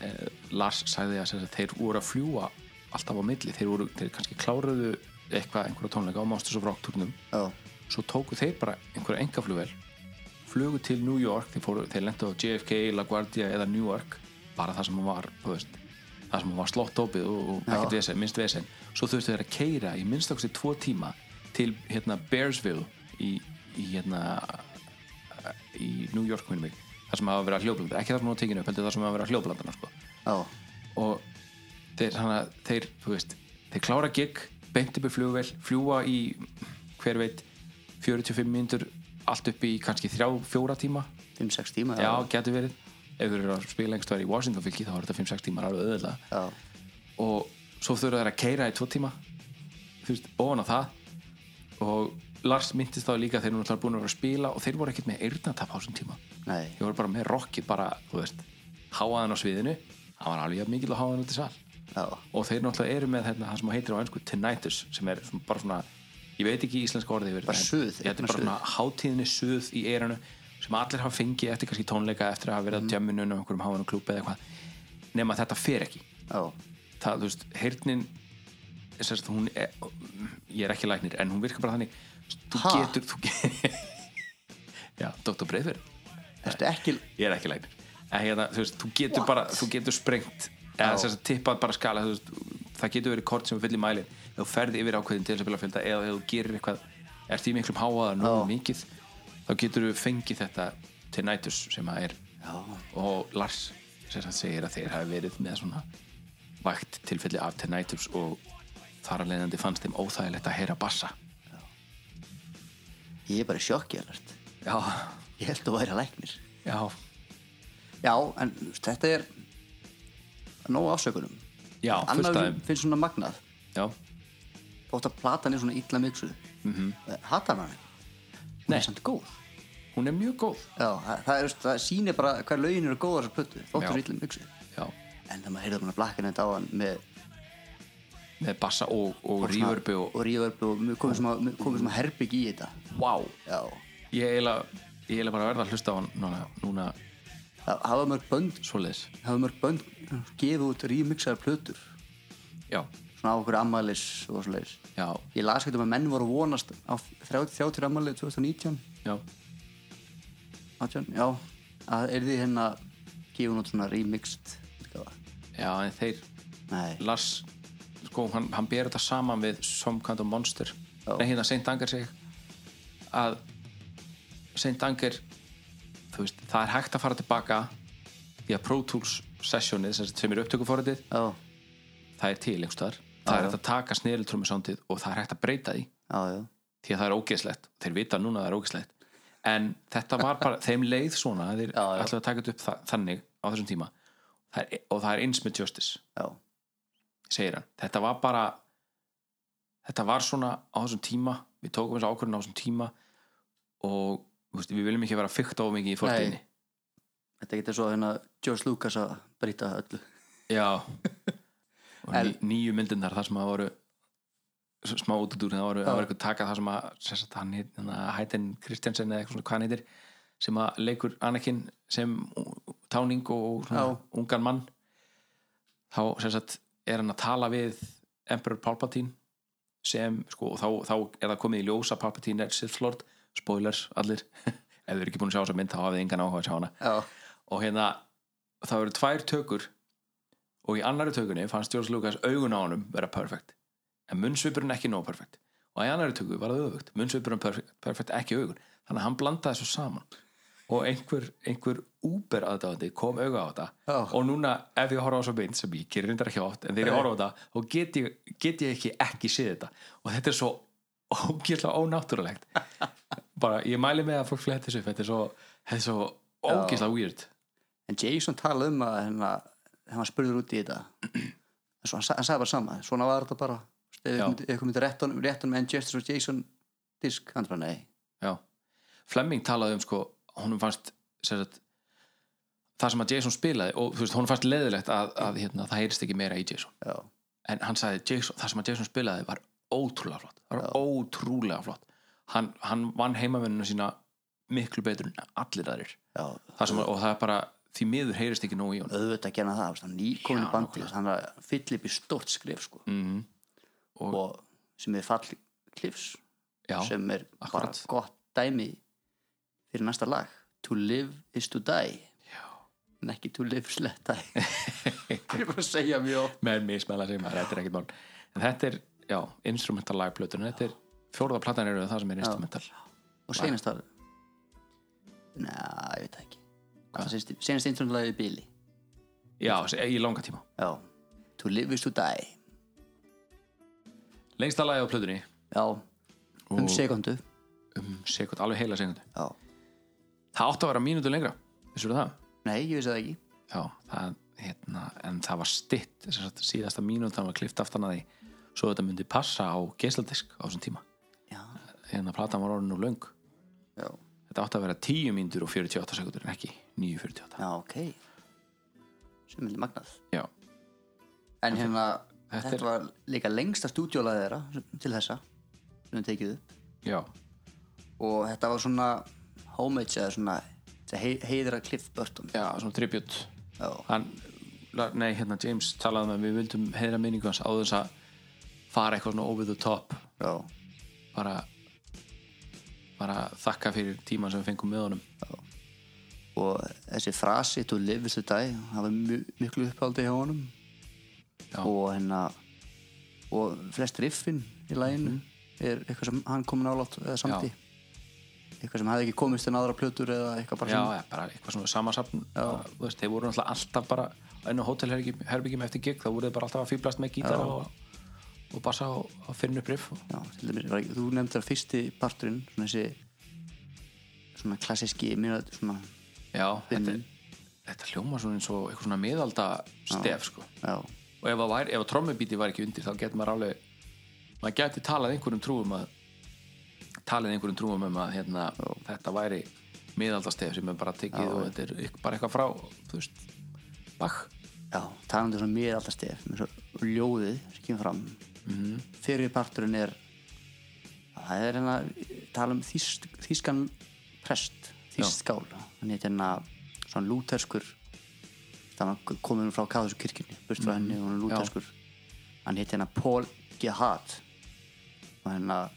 Speaker 8: e, Lars sagði að sem sagt, þeir voru að fljúa alltaf á milli, þeir voru, þeir kannski kláruðu eitthvað, einhverja tónleika á Monsters of Rock turnum
Speaker 7: já,
Speaker 8: svo tóku þeir bara einhverja engaflugvel flugu til New York þeir, fóru, þeir lendu á JFK, LaGuardia eða New York bara það sem var þú veist, það sem var slott opið og, og ekkert vesen, minnst vesen svo þurftu þeir að keira í minnstakosti tvo tíma til hérna Bearsville í, í hérna í New York minnum mig það sem hafa verið að hljóblanda, ekki það sem hún var tekinu upp heldur það sem hafa verið að hljóblandana sko
Speaker 7: já
Speaker 8: og þeir, hana, þeir, þú veist, þeir klára gig beint upp í flugvel, fljúa í hver veit 45 mínútur allt upp í kannski 3-4 tíma
Speaker 7: 5-6 tíma
Speaker 8: já, getur verið ef þeir eru að spila einhvers staðar í Washington fylki þá er þetta 5-6 tímar alveg auðvitað
Speaker 7: Já,
Speaker 8: og svo þurfa þeir að keira í tvo tíma þú veist, ofan á það og Lars myndist þá líka þeir eru náttúrulega búin að vera að spila og þeir voru ekkert með eyrnatap á þessum tíma
Speaker 7: nei,
Speaker 8: ég voru bara með rockið bara, þú veist háaðan á sviðinu, hann var alveg jafn mikil og háaðan út í sal
Speaker 7: já,
Speaker 8: og þeir náttúrulega eru með hérna, það sem heitir á ennsku tinnitus sem er svona, bara svona ég veit ekki íslenska orðið yfir
Speaker 7: Bara
Speaker 8: þetta,
Speaker 7: suð,
Speaker 8: en þetta er bara
Speaker 7: eitthvað
Speaker 8: svona hátíðinni suð í eiranu sem allir hafa fengið eftir kannski tónleika eftir að hafa
Speaker 7: Mm.
Speaker 8: verið á djamunum og einhverjum háanum klúpa eða eitthvað nema þetta fer ekki
Speaker 7: já,
Speaker 8: það, þú veist, heyrnin sérst, hún er, ég er ekki læknir en hún virkar bara þannig þú
Speaker 7: Ha?
Speaker 8: getur, þú getur já, Dr. Breiðfjörn
Speaker 7: ertu ekki
Speaker 8: ég er ekki læknir en hérna, þú veist, þú getur bara, þú getur sprengt eða þess að tippað bara skala þú veist, það getur verið kort sem við fyllir mælin ef þú ferði yfir ákveðin til þess að bila fjölda eða ef þú gerir eitthvað, ert í miklum háaða nú
Speaker 7: Já.
Speaker 8: mikið, þá getur þú fengið þetta til nætus sem að er Já. og Lars sem sagt segir að þeir hafi verið með svona vægt tilfelli af til nætus og þar að leiðandi fannst þeim óþægilegt að heyra bassa
Speaker 7: Ég er bara í sjokki alveg
Speaker 8: Já,
Speaker 7: Ég held að væri að læknir
Speaker 8: já,
Speaker 7: Já, en þú veist, þetta er nóg afsökunum
Speaker 8: já, fullt
Speaker 7: Annar
Speaker 8: aðeim
Speaker 7: finnst svona magnað
Speaker 8: Já,
Speaker 7: Þótt að platan er svona illa miksu mm
Speaker 8: Mhm.
Speaker 7: -hmm. Hattar hann Nei,
Speaker 8: Nei.
Speaker 7: samt góð
Speaker 8: hún er mjög góð
Speaker 7: Já, það, það, er, það sýnir bara hver lögin eru góðar sem plötu Þótt
Speaker 8: Já.
Speaker 7: er illa miksu
Speaker 8: Já
Speaker 7: En það maður heyrði hann að blakka neitt á hann með
Speaker 8: með bassa og, og reverbi og,
Speaker 7: og reverb og með- komið svona, komið svona herbygg í þetta
Speaker 8: wow
Speaker 7: Já,
Speaker 8: ég eiginlega ég eiginlega bara verða að hlusta á hann núna, núna
Speaker 7: það hafa mörg bönd
Speaker 8: svoleiðis
Speaker 7: hafa mörg bönd gefið út remixaðar plötur
Speaker 8: já,
Speaker 7: svona á okkur ammælis og svoleiðis
Speaker 8: já,
Speaker 7: ég las ekkert um að menn voru að vonast á 30, 30 ammæli 2019
Speaker 8: já,
Speaker 7: 18, já, að er því hérna gefið út svona remixed útgáfa.
Speaker 8: já en þeir
Speaker 7: Nei,
Speaker 8: Lars, sko, hann, hann ber þetta saman við Some Kind of Monster
Speaker 7: Já.
Speaker 8: nei, hérna Saint Anger sig að Saint Anger þú veist, það er hægt að fara tilbaka því að Pro Tools sessionið sem, sem er upptökuforritið,
Speaker 7: já,
Speaker 8: það er til einhverstaðar, það er hægt að taka snerildrömmusóndið og það er hægt að breyta því
Speaker 7: já, já
Speaker 8: því að það er ógeðslegt þeir vita núna að það er ógeðslegt en þetta var bara, þeim leið svona þeir já,
Speaker 7: já.
Speaker 8: ætlaðu að taka þetta upp þa þannig á þessum tíma það er, og það er eins með justice
Speaker 7: Já,
Speaker 8: segir hann, þetta var bara þetta var svona á þessum tíma við tókum þessu ákvörðun á þessum tíma og þú veist, við viljum ekki vera fyrkt of mikið í fórtíðinni
Speaker 7: þetta getur svo hérna George Lucas að breyta öllu
Speaker 8: já og ný, nýju myndindar þar sem að voru s- smá út úr það voru, það var eitthvað taka það sem að sem sagt, hann heit, hann hætin Kristjansen eða eitthvað svona hvað hann heitir sem að leikur Anakin sem ú- táning og svona,
Speaker 7: Já.
Speaker 8: ungan mann þá sem sagt er hann að tala við Emperor Palpatine sem sko og þá, þá er það komið í ljósa Palpatine er Sith Lord, spoilers allir ef þið eru ekki búin að sjá þess að mynd þá hafið þið engan áhuga að sjá hana
Speaker 7: Já,
Speaker 8: og hérna það eru tvær tökur og í annari tökunni fannst George Lucas augun á honum vera perfect en munnsvipurinn ekki nóg perfect og í annari töku var það öfugt munnsvipurinn perfect, perfect ekki augun þannig að hann blandaði þessu saman og einhver, einhver úber aðdáðandi kom auga á þetta
Speaker 7: Já.
Speaker 8: og núna ef ég horfa á svo beint sem ég gerir reyndar ekki oft en þegar ég horfa á þetta þá get ég, get ég ekki ekki séð þetta og þetta er svo ógætlega ónáttúrulegt bara ég mæli með að fólk flætti þessu upp, þetta er svo, þetta er svo ógætlega weird
Speaker 7: en Jason talaði um að hérna, hann var spurður út í þetta en svo hann, sa- hann sagði bara sama svona var þetta bara Þú veist, ef
Speaker 8: Já.
Speaker 7: ykkur myndi- ef ykkur myndi réttan réttan með Justice og Jason disk hann bara nei,
Speaker 8: já, Flemming talaði um sko, honum fannst sem sagt, það sem að Jason spilaði og þú veist, honum fannst leðilegt að, að hérna, það heyrist ekki meira í Jason
Speaker 7: já,
Speaker 8: en hann sagði Jason, það sem að Jason spilaði var ótrúlega flott, það var ótrúlega flott hann, hann vann heimavennuna sína miklu betur en allir aðrir
Speaker 7: já
Speaker 8: Það sem, og það er bara, því miður heyrist ekki nóg í honum
Speaker 7: auðvitað gerna það, veist, hann nýkomin
Speaker 8: Já,
Speaker 7: í bandi
Speaker 8: nákvæmlega.
Speaker 7: hann er að fylla upp í stort skrif sko.
Speaker 8: mm
Speaker 7: og, sem er fall klifs
Speaker 8: já,
Speaker 7: sem er
Speaker 8: akkurat.
Speaker 7: bara gott dæmi fyrir næsta lag to live is to die
Speaker 8: Já.
Speaker 7: en ekki to live is let die ég er bara að segja mjög oft.
Speaker 8: með mismæla sig maður, þetta er ekkert mál en þetta er, já, instrumental lagplötur en þetta er, fjórða platan eru það sem er instrumental
Speaker 7: og senast það neða, ég veit það ekki Hvað það senast- senast eintrúnlega í bíli
Speaker 8: já, se- í langa tíma
Speaker 7: já, to live is to die
Speaker 8: lengsta lagi á plötunni,
Speaker 7: já, um sekundu
Speaker 8: um sekund, alveg heila sekundu
Speaker 7: já,
Speaker 8: það átti að vera mínútu lengra, vissur það
Speaker 7: nei, ég vissi það ekki
Speaker 8: já, það, hérna, en það var stitt sem sagt, síðasta mínútan var klift aftan að því svo þetta myndi passa á geisladisk á þessum tíma
Speaker 7: já,
Speaker 8: hérna platan var orðin og löng
Speaker 7: já,
Speaker 8: þetta átti að vera 10 mínútur og 48 sekundur en ekki 9.48
Speaker 7: já ok sem vildi magnað
Speaker 8: já,
Speaker 7: en hérna,
Speaker 8: Þetta
Speaker 7: þetta,
Speaker 8: er-
Speaker 7: var líka lengsta stúdíólaðið þeirra sem- til þessa sem við tekið upp
Speaker 8: já,
Speaker 7: og þetta var svona homage eða svona til að hei- heiðra Cliff Burton
Speaker 8: já svona tribut
Speaker 7: já,
Speaker 8: hann, la- nei hérna James talaði með við vildum heyra minningu hans á þess að fara eitthvað svona over the top
Speaker 7: já,
Speaker 8: bara bara þakka fyrir tíman sem við fengum með honum
Speaker 7: og þessi frasi to live is to die, það var mjö, miklu uppáldi hjá honum
Speaker 8: Já.
Speaker 7: og hérna og flest riffin í læginu
Speaker 8: Mhm.
Speaker 7: er eitthvað sem hann kom nálátt eða samti
Speaker 8: Já.
Speaker 7: eitthvað sem hefði ekki komist en aðra plötur eða eitthvað bara
Speaker 8: já,
Speaker 7: sem-
Speaker 8: já, bara eitthvað svona samansapn þú veist, þeir voru náttúrulega alltaf bara enn á hótelherbyggjum eftir gig þá voru þeir bara alltaf að fýblast með gítara og, og bassa og, og finna upp riff
Speaker 7: Já, til dæmis, var, ekki- þú nefndir að fyrsti parturinn svona þessi svona klassíski mjög svona,
Speaker 8: já, þetta,
Speaker 7: Fimm.
Speaker 8: þetta hljóma svona eins og eitthvað svona miðalda stef sko.
Speaker 7: já,
Speaker 8: og ef, að væri- ef trommubíti var ekki undir þá getur maður alveg maður getur talað einhverjum trúum að talað einhverjum trúum um að hérna, þetta væri miðaldastef sem er bara tekið og þetta er ykk- bara eitthvað frá þú veist, bakk
Speaker 7: já talandi svona mjög alltaf stef með svo ljóðið sem kemur fram fyrir parturinn er það er hérna tala um þýsk, þýskan prest þýskál, hann heit hérna svona lúterskur þannig komin frá kathosku kirkjunni burt frá henni og hann er lúterskur hann heit hérna Paul Gehat og hérna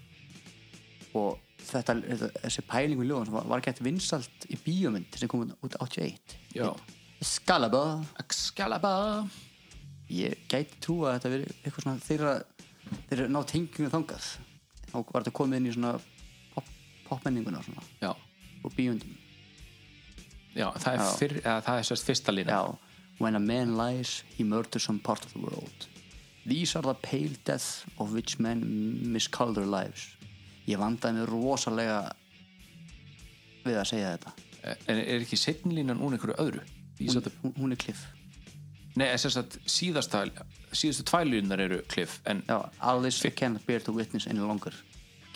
Speaker 7: og þetta, þetta þessi pæling við ljóðan var, var gett vinsalt í bíómynd sem kom út 81
Speaker 8: já,
Speaker 7: Skalaba
Speaker 8: Excalibur
Speaker 7: ég gæti trúa að þetta veri eitthvað svona þeirra þeirra ná tengjum þangað þá var þetta komið inn í svona pop, popmenninguna svona
Speaker 8: já,
Speaker 7: og bíundum
Speaker 8: já, það er,
Speaker 7: Já.
Speaker 8: fyrr, eða, það er sérst fyrsta lína
Speaker 7: já when a man lies he murders some part of the world these are the pale deaths of which men miscall their lives ég vandaði mig rosalega við að segja þetta
Speaker 8: Eh, en er ekki setni línan úr einhverju öðru Hún,
Speaker 7: hún, hún, hún er kliff
Speaker 8: nei, er sérst að síðasta síðustu tvælínar eru kliff en
Speaker 7: já, all this I cannot bear to witness any longer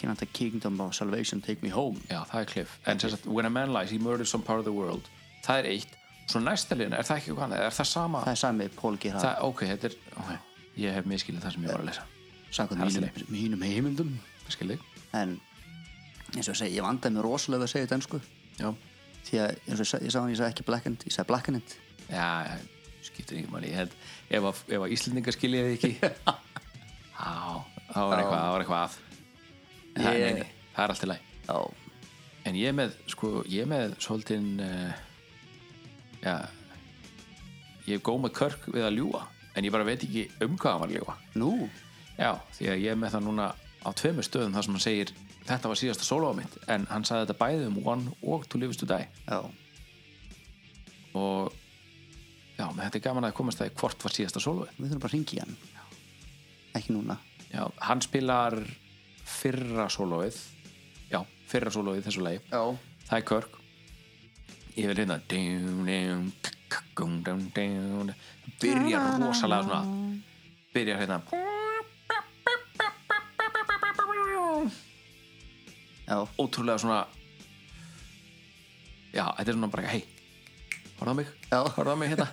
Speaker 7: cannot the kingdom of salvation take me home
Speaker 8: Já, það er Cliff En sem sagt, When a man lies, he murders some part of the world Það er eitt Svo næsta liðin, er það ekki hvað annað? Er það sama?
Speaker 7: það er sami Paul G. Hart
Speaker 8: Það, ok, þetta er ok, Ég hef miskilið það sem ég var að lesa
Speaker 7: samkvæmt
Speaker 8: Það er
Speaker 7: mínum, mínum heimildum
Speaker 8: Skilðið?
Speaker 7: en eins og ég segi, ég vandaði mér rosalega við að segja þetta ensku
Speaker 8: Já
Speaker 7: því að eins og ég, sa- ég sagði, ég sagði ekki black end ég sagði black end
Speaker 8: Já, skiptir ekki máli Ég held, ef að, ef að Íslendingar skiljiði ekki Já, það var eitthvað, það var eitthvað að En það,
Speaker 7: Ég-
Speaker 8: nei, nei, það er allt í lagi
Speaker 7: já,
Speaker 8: En ég er með, sko, ég er með svolítinn uh, Já Ég hef góð með körk við að ljúga En ég bara veit ekki um hvað hann var að ljúga
Speaker 7: nú,
Speaker 8: Já, því að ég er með það núna á tveimur stöðum þar sem hann segir þetta var síðasta sólóa mitt en hann sagði þetta bæði um One og To Live Is To Die
Speaker 7: já,
Speaker 8: og já, menn þetta er gaman að komast að því hvort var síðasta sólóið
Speaker 7: við þurfum bara að ringi hann ekki núna
Speaker 8: Já, hann spilar fyrra sólóið já, fyrra sólóið í þessu lagi
Speaker 7: já,
Speaker 8: það er Körk ég vil hérna dum, dum, k- k- kum, dum, dum. byrjar rosalega svona byrjar hérna
Speaker 7: já,
Speaker 8: ótrúlega svona já, þetta er svona bara hei, horfðu á mig
Speaker 9: Já.
Speaker 8: horfðu á mig hérna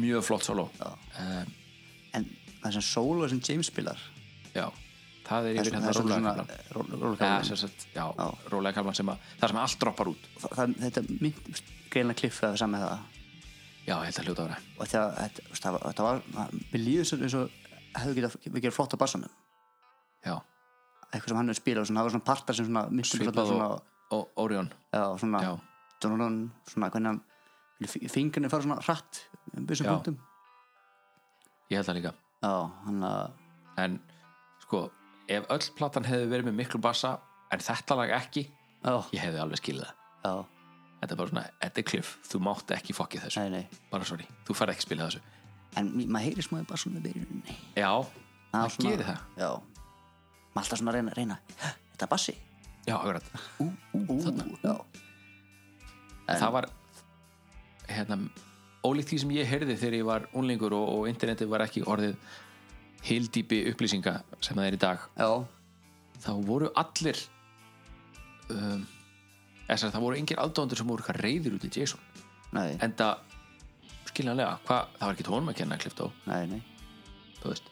Speaker 8: mjög flott solo já,
Speaker 7: en það sem solo sem James spilar
Speaker 8: já. það
Speaker 7: það
Speaker 8: er
Speaker 7: er
Speaker 8: yfir
Speaker 7: svona-
Speaker 8: hérna
Speaker 7: það er svolítið
Speaker 8: rólega
Speaker 7: svona eh, ró-
Speaker 8: kaflan Já,
Speaker 7: rólegkaflinn.
Speaker 8: sem sagt, já, rólega kaflan sem að það sem allt droppar út
Speaker 7: Það- það- þetta mynd greinlega kliffið að saman með það
Speaker 8: já, ég held að hljóta á það
Speaker 7: og þegar þetta, þú veist, það var- þetta var ma- mér líður svo eins og hefðu getað við gerum flott á bassanum
Speaker 8: já,
Speaker 7: eitthvað sem hann hefur spilað og svona, það var svona partar sem svona myndum
Speaker 8: svipað
Speaker 7: svona, Ah.
Speaker 8: og, og Orion
Speaker 7: já, svona,
Speaker 8: já,
Speaker 7: dun, svona hvernig hann fingrinni fara svona hratt um þessum
Speaker 8: Já.
Speaker 7: punktum
Speaker 8: ég held það líka
Speaker 7: já, hann að
Speaker 8: en sko, ef öll platan hefði verið með miklu bassa en þetta lag ekki,
Speaker 7: uh, já,
Speaker 8: ég hefði alveg skilið það
Speaker 7: já,
Speaker 8: þetta er bara svona, þetta er kliff, þú mátt ekki fokkið þessu,
Speaker 7: nei, nei
Speaker 8: bara sorry, þú færð ekki spilað þessu
Speaker 7: en m- maður heyri smáði bassanum í byrjunni
Speaker 8: já,
Speaker 7: Það
Speaker 8: það gerir það
Speaker 7: já, maður alltaf svona að reyna, reyna "Hæ, þetta er bassi
Speaker 8: já, akkurat,
Speaker 7: ú, ú, þarna já,
Speaker 8: en það var hérna, ólíkt því sem ég heyrði þegar ég var unlingur og, og internetið var ekki orðið hildýpi upplýsinga sem það er í dag
Speaker 7: já,
Speaker 8: þá voru allir um, þessar, það voru engir aðdóndur sem voru eitthvað reyðir út í Jason
Speaker 7: nei,
Speaker 8: enda skiljanlega, hva, það var ekki tónum að kenna kliptó,
Speaker 7: nei, nei
Speaker 8: þú veist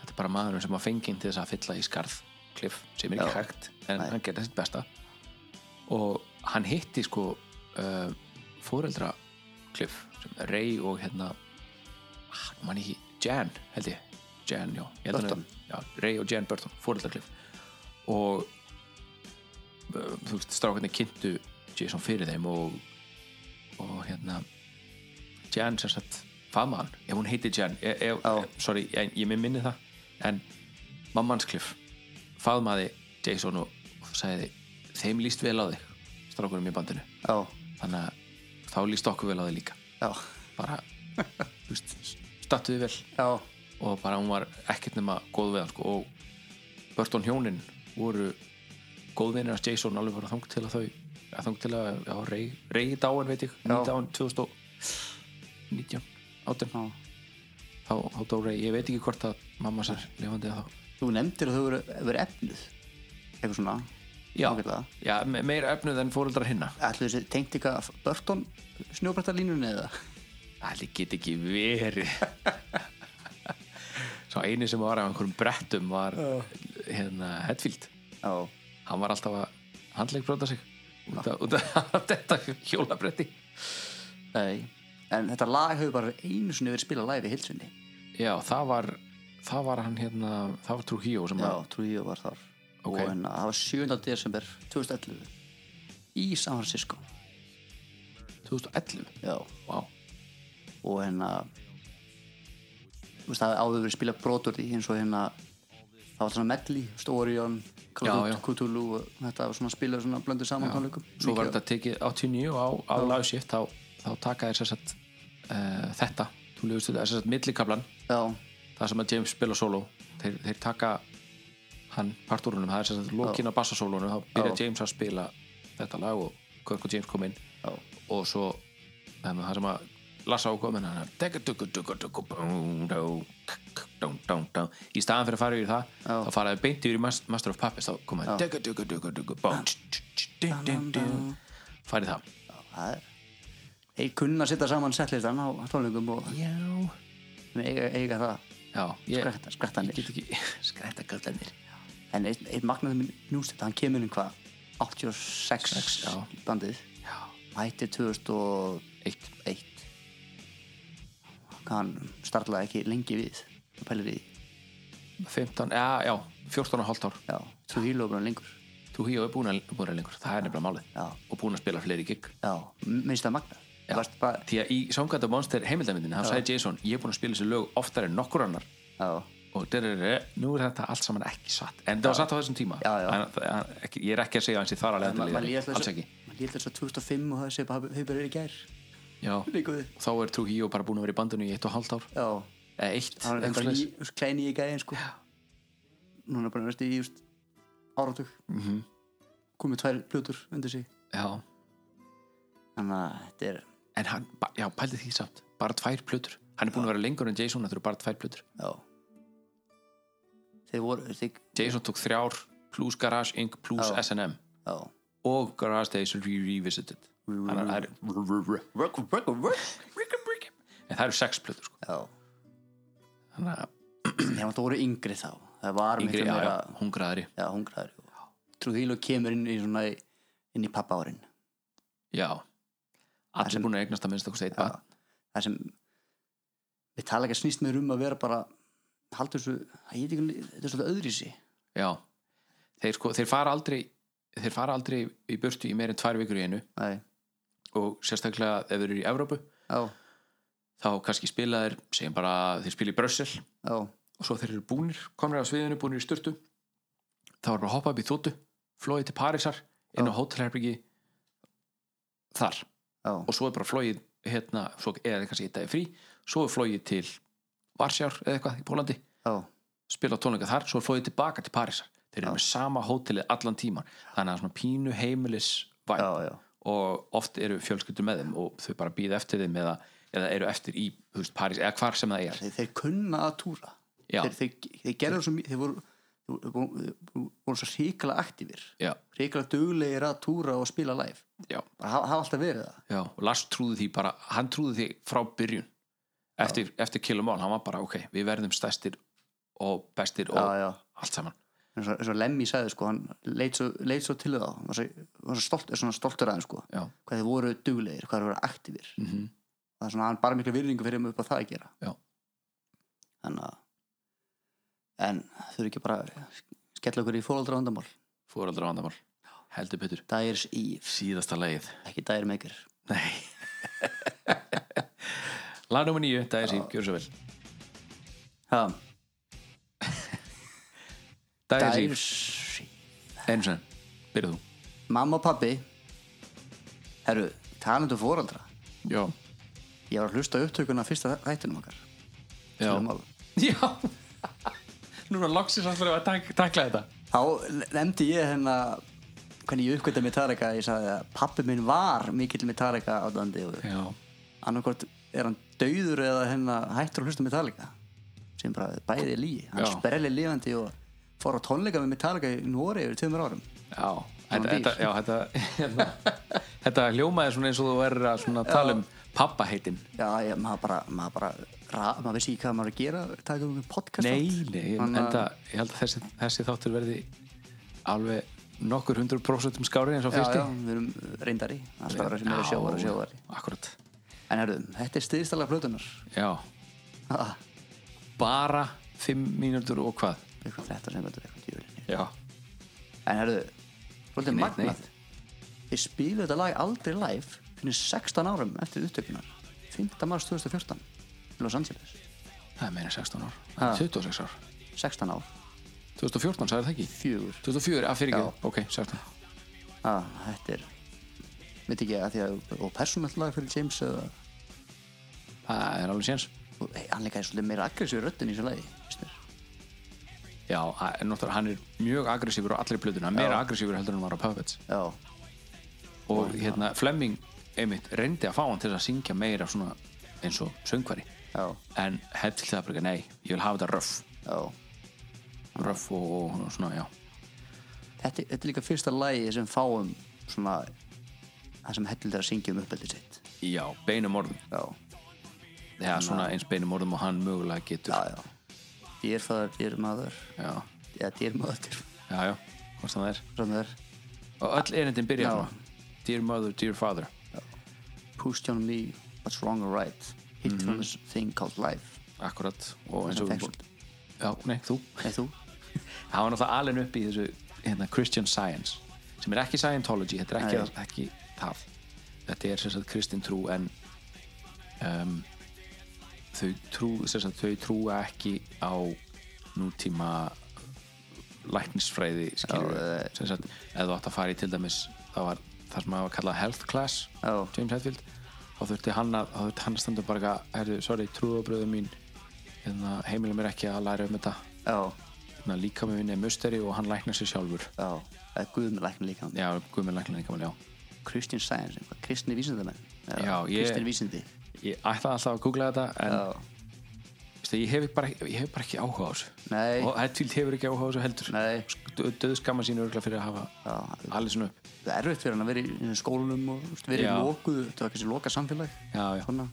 Speaker 8: þetta er bara maðurinn sem var fenginn til þess að fylla í skarð kliff sem er ekki
Speaker 7: Já.
Speaker 8: hægt en
Speaker 7: Nei.
Speaker 8: hann gerði sitt besta og hann hitti sko uh, fóreldra kliff sem er Ray og hérna ah, nú man ég ekki, Jan held ég Jan, já, ég held hann-
Speaker 7: Burton.
Speaker 8: já, Ray og Jan Burton, fóreldra kliff og uh, þú veist, strákarnir kynntu Jason fyrir þeim og og hérna Jan sem sagt faðma hann ef hún heiti Jan e, e,
Speaker 7: Já.
Speaker 8: sorry, ég, ég mig minni það en mammans kliff faðmaði Jason og, og sagði þeim líst vel á þig strákurum í bandinu
Speaker 7: já,
Speaker 8: þannig að þá líst okkur vel á þig líka
Speaker 7: já,
Speaker 8: bara þú veist, stattu þig vel
Speaker 7: já
Speaker 8: og bara hún var ekkert nema góð við hann sko. og Burton hjónin voru góðvinir hans Jason alveg bara þang til að þau að þang til að já, rey, reyði dáin veit ég
Speaker 7: Já.
Speaker 8: dáin 2019
Speaker 7: Já.
Speaker 8: átján þá, þá dó rey, ég veit ekki hvort að mamma sér lifandi að þá
Speaker 7: þú nefndir að þau voru, voru efnuð eitthvað svona
Speaker 8: já,
Speaker 7: ágætlega.
Speaker 8: já me- meira efnuð en fóreldrar hinna
Speaker 7: ætlu þessi tengt eitthvað Burton snjóbrættarlínunni eða
Speaker 8: Æli get ekki verið Svo eini sem var af einhverjum brettum var hérna Hetfield
Speaker 7: já,
Speaker 8: hann var alltaf að handleikbrota sig út af, út af þetta hjólabretti
Speaker 7: nei en þetta lag hefur bara einu sinni verið spilað live í hilsunni
Speaker 8: já, það var það var hann hérna, það var Trujillo sem
Speaker 7: já,
Speaker 8: að,
Speaker 7: Trujillo var þar
Speaker 8: Ok.
Speaker 7: og hérna, það var 7. desember 2011 í San Francisco
Speaker 8: 2011
Speaker 7: já,
Speaker 8: wow.
Speaker 7: og hérna þú veist, það hefði áður verið spilað brotur í eins og hérna það var svona medley, Storion
Speaker 8: Já, já.
Speaker 7: Cthulhu og þetta var svona spilað svona blöndu saman tónleikum
Speaker 8: svo
Speaker 7: Mikið-
Speaker 8: var þetta tekið 89 á, á lagskipt þá, þá taka þér sér sett uh, þetta, þú lefist þetta sér sett millikablan,
Speaker 7: já,
Speaker 8: það sem að James spila solo, þeir, þeir taka hann partúrunum, það er sér sett lokin á bassasólunum, þá byrja
Speaker 7: Já.
Speaker 8: James að spila þetta lag og Kirk og James kom inn
Speaker 7: já,
Speaker 8: og svo um, það sem að lasa á komin hann í staðan fyrir að fara yfir það þá faraði beint yfir í Mas- Master of Puppets þá kom hann farið það
Speaker 7: það er þeir kunna að setja saman settlistan á tónleikum og
Speaker 8: já,
Speaker 7: Nei, eiga, eiga það
Speaker 8: já ég,
Speaker 7: Skretta- skrettanir.
Speaker 8: ég get ekki skrætta gallanir
Speaker 7: en eitt, eitt magnað minn njústitt hann kemur inn hvað 86
Speaker 8: Sex, já.
Speaker 7: í bandið mætti 2001 hann starlaði ekki lengi við það pælir í
Speaker 8: 15, já, já, 14 og hálft ár
Speaker 7: já, trú hílófrun lengur
Speaker 8: þú hýja og búin að búin að lengur, það er nefnilega málið
Speaker 7: Já.
Speaker 8: og búin að spila fleiri gig
Speaker 7: já, m- minnst það magnað
Speaker 8: Já.
Speaker 7: Þú varst bara,
Speaker 8: því að í Soundgarden Monster heimildamindinu þá sagði Jason, ég er búin að spila þessu lög oftar en nokkur annar
Speaker 7: já,
Speaker 8: og derere, nú er þetta allt saman ekki satt en það var satt á þessum tíma
Speaker 7: Já, já.
Speaker 8: En, það- hann- ekki, ég er ekki að segja hans í þar að
Speaker 7: Ma- maður
Speaker 8: leiðanlega
Speaker 7: líður
Speaker 8: alls ekki
Speaker 7: þess að 2005 og það sé bara hefur verið í gær
Speaker 8: já.
Speaker 7: líka við
Speaker 8: þá er Trú Híó bara búin að vera í bandinu í eitt og hálft ár
Speaker 7: já,
Speaker 8: eða eitt,
Speaker 7: hann er eitthvað
Speaker 8: eitthvað slags
Speaker 7: ný- þú veist, klein í gæðin sko núna er bara verið í just áratug mm
Speaker 8: Mhm.
Speaker 7: komið tvær blötur undir sig
Speaker 8: já.
Speaker 7: þannig að þetta er
Speaker 8: en hann, ba- já, pældi því samt bara tvær plötur, hann er búin að vera lengur en Jason þetta eru bara tvær plötur,
Speaker 7: já þeir voru þeir,
Speaker 8: Jason tók þrjár plus Garage Inc. plus
Speaker 7: Já.
Speaker 8: S&M
Speaker 7: já,
Speaker 8: og Garage Days Revisited Þannig að það er en það eru sex plötur sko.
Speaker 7: já
Speaker 8: þannig að
Speaker 7: Þegar það voru yngri þá Það var
Speaker 8: yngri,
Speaker 7: miklu
Speaker 8: já,
Speaker 7: meira
Speaker 8: já, hungraðari
Speaker 7: Já, hungraður Trúðílu kemur inn í svona inn í pappa árin
Speaker 8: já, allir
Speaker 7: sem-
Speaker 8: búin að eignast að minnst okkur steitba
Speaker 7: Það sem við tala ekki að snýst með um að vera bara haldur þessu, það ég veit ekki þetta er svolítið öðrísi
Speaker 8: já, þeir sko þeir fara aldrei, þeir fara aldrei í burtu í meirinn tvær vikur í einu
Speaker 7: Nei,
Speaker 8: og sérstaklega ef þeir eru í Evrópu
Speaker 7: já,
Speaker 8: þá kannski spila þeir, segjum bara þeir spila í Brussel
Speaker 7: já,
Speaker 8: og svo þeir eru búnir, komnir á sviðinu, búnir í styrtu þá er bara að hoppa upp í þóttu flóið til Parísar, inn á hótelherbyggi þar
Speaker 7: já
Speaker 8: og svo er bara flóið hérna, svo er það kannski eitt dagi frí svo er flóið til Varsjár eða eitthvað í Pólandi,
Speaker 7: Já,
Speaker 8: spila tónleika þar svo er flóið tilbaka til Parísar þeir eru með sama hótelið allan tíman þannig að það er svona pínu heimilis væn
Speaker 7: já, já,
Speaker 8: og oft eru fjölskyldur með þeim og þau bara býða eftir þeim eða, eða eru eftir í þú veist, París eða hvar sem það er
Speaker 7: þeir, þeir kunna að túra
Speaker 8: Já.
Speaker 7: Þeir, þeir, þeir gerðu svo mikið þeir voru, þeir voru, þeir voru, voru svo hrikalega aktífir
Speaker 8: já,
Speaker 7: hrikalega duglegir að túra og spila live
Speaker 8: já,
Speaker 7: bara hafa, hafa alltaf verið það
Speaker 8: já og Lars trúði því bara, hann trúði því frá byrjun eftir, eftir kilomál, hann var bara ok við verðum stærstir og bestir og
Speaker 7: Já, já.
Speaker 8: allt saman
Speaker 7: eins og, eins og Lemmy sagði sko, hann leit svo, leit svo til þá hann var svo, var svo stolt, er svona stoltur aðeins sko,
Speaker 8: Já.
Speaker 7: hvað þið voru duglegir, hvað þið voru aktífir
Speaker 8: Mhm.
Speaker 7: það er svona hann bara mikla virðingu fyrir mig upp á það að gera
Speaker 8: Já.
Speaker 7: þannig að en þau eru ekki bara að skella okkur í fóraldra vandamál
Speaker 8: fóraldra vandamál, heldur betur
Speaker 7: Dyers Eve,
Speaker 8: síðasta lagið
Speaker 7: ekki Dyre Maker
Speaker 8: Nei Lag nr. 9, það er sín, gjör svo vel
Speaker 7: ha,
Speaker 8: Það er sín,
Speaker 7: Dyers Eve.
Speaker 8: eins og enn, byrjuð þú
Speaker 7: mamma og pappi herru, talandu fóraldra
Speaker 8: Já,
Speaker 7: ég var að hlusta á upptökuna af fyrsta þættinum okkar
Speaker 8: já,
Speaker 7: Tölum málum.
Speaker 8: já. Núna loksins allir að tak takla þetta
Speaker 7: þá nefndi ég hérna hvernig ég uppgötta með Tareka ég sagði að pappi minn var mikill með Tareka á dandi og
Speaker 8: Já,
Speaker 7: annarkvort er hann dauður eða hérna hættur að hlusta með Tareka sem bara bæði lígi hann
Speaker 8: Já.
Speaker 7: sprelli lifandi og fór á tónleika með Tareka í Nóri yfir tveimur árum
Speaker 8: já, þetta,
Speaker 7: dýr.
Speaker 8: þetta, já, þetta, hérna, þetta hljómaði svona eins og þú verður að svona tala um pappaheitin
Speaker 7: já, ég, maður bara, maður bara ra, maður vissi ekki hvað maður var að gera taka um podcast
Speaker 8: Nei, nei, en
Speaker 7: Þannig að-
Speaker 8: þetta, ég held að þessi, þessi þáttur verði alveg nokkur hundru prósentum skári eins og
Speaker 7: já,
Speaker 8: fyrsti
Speaker 7: já, við erum reyndari alltaf aðra sem eru sjóari,
Speaker 8: Já,
Speaker 7: sjóari
Speaker 8: Akkurat,
Speaker 7: en herruðum, þetta er stiðstæla plötunar
Speaker 8: já
Speaker 7: Ah,
Speaker 8: bara 5 mínútur og hvað
Speaker 7: eitthvað þetta sem þetta er eitthvað djúlinni
Speaker 8: já,
Speaker 7: En herðu, svolítið
Speaker 8: neitt,
Speaker 7: magnað Þeir spiluðu þetta lag aldrei live fyrir 16 árum eftir upptökunar 5. mars 2014 í Los Angeles
Speaker 8: það er meira en 16 ár Það er
Speaker 7: Ha.
Speaker 8: 26 ár,
Speaker 7: 16 ár,
Speaker 8: 2014 sagði það ekki
Speaker 7: fjögur
Speaker 8: 2004, að fyrir ekki, ok, 16
Speaker 7: ah, Þetta er veit ekki að því að og persónlegt lag fyrir James eða,
Speaker 8: það er alveg séns
Speaker 7: og, hey, hann líka er svolítið meira aggressív röddin í þessu lagi finnst mér.
Speaker 8: já, að- en náttúrulega hann er mjög aggressífur á allri plötuna, hann er meira aggressífur heldur en hann var á Puppets
Speaker 7: Já,
Speaker 8: og hérna Flemming einmitt reyndi að fá hann til að syngja meira svona eins og söngvari
Speaker 7: já,
Speaker 8: en hefði það bara ekki, nei, ég vil hafa þetta röff
Speaker 7: já
Speaker 8: röff og, og, og svona, já
Speaker 7: þetta, þetta er líka fyrsta lagi sem fáum svona það sem heldur þeirra að syngja um uppeldið sitt
Speaker 8: já, beinum orðum,
Speaker 7: Já,
Speaker 8: já, svona eins beinum orðum og hann mögulega getur
Speaker 7: já, já Dear father, dear mother
Speaker 8: já,
Speaker 7: eða dear mother
Speaker 8: já, já, hvað sem það er
Speaker 7: sem það er
Speaker 8: og öll erindin byrja
Speaker 7: Já.
Speaker 8: svona Dear Mother, Dear Father
Speaker 7: pushed on me what's wrong or right hit from this thing called life
Speaker 8: akkurat og eins og
Speaker 7: Sem
Speaker 8: við
Speaker 7: texti.
Speaker 8: já, nei, þú
Speaker 7: eða þú?
Speaker 8: hann var náttúrulega alveg upp í þessu hérna, Christian Science sem er ekki Scientology þetta er ekki,
Speaker 7: Nei.
Speaker 8: ekki það þetta er sem sagt kristin trú en um, þau trú sem sagt þau trúa ekki á nútíma læknisfræði skilur
Speaker 7: Já,
Speaker 8: sem sagt eða þú átt að fara í til dæmis það var það sem hafa kallað health class
Speaker 7: Já.
Speaker 8: James Hetfield þá þurfti hann að, þá þurfti hann að standa bara eitthvað, herðu, sorry, trúðabröðu mín hérna, heimilega mér ekki að læra um þetta
Speaker 7: já,
Speaker 8: hérna, líka með vinni musteri og hann læknar sér sjálfur
Speaker 7: já eða guðmjölæknir líka
Speaker 8: já, guðmið læknar líka já.
Speaker 7: Christian Science, eitthvað, kristni vísindamenn
Speaker 8: Já, ég-
Speaker 7: kristin vísindi
Speaker 8: ég ætlaði alltaf að googla þetta en
Speaker 7: já,
Speaker 8: veist, veist, ég hef bara, ég hef bara ekki áhuga á þessu
Speaker 7: Nei,
Speaker 8: og Hetfield hefur ekki áhuga á þessu heldur
Speaker 7: nei
Speaker 8: döðu skamma sín örgulega fyrir að hafa
Speaker 7: Já,
Speaker 8: allir svona upp
Speaker 7: það er erfitt fyrir hann að vera í í skólanum og þú veist, vera í
Speaker 8: Já.
Speaker 7: lokuðu, þetta var kannski lokað samfélag
Speaker 8: já, já.
Speaker 7: svona,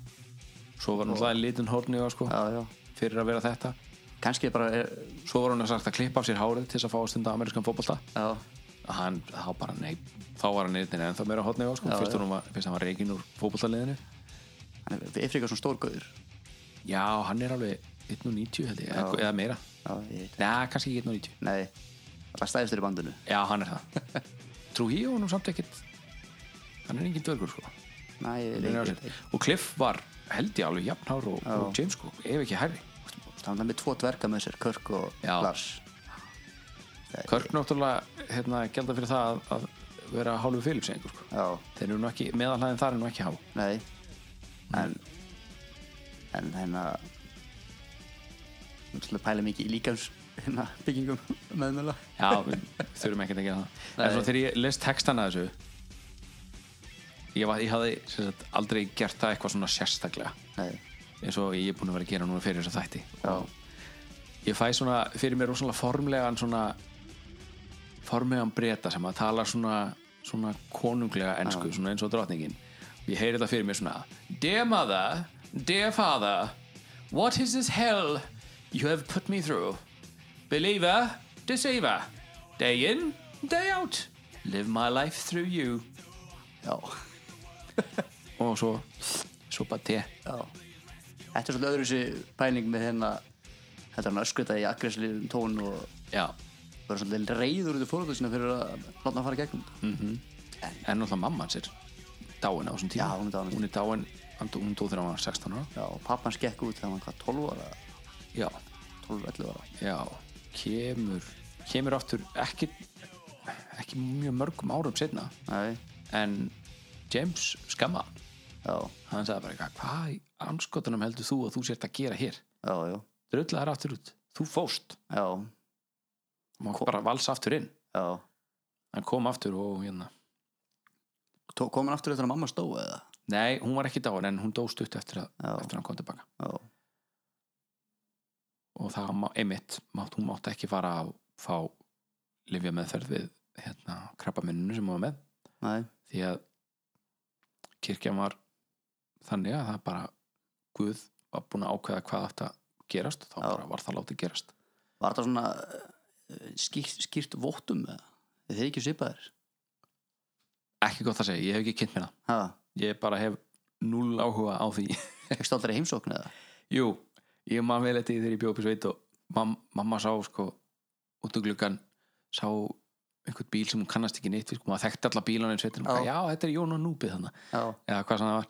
Speaker 8: svo var náttúrulega litin horni á, sko,
Speaker 7: já, já
Speaker 8: fyrir að vera þetta
Speaker 7: kannski Oh, er bara, eh, er,
Speaker 8: svo var hann að sagt að klippa af sér hárið til þess að fá að stunda amerískan fótbolta
Speaker 7: já,
Speaker 8: hann, þá bara nei, þá var hann einnig ennþá meira horni á, sko, fyrst, honum var, fyrst hann var reikin úr fótboltaliðinu
Speaker 7: hann er eftir eitthvað svona stórgöður
Speaker 8: já, hann er alveg 1.90 held ég, eða- eða meira
Speaker 7: já, ég veit,
Speaker 8: neða, kannski ekki 1.90
Speaker 7: nei það er stæðistur í bandinu
Speaker 8: Já, hann er það Trú hí og hann samt ekkit Hann er engin dörgur sko
Speaker 7: nei, ég
Speaker 8: Hann er á
Speaker 7: veit,
Speaker 8: sér. Og Cliff var held ég alveg jafnhár og, og James sko Ef ekki herri
Speaker 7: hann er með tvo dverga með sér, Körk og
Speaker 8: Já.
Speaker 7: Lars
Speaker 8: Körk náttúrulega hérna, gelda fyrir það að, að vera hálfu Philips einhver sko
Speaker 7: já,
Speaker 8: Þeir eru nú ekki, meðalhæðin þar er nú ekki há
Speaker 7: nei en en hérna ég ætla að pæla mikið í líkans hérna byggingum meðmjöla
Speaker 8: Já, við þurfum ekkert að gera það En svo þegar ég les textana að þessu Ég, var, ég hafði sem sagt, aldrei gert það eitthvað svona sérstaklega
Speaker 7: nei,
Speaker 8: eins og ég er búin að vera að gera núna fyrir þess að þætti og ég fæ svona fyrir mér rosalega formlegan svona formlegan breyta sem að tala svona, svona konunglega ensku, svona eins og drotningin og ég heyri þetta fyrir mér svona Dear mother, dear father what is this hell you have put me through believer, deceiver day in, day out live my life through you
Speaker 7: já,
Speaker 8: og svo, svo bara te
Speaker 7: já þetta er svolítið öðruvísi pæling með hérna þetta er hann öskvitað í aggressli tón og
Speaker 8: já,
Speaker 7: verður svolítið reyður út í fóröldu sína fyrir að láta hann fara í gegnum
Speaker 8: en náttúrulega mamma hans er dáin á þessum tíma
Speaker 7: Já, hún er dáin.
Speaker 8: hún er dáin, hann dó- hún dó þegar hann var 16 ára
Speaker 7: já, og pappan skekk út þegar hann var hvað 12 ára
Speaker 8: já,
Speaker 7: 12-11 ára
Speaker 8: já, kemur kemur aftur ekki ekki mjög mörgum árum setna
Speaker 7: nei,
Speaker 8: en James skamma hann.
Speaker 7: já,
Speaker 8: hann sagði bara eitthvað, hvað í anskotunum heldur þú að þú sért að gera hér
Speaker 7: já, já,
Speaker 8: dröðla þær aftur út, þú fóst
Speaker 7: já,
Speaker 8: maður bara valsa aftur inn
Speaker 7: já.
Speaker 8: hann kom aftur og hérna
Speaker 7: Tó- kom hann aftur eftir að mamma stó eða
Speaker 8: nei, hún var ekki dáin en hún dó stutt eftir að,
Speaker 7: Já.
Speaker 8: eftir að hann kom tilbaka
Speaker 7: já,
Speaker 8: og það má, einmitt, mátt, hún mátt ekki fara að fá lifja meðferð við hérna, krabbaminninu sem hún var með
Speaker 7: nei,
Speaker 8: því að kirkjan var þannig að það bara Guð var búin að ákveða hvað átt að gerast og þá bara var það látið gerast
Speaker 7: var þetta svona eh, skýrt, skýrt vottum eða þið er ekki svipaðir
Speaker 8: ekki gott að segja, ég hef ekki kynnt mér það
Speaker 7: ha,
Speaker 8: ég bara hef null áhuga á því
Speaker 7: ekki stoltir í heimsókn eða
Speaker 8: jú, ég man vel eftir því þegar ég bjóð upp í sveit og mam, mamma sá sko út úr gluggan sá einhvern bíl sem hún kannast ekki neitt við sko, maður þekkti alla bílana í sveitinum
Speaker 7: Já.
Speaker 8: já, þetta er Jón og Núbið þannig
Speaker 7: já,
Speaker 8: eða hvað sem það var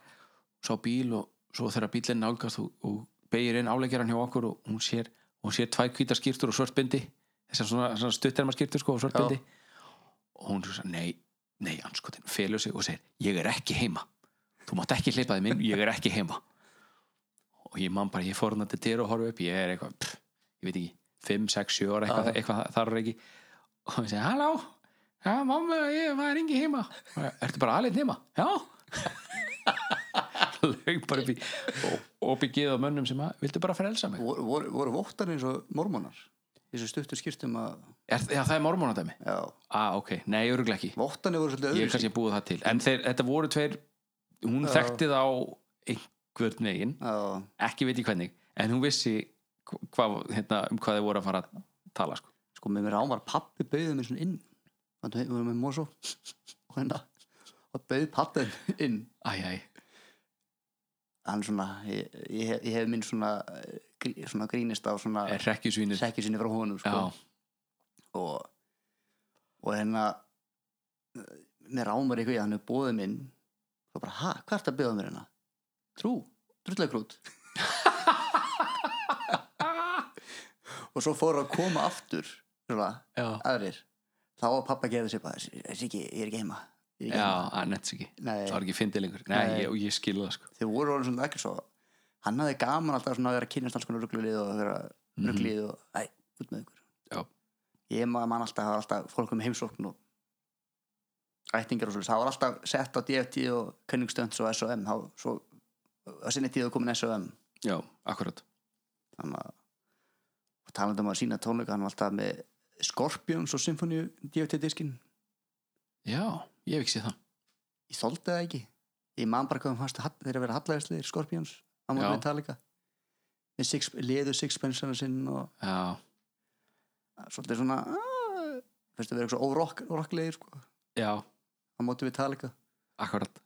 Speaker 8: sá bíl og svo þegar bílinn nálgast og, og beigir inn áleggjaran hjá okkur og hún sér, hún sér tvær hvítar skýrtur og svört bindi þessar svona, svona stutterma skýrtur sko og svört
Speaker 7: Já.
Speaker 8: bindi og hún svo nei, nei, anskotin, felur sig og segir ég er ekki heima, þú mátt ekki hleypa þeim inn, ég er ekki heima og ég man bara, ég fór hann til dyr og horfa upp ég er eitthvað, pff, ég veit ekki 5, 6, 7 ára, eitthvað, eitthvað þar er ekki og hún segir, halló já, mamma, ég, það er engi heima Og ég, ertu bara alveg heima, já laug bara upp í opið á mönnum sem að vildu bara frelsa mig
Speaker 7: voru, voru, voru vottar eins og mormónar þessu stuttur skýrtum að
Speaker 8: er, já, það er mormónadæmi
Speaker 7: já,
Speaker 8: ah, ok, nei, örgulega ekki
Speaker 7: vottarnir voru svolítið
Speaker 8: ég er
Speaker 7: öðru
Speaker 8: kannski búið það til en þeir, þetta voru tveir hún
Speaker 7: Já.
Speaker 8: þekkti þá einhvern veginn
Speaker 7: já,
Speaker 8: ekki veit ég hvernig en hún vissi hva, hvað- hérna, um hvað þeir voru að fara að tala sko.
Speaker 7: sko með mér ámar pappi bauðið mér svona inn þannig við vorum með Mosó og hérna og bauð pappin inn
Speaker 8: æ, æ,
Speaker 7: hann svona, ég, ég, hef- ég hef minn svona, eh, grí, svona grínist á svona
Speaker 8: er rekkjusvínir
Speaker 7: sekki sinni frá honum sko.
Speaker 8: já,
Speaker 7: og, og hérna eh, mér ámar eitthvað, hann er bóðið minn og bara, ha, hvað ertu að bauða mér hérna? Trú, drullegrút og svo fóru að koma aftur svona,
Speaker 8: já,
Speaker 7: aðrir þá að pappa gefið sér bara þessi ekki, ég er ekki heima Ég er ekki
Speaker 8: já
Speaker 7: heima."
Speaker 8: að netts ekki
Speaker 7: Nei.
Speaker 8: það var ekki fyndið lengur nei,
Speaker 7: Nei.
Speaker 8: Ég, og ég skil það sko.
Speaker 7: þau voru orðin svona ekkert svo hann hafði gaman alltaf svona að vera að kynast alls konar rugglið og vera rugglið og æ, út með ykkur
Speaker 8: Já.
Speaker 7: ég maður mann alltaf, það var alltaf fólk um heimsókn og ættingar og svolítið, það var alltaf sett á DFT og Kunningstönds og SOM þá, svo, að sinni tíðu komin SOM
Speaker 8: já, akkurat
Speaker 7: þannig að talandum að sína tónleika hann var alltaf með Scorpions og Symfóníu DVD-diskin
Speaker 8: Já, ég hef ekki séð það
Speaker 7: ég þóldi það ekki ég man bara hvað hann fannst hall- þeir að vera hallæðisleir Scorpions á móti
Speaker 8: Já.
Speaker 7: Metallica Þeir six, liðu Sixpensana sinn og eh,
Speaker 8: Já,
Speaker 7: svolítið svona "Ah", fyrst að vera eitthvað órokklegir sko, á
Speaker 8: já,
Speaker 7: móti Metallica
Speaker 8: akkurat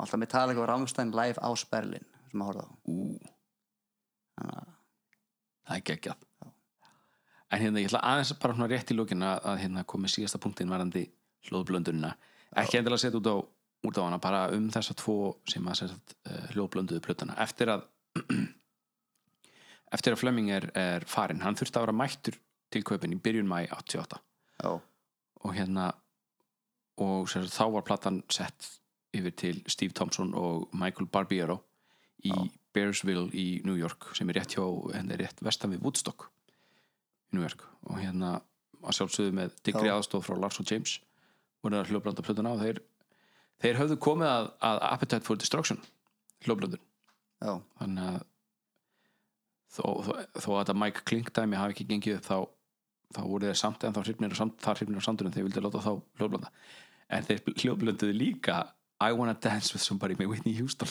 Speaker 7: alltaf Metallica og Rammstein live á Sperlin sem að horfa á
Speaker 8: Ú,
Speaker 7: Þannig
Speaker 8: Ah.
Speaker 7: að-
Speaker 8: það er geggjað En hérna, ég ætla aðeins bara svona rétt í lókin að, að hérna komið síðasta punktin varandi hljóðblöndunina ekki endilega að setja út á, út á hana bara um þessa tvo sem að setja uh, hljóðblönduðu plötuna eftir að eftir að Flemming er, er farinn hann þurfti að vera mættur til kaupin í byrjun mæ 88
Speaker 7: já,
Speaker 8: og hérna og sér, þá var platan sett yfir til Steve Thompson og Michael Barbiero í Bearsville í New York sem er rétt hjá, henni er rétt vestan við Woodstock í New York og hérna að sjálfsögðu með digri
Speaker 7: Já.
Speaker 8: aðstof frá Lars og James voru það hljóðblanda plötuna og þeir, þeir höfðu komið að, að Appetite for Destruction hljóðblandun
Speaker 7: já,
Speaker 8: þannig að þó, þó, þó að þetta Mike Klink dæmi hafi ekki gengið upp þá, þá voru þeir samt en þá hrifnir og samt, þar hrifnir og samtunum þeir vildi láta þá hljóðblanda en þeir hljóðblönduðu líka I wanna dance with somebody með Whitney Houston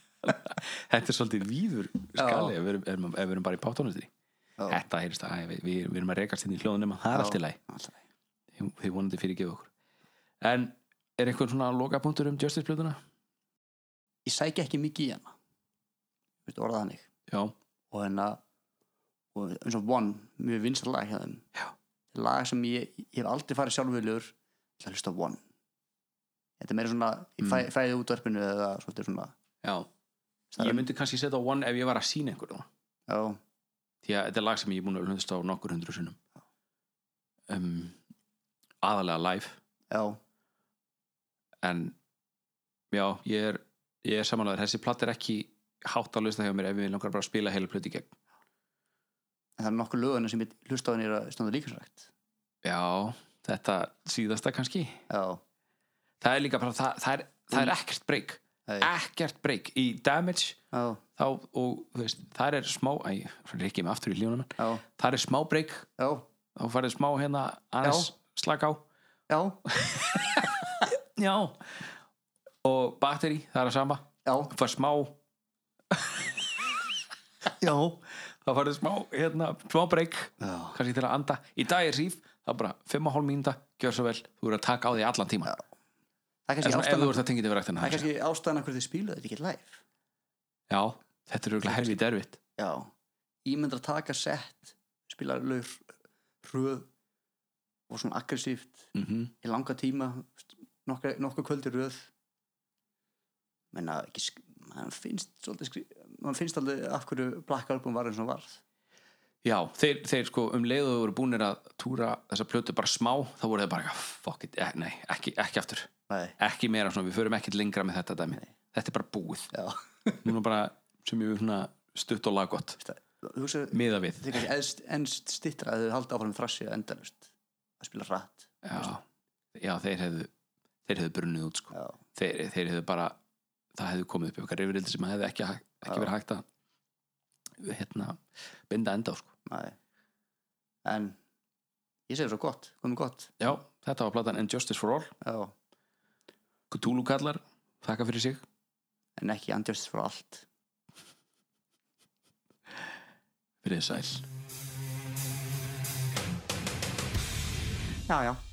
Speaker 8: þetta er svolítið víður skali ef við erum, erum, ef við erum bara í pátónustri
Speaker 7: Já.
Speaker 8: þetta heyrist að æ, við, við, við erum að rekast inn í hljóðunum það er
Speaker 7: Já.
Speaker 8: allt í lagi
Speaker 7: alltaf
Speaker 8: Þið- þið vonandi fyrir gefa okkur en er einhver svona lokapunktur um Justice blöðuna?
Speaker 7: ég sækja ekki mikið í hana Þú veist, orðað hannig
Speaker 8: já,
Speaker 7: og hérna og eins og One, mjög vinsar lag hjá þeim
Speaker 8: Já.
Speaker 7: lag sem ég, ég hef aldrei farið sjálfurlegur til að hlusta á One þetta er meira svona, ég fæ,
Speaker 8: Mm.
Speaker 7: fæði útverfinu eða svolítið svona
Speaker 8: já ég myndi kannski setja á One ef ég var að sína einhverjum
Speaker 7: já,
Speaker 8: því að þetta er lag sem ég er búin að hlutast á nokkur hundru sinnum um, aðalega live
Speaker 7: já,
Speaker 8: en já, ég er, ég er samanlega þessi platt er ekki hátt að hlusta hjá mér ef við langar bara að spila heila plöti gegn
Speaker 7: en það er nokkur löguna sem ég hlusta á henni er að standa líka srækt
Speaker 8: já, þetta síðasta kannski
Speaker 7: já,
Speaker 8: það er líka bara, það, það, er, það er ekkert break
Speaker 7: Nei.
Speaker 8: ekkert break í damage
Speaker 7: já,
Speaker 8: þá, og þú veist, það er smá æ, reykja mig aftur í hljónum
Speaker 7: já,
Speaker 8: það er smá break,
Speaker 7: já
Speaker 8: þá farið smá hérna aðeins slaka á
Speaker 7: já,
Speaker 8: já og batteri, það er að sama
Speaker 7: já,
Speaker 8: fær smá já það farið smá, hérna, smá breyk
Speaker 7: Já.
Speaker 8: kannski til að anda, í dag er síf það er bara 5,5 mínúta, gjör svo vel þú eru að taka á því allan tíma
Speaker 7: það er
Speaker 8: eða
Speaker 7: kannski
Speaker 8: svona ef
Speaker 7: ástæðan
Speaker 8: þú ert að tengja til verðaktina
Speaker 7: það er kannski ástæðan af hverju þið spíluðu þetta ekki live
Speaker 8: já, þetta er auðvitað helvið derfitt
Speaker 7: já, ímyndar að taka sett spila lög hröð og svona aggressíft
Speaker 8: mm
Speaker 7: í langa tíma nokkur, nokkur kvöldi röð menna ekki sk- mann finnst svolítið skri- mann finnst alveg af hverju Black Album var eins og varð
Speaker 8: já, þeir, þeir sko um leiðu þau voru búinir að túra þessa plötu bara smá þá voru þeir bara, eitthvað, fuck it, eh, nei, ekki, ekki aftur
Speaker 7: Nei.
Speaker 8: ekki meira svona, við förum ekkert lengra með þetta dæmi þetta er bara búið
Speaker 7: já,
Speaker 8: núna bara sem ég vil svona stutt og laggott
Speaker 7: þú hugsa þið
Speaker 8: miða við
Speaker 7: kannski eðst- ennst stittra að þau halda áfram frassi að endalust að spila rætt
Speaker 8: já, já þeir hefðu þeir hefðu brunnið út sko
Speaker 7: já,
Speaker 8: þeir, þeir hefðu bara, það hefðu komið upp eitthvað reyfrildi sem hefði ekki, hægt- ekki
Speaker 7: Já.
Speaker 8: verið hægt að hérna, binda enda á sko
Speaker 7: næ en ég segi svo gott, komið gott
Speaker 8: já, þetta var platan And Justice for All
Speaker 7: já,
Speaker 8: Cthulhu kallar, þakka fyrir sig
Speaker 7: en ekki andjörst frá allt
Speaker 8: fyrir sæl
Speaker 7: já, já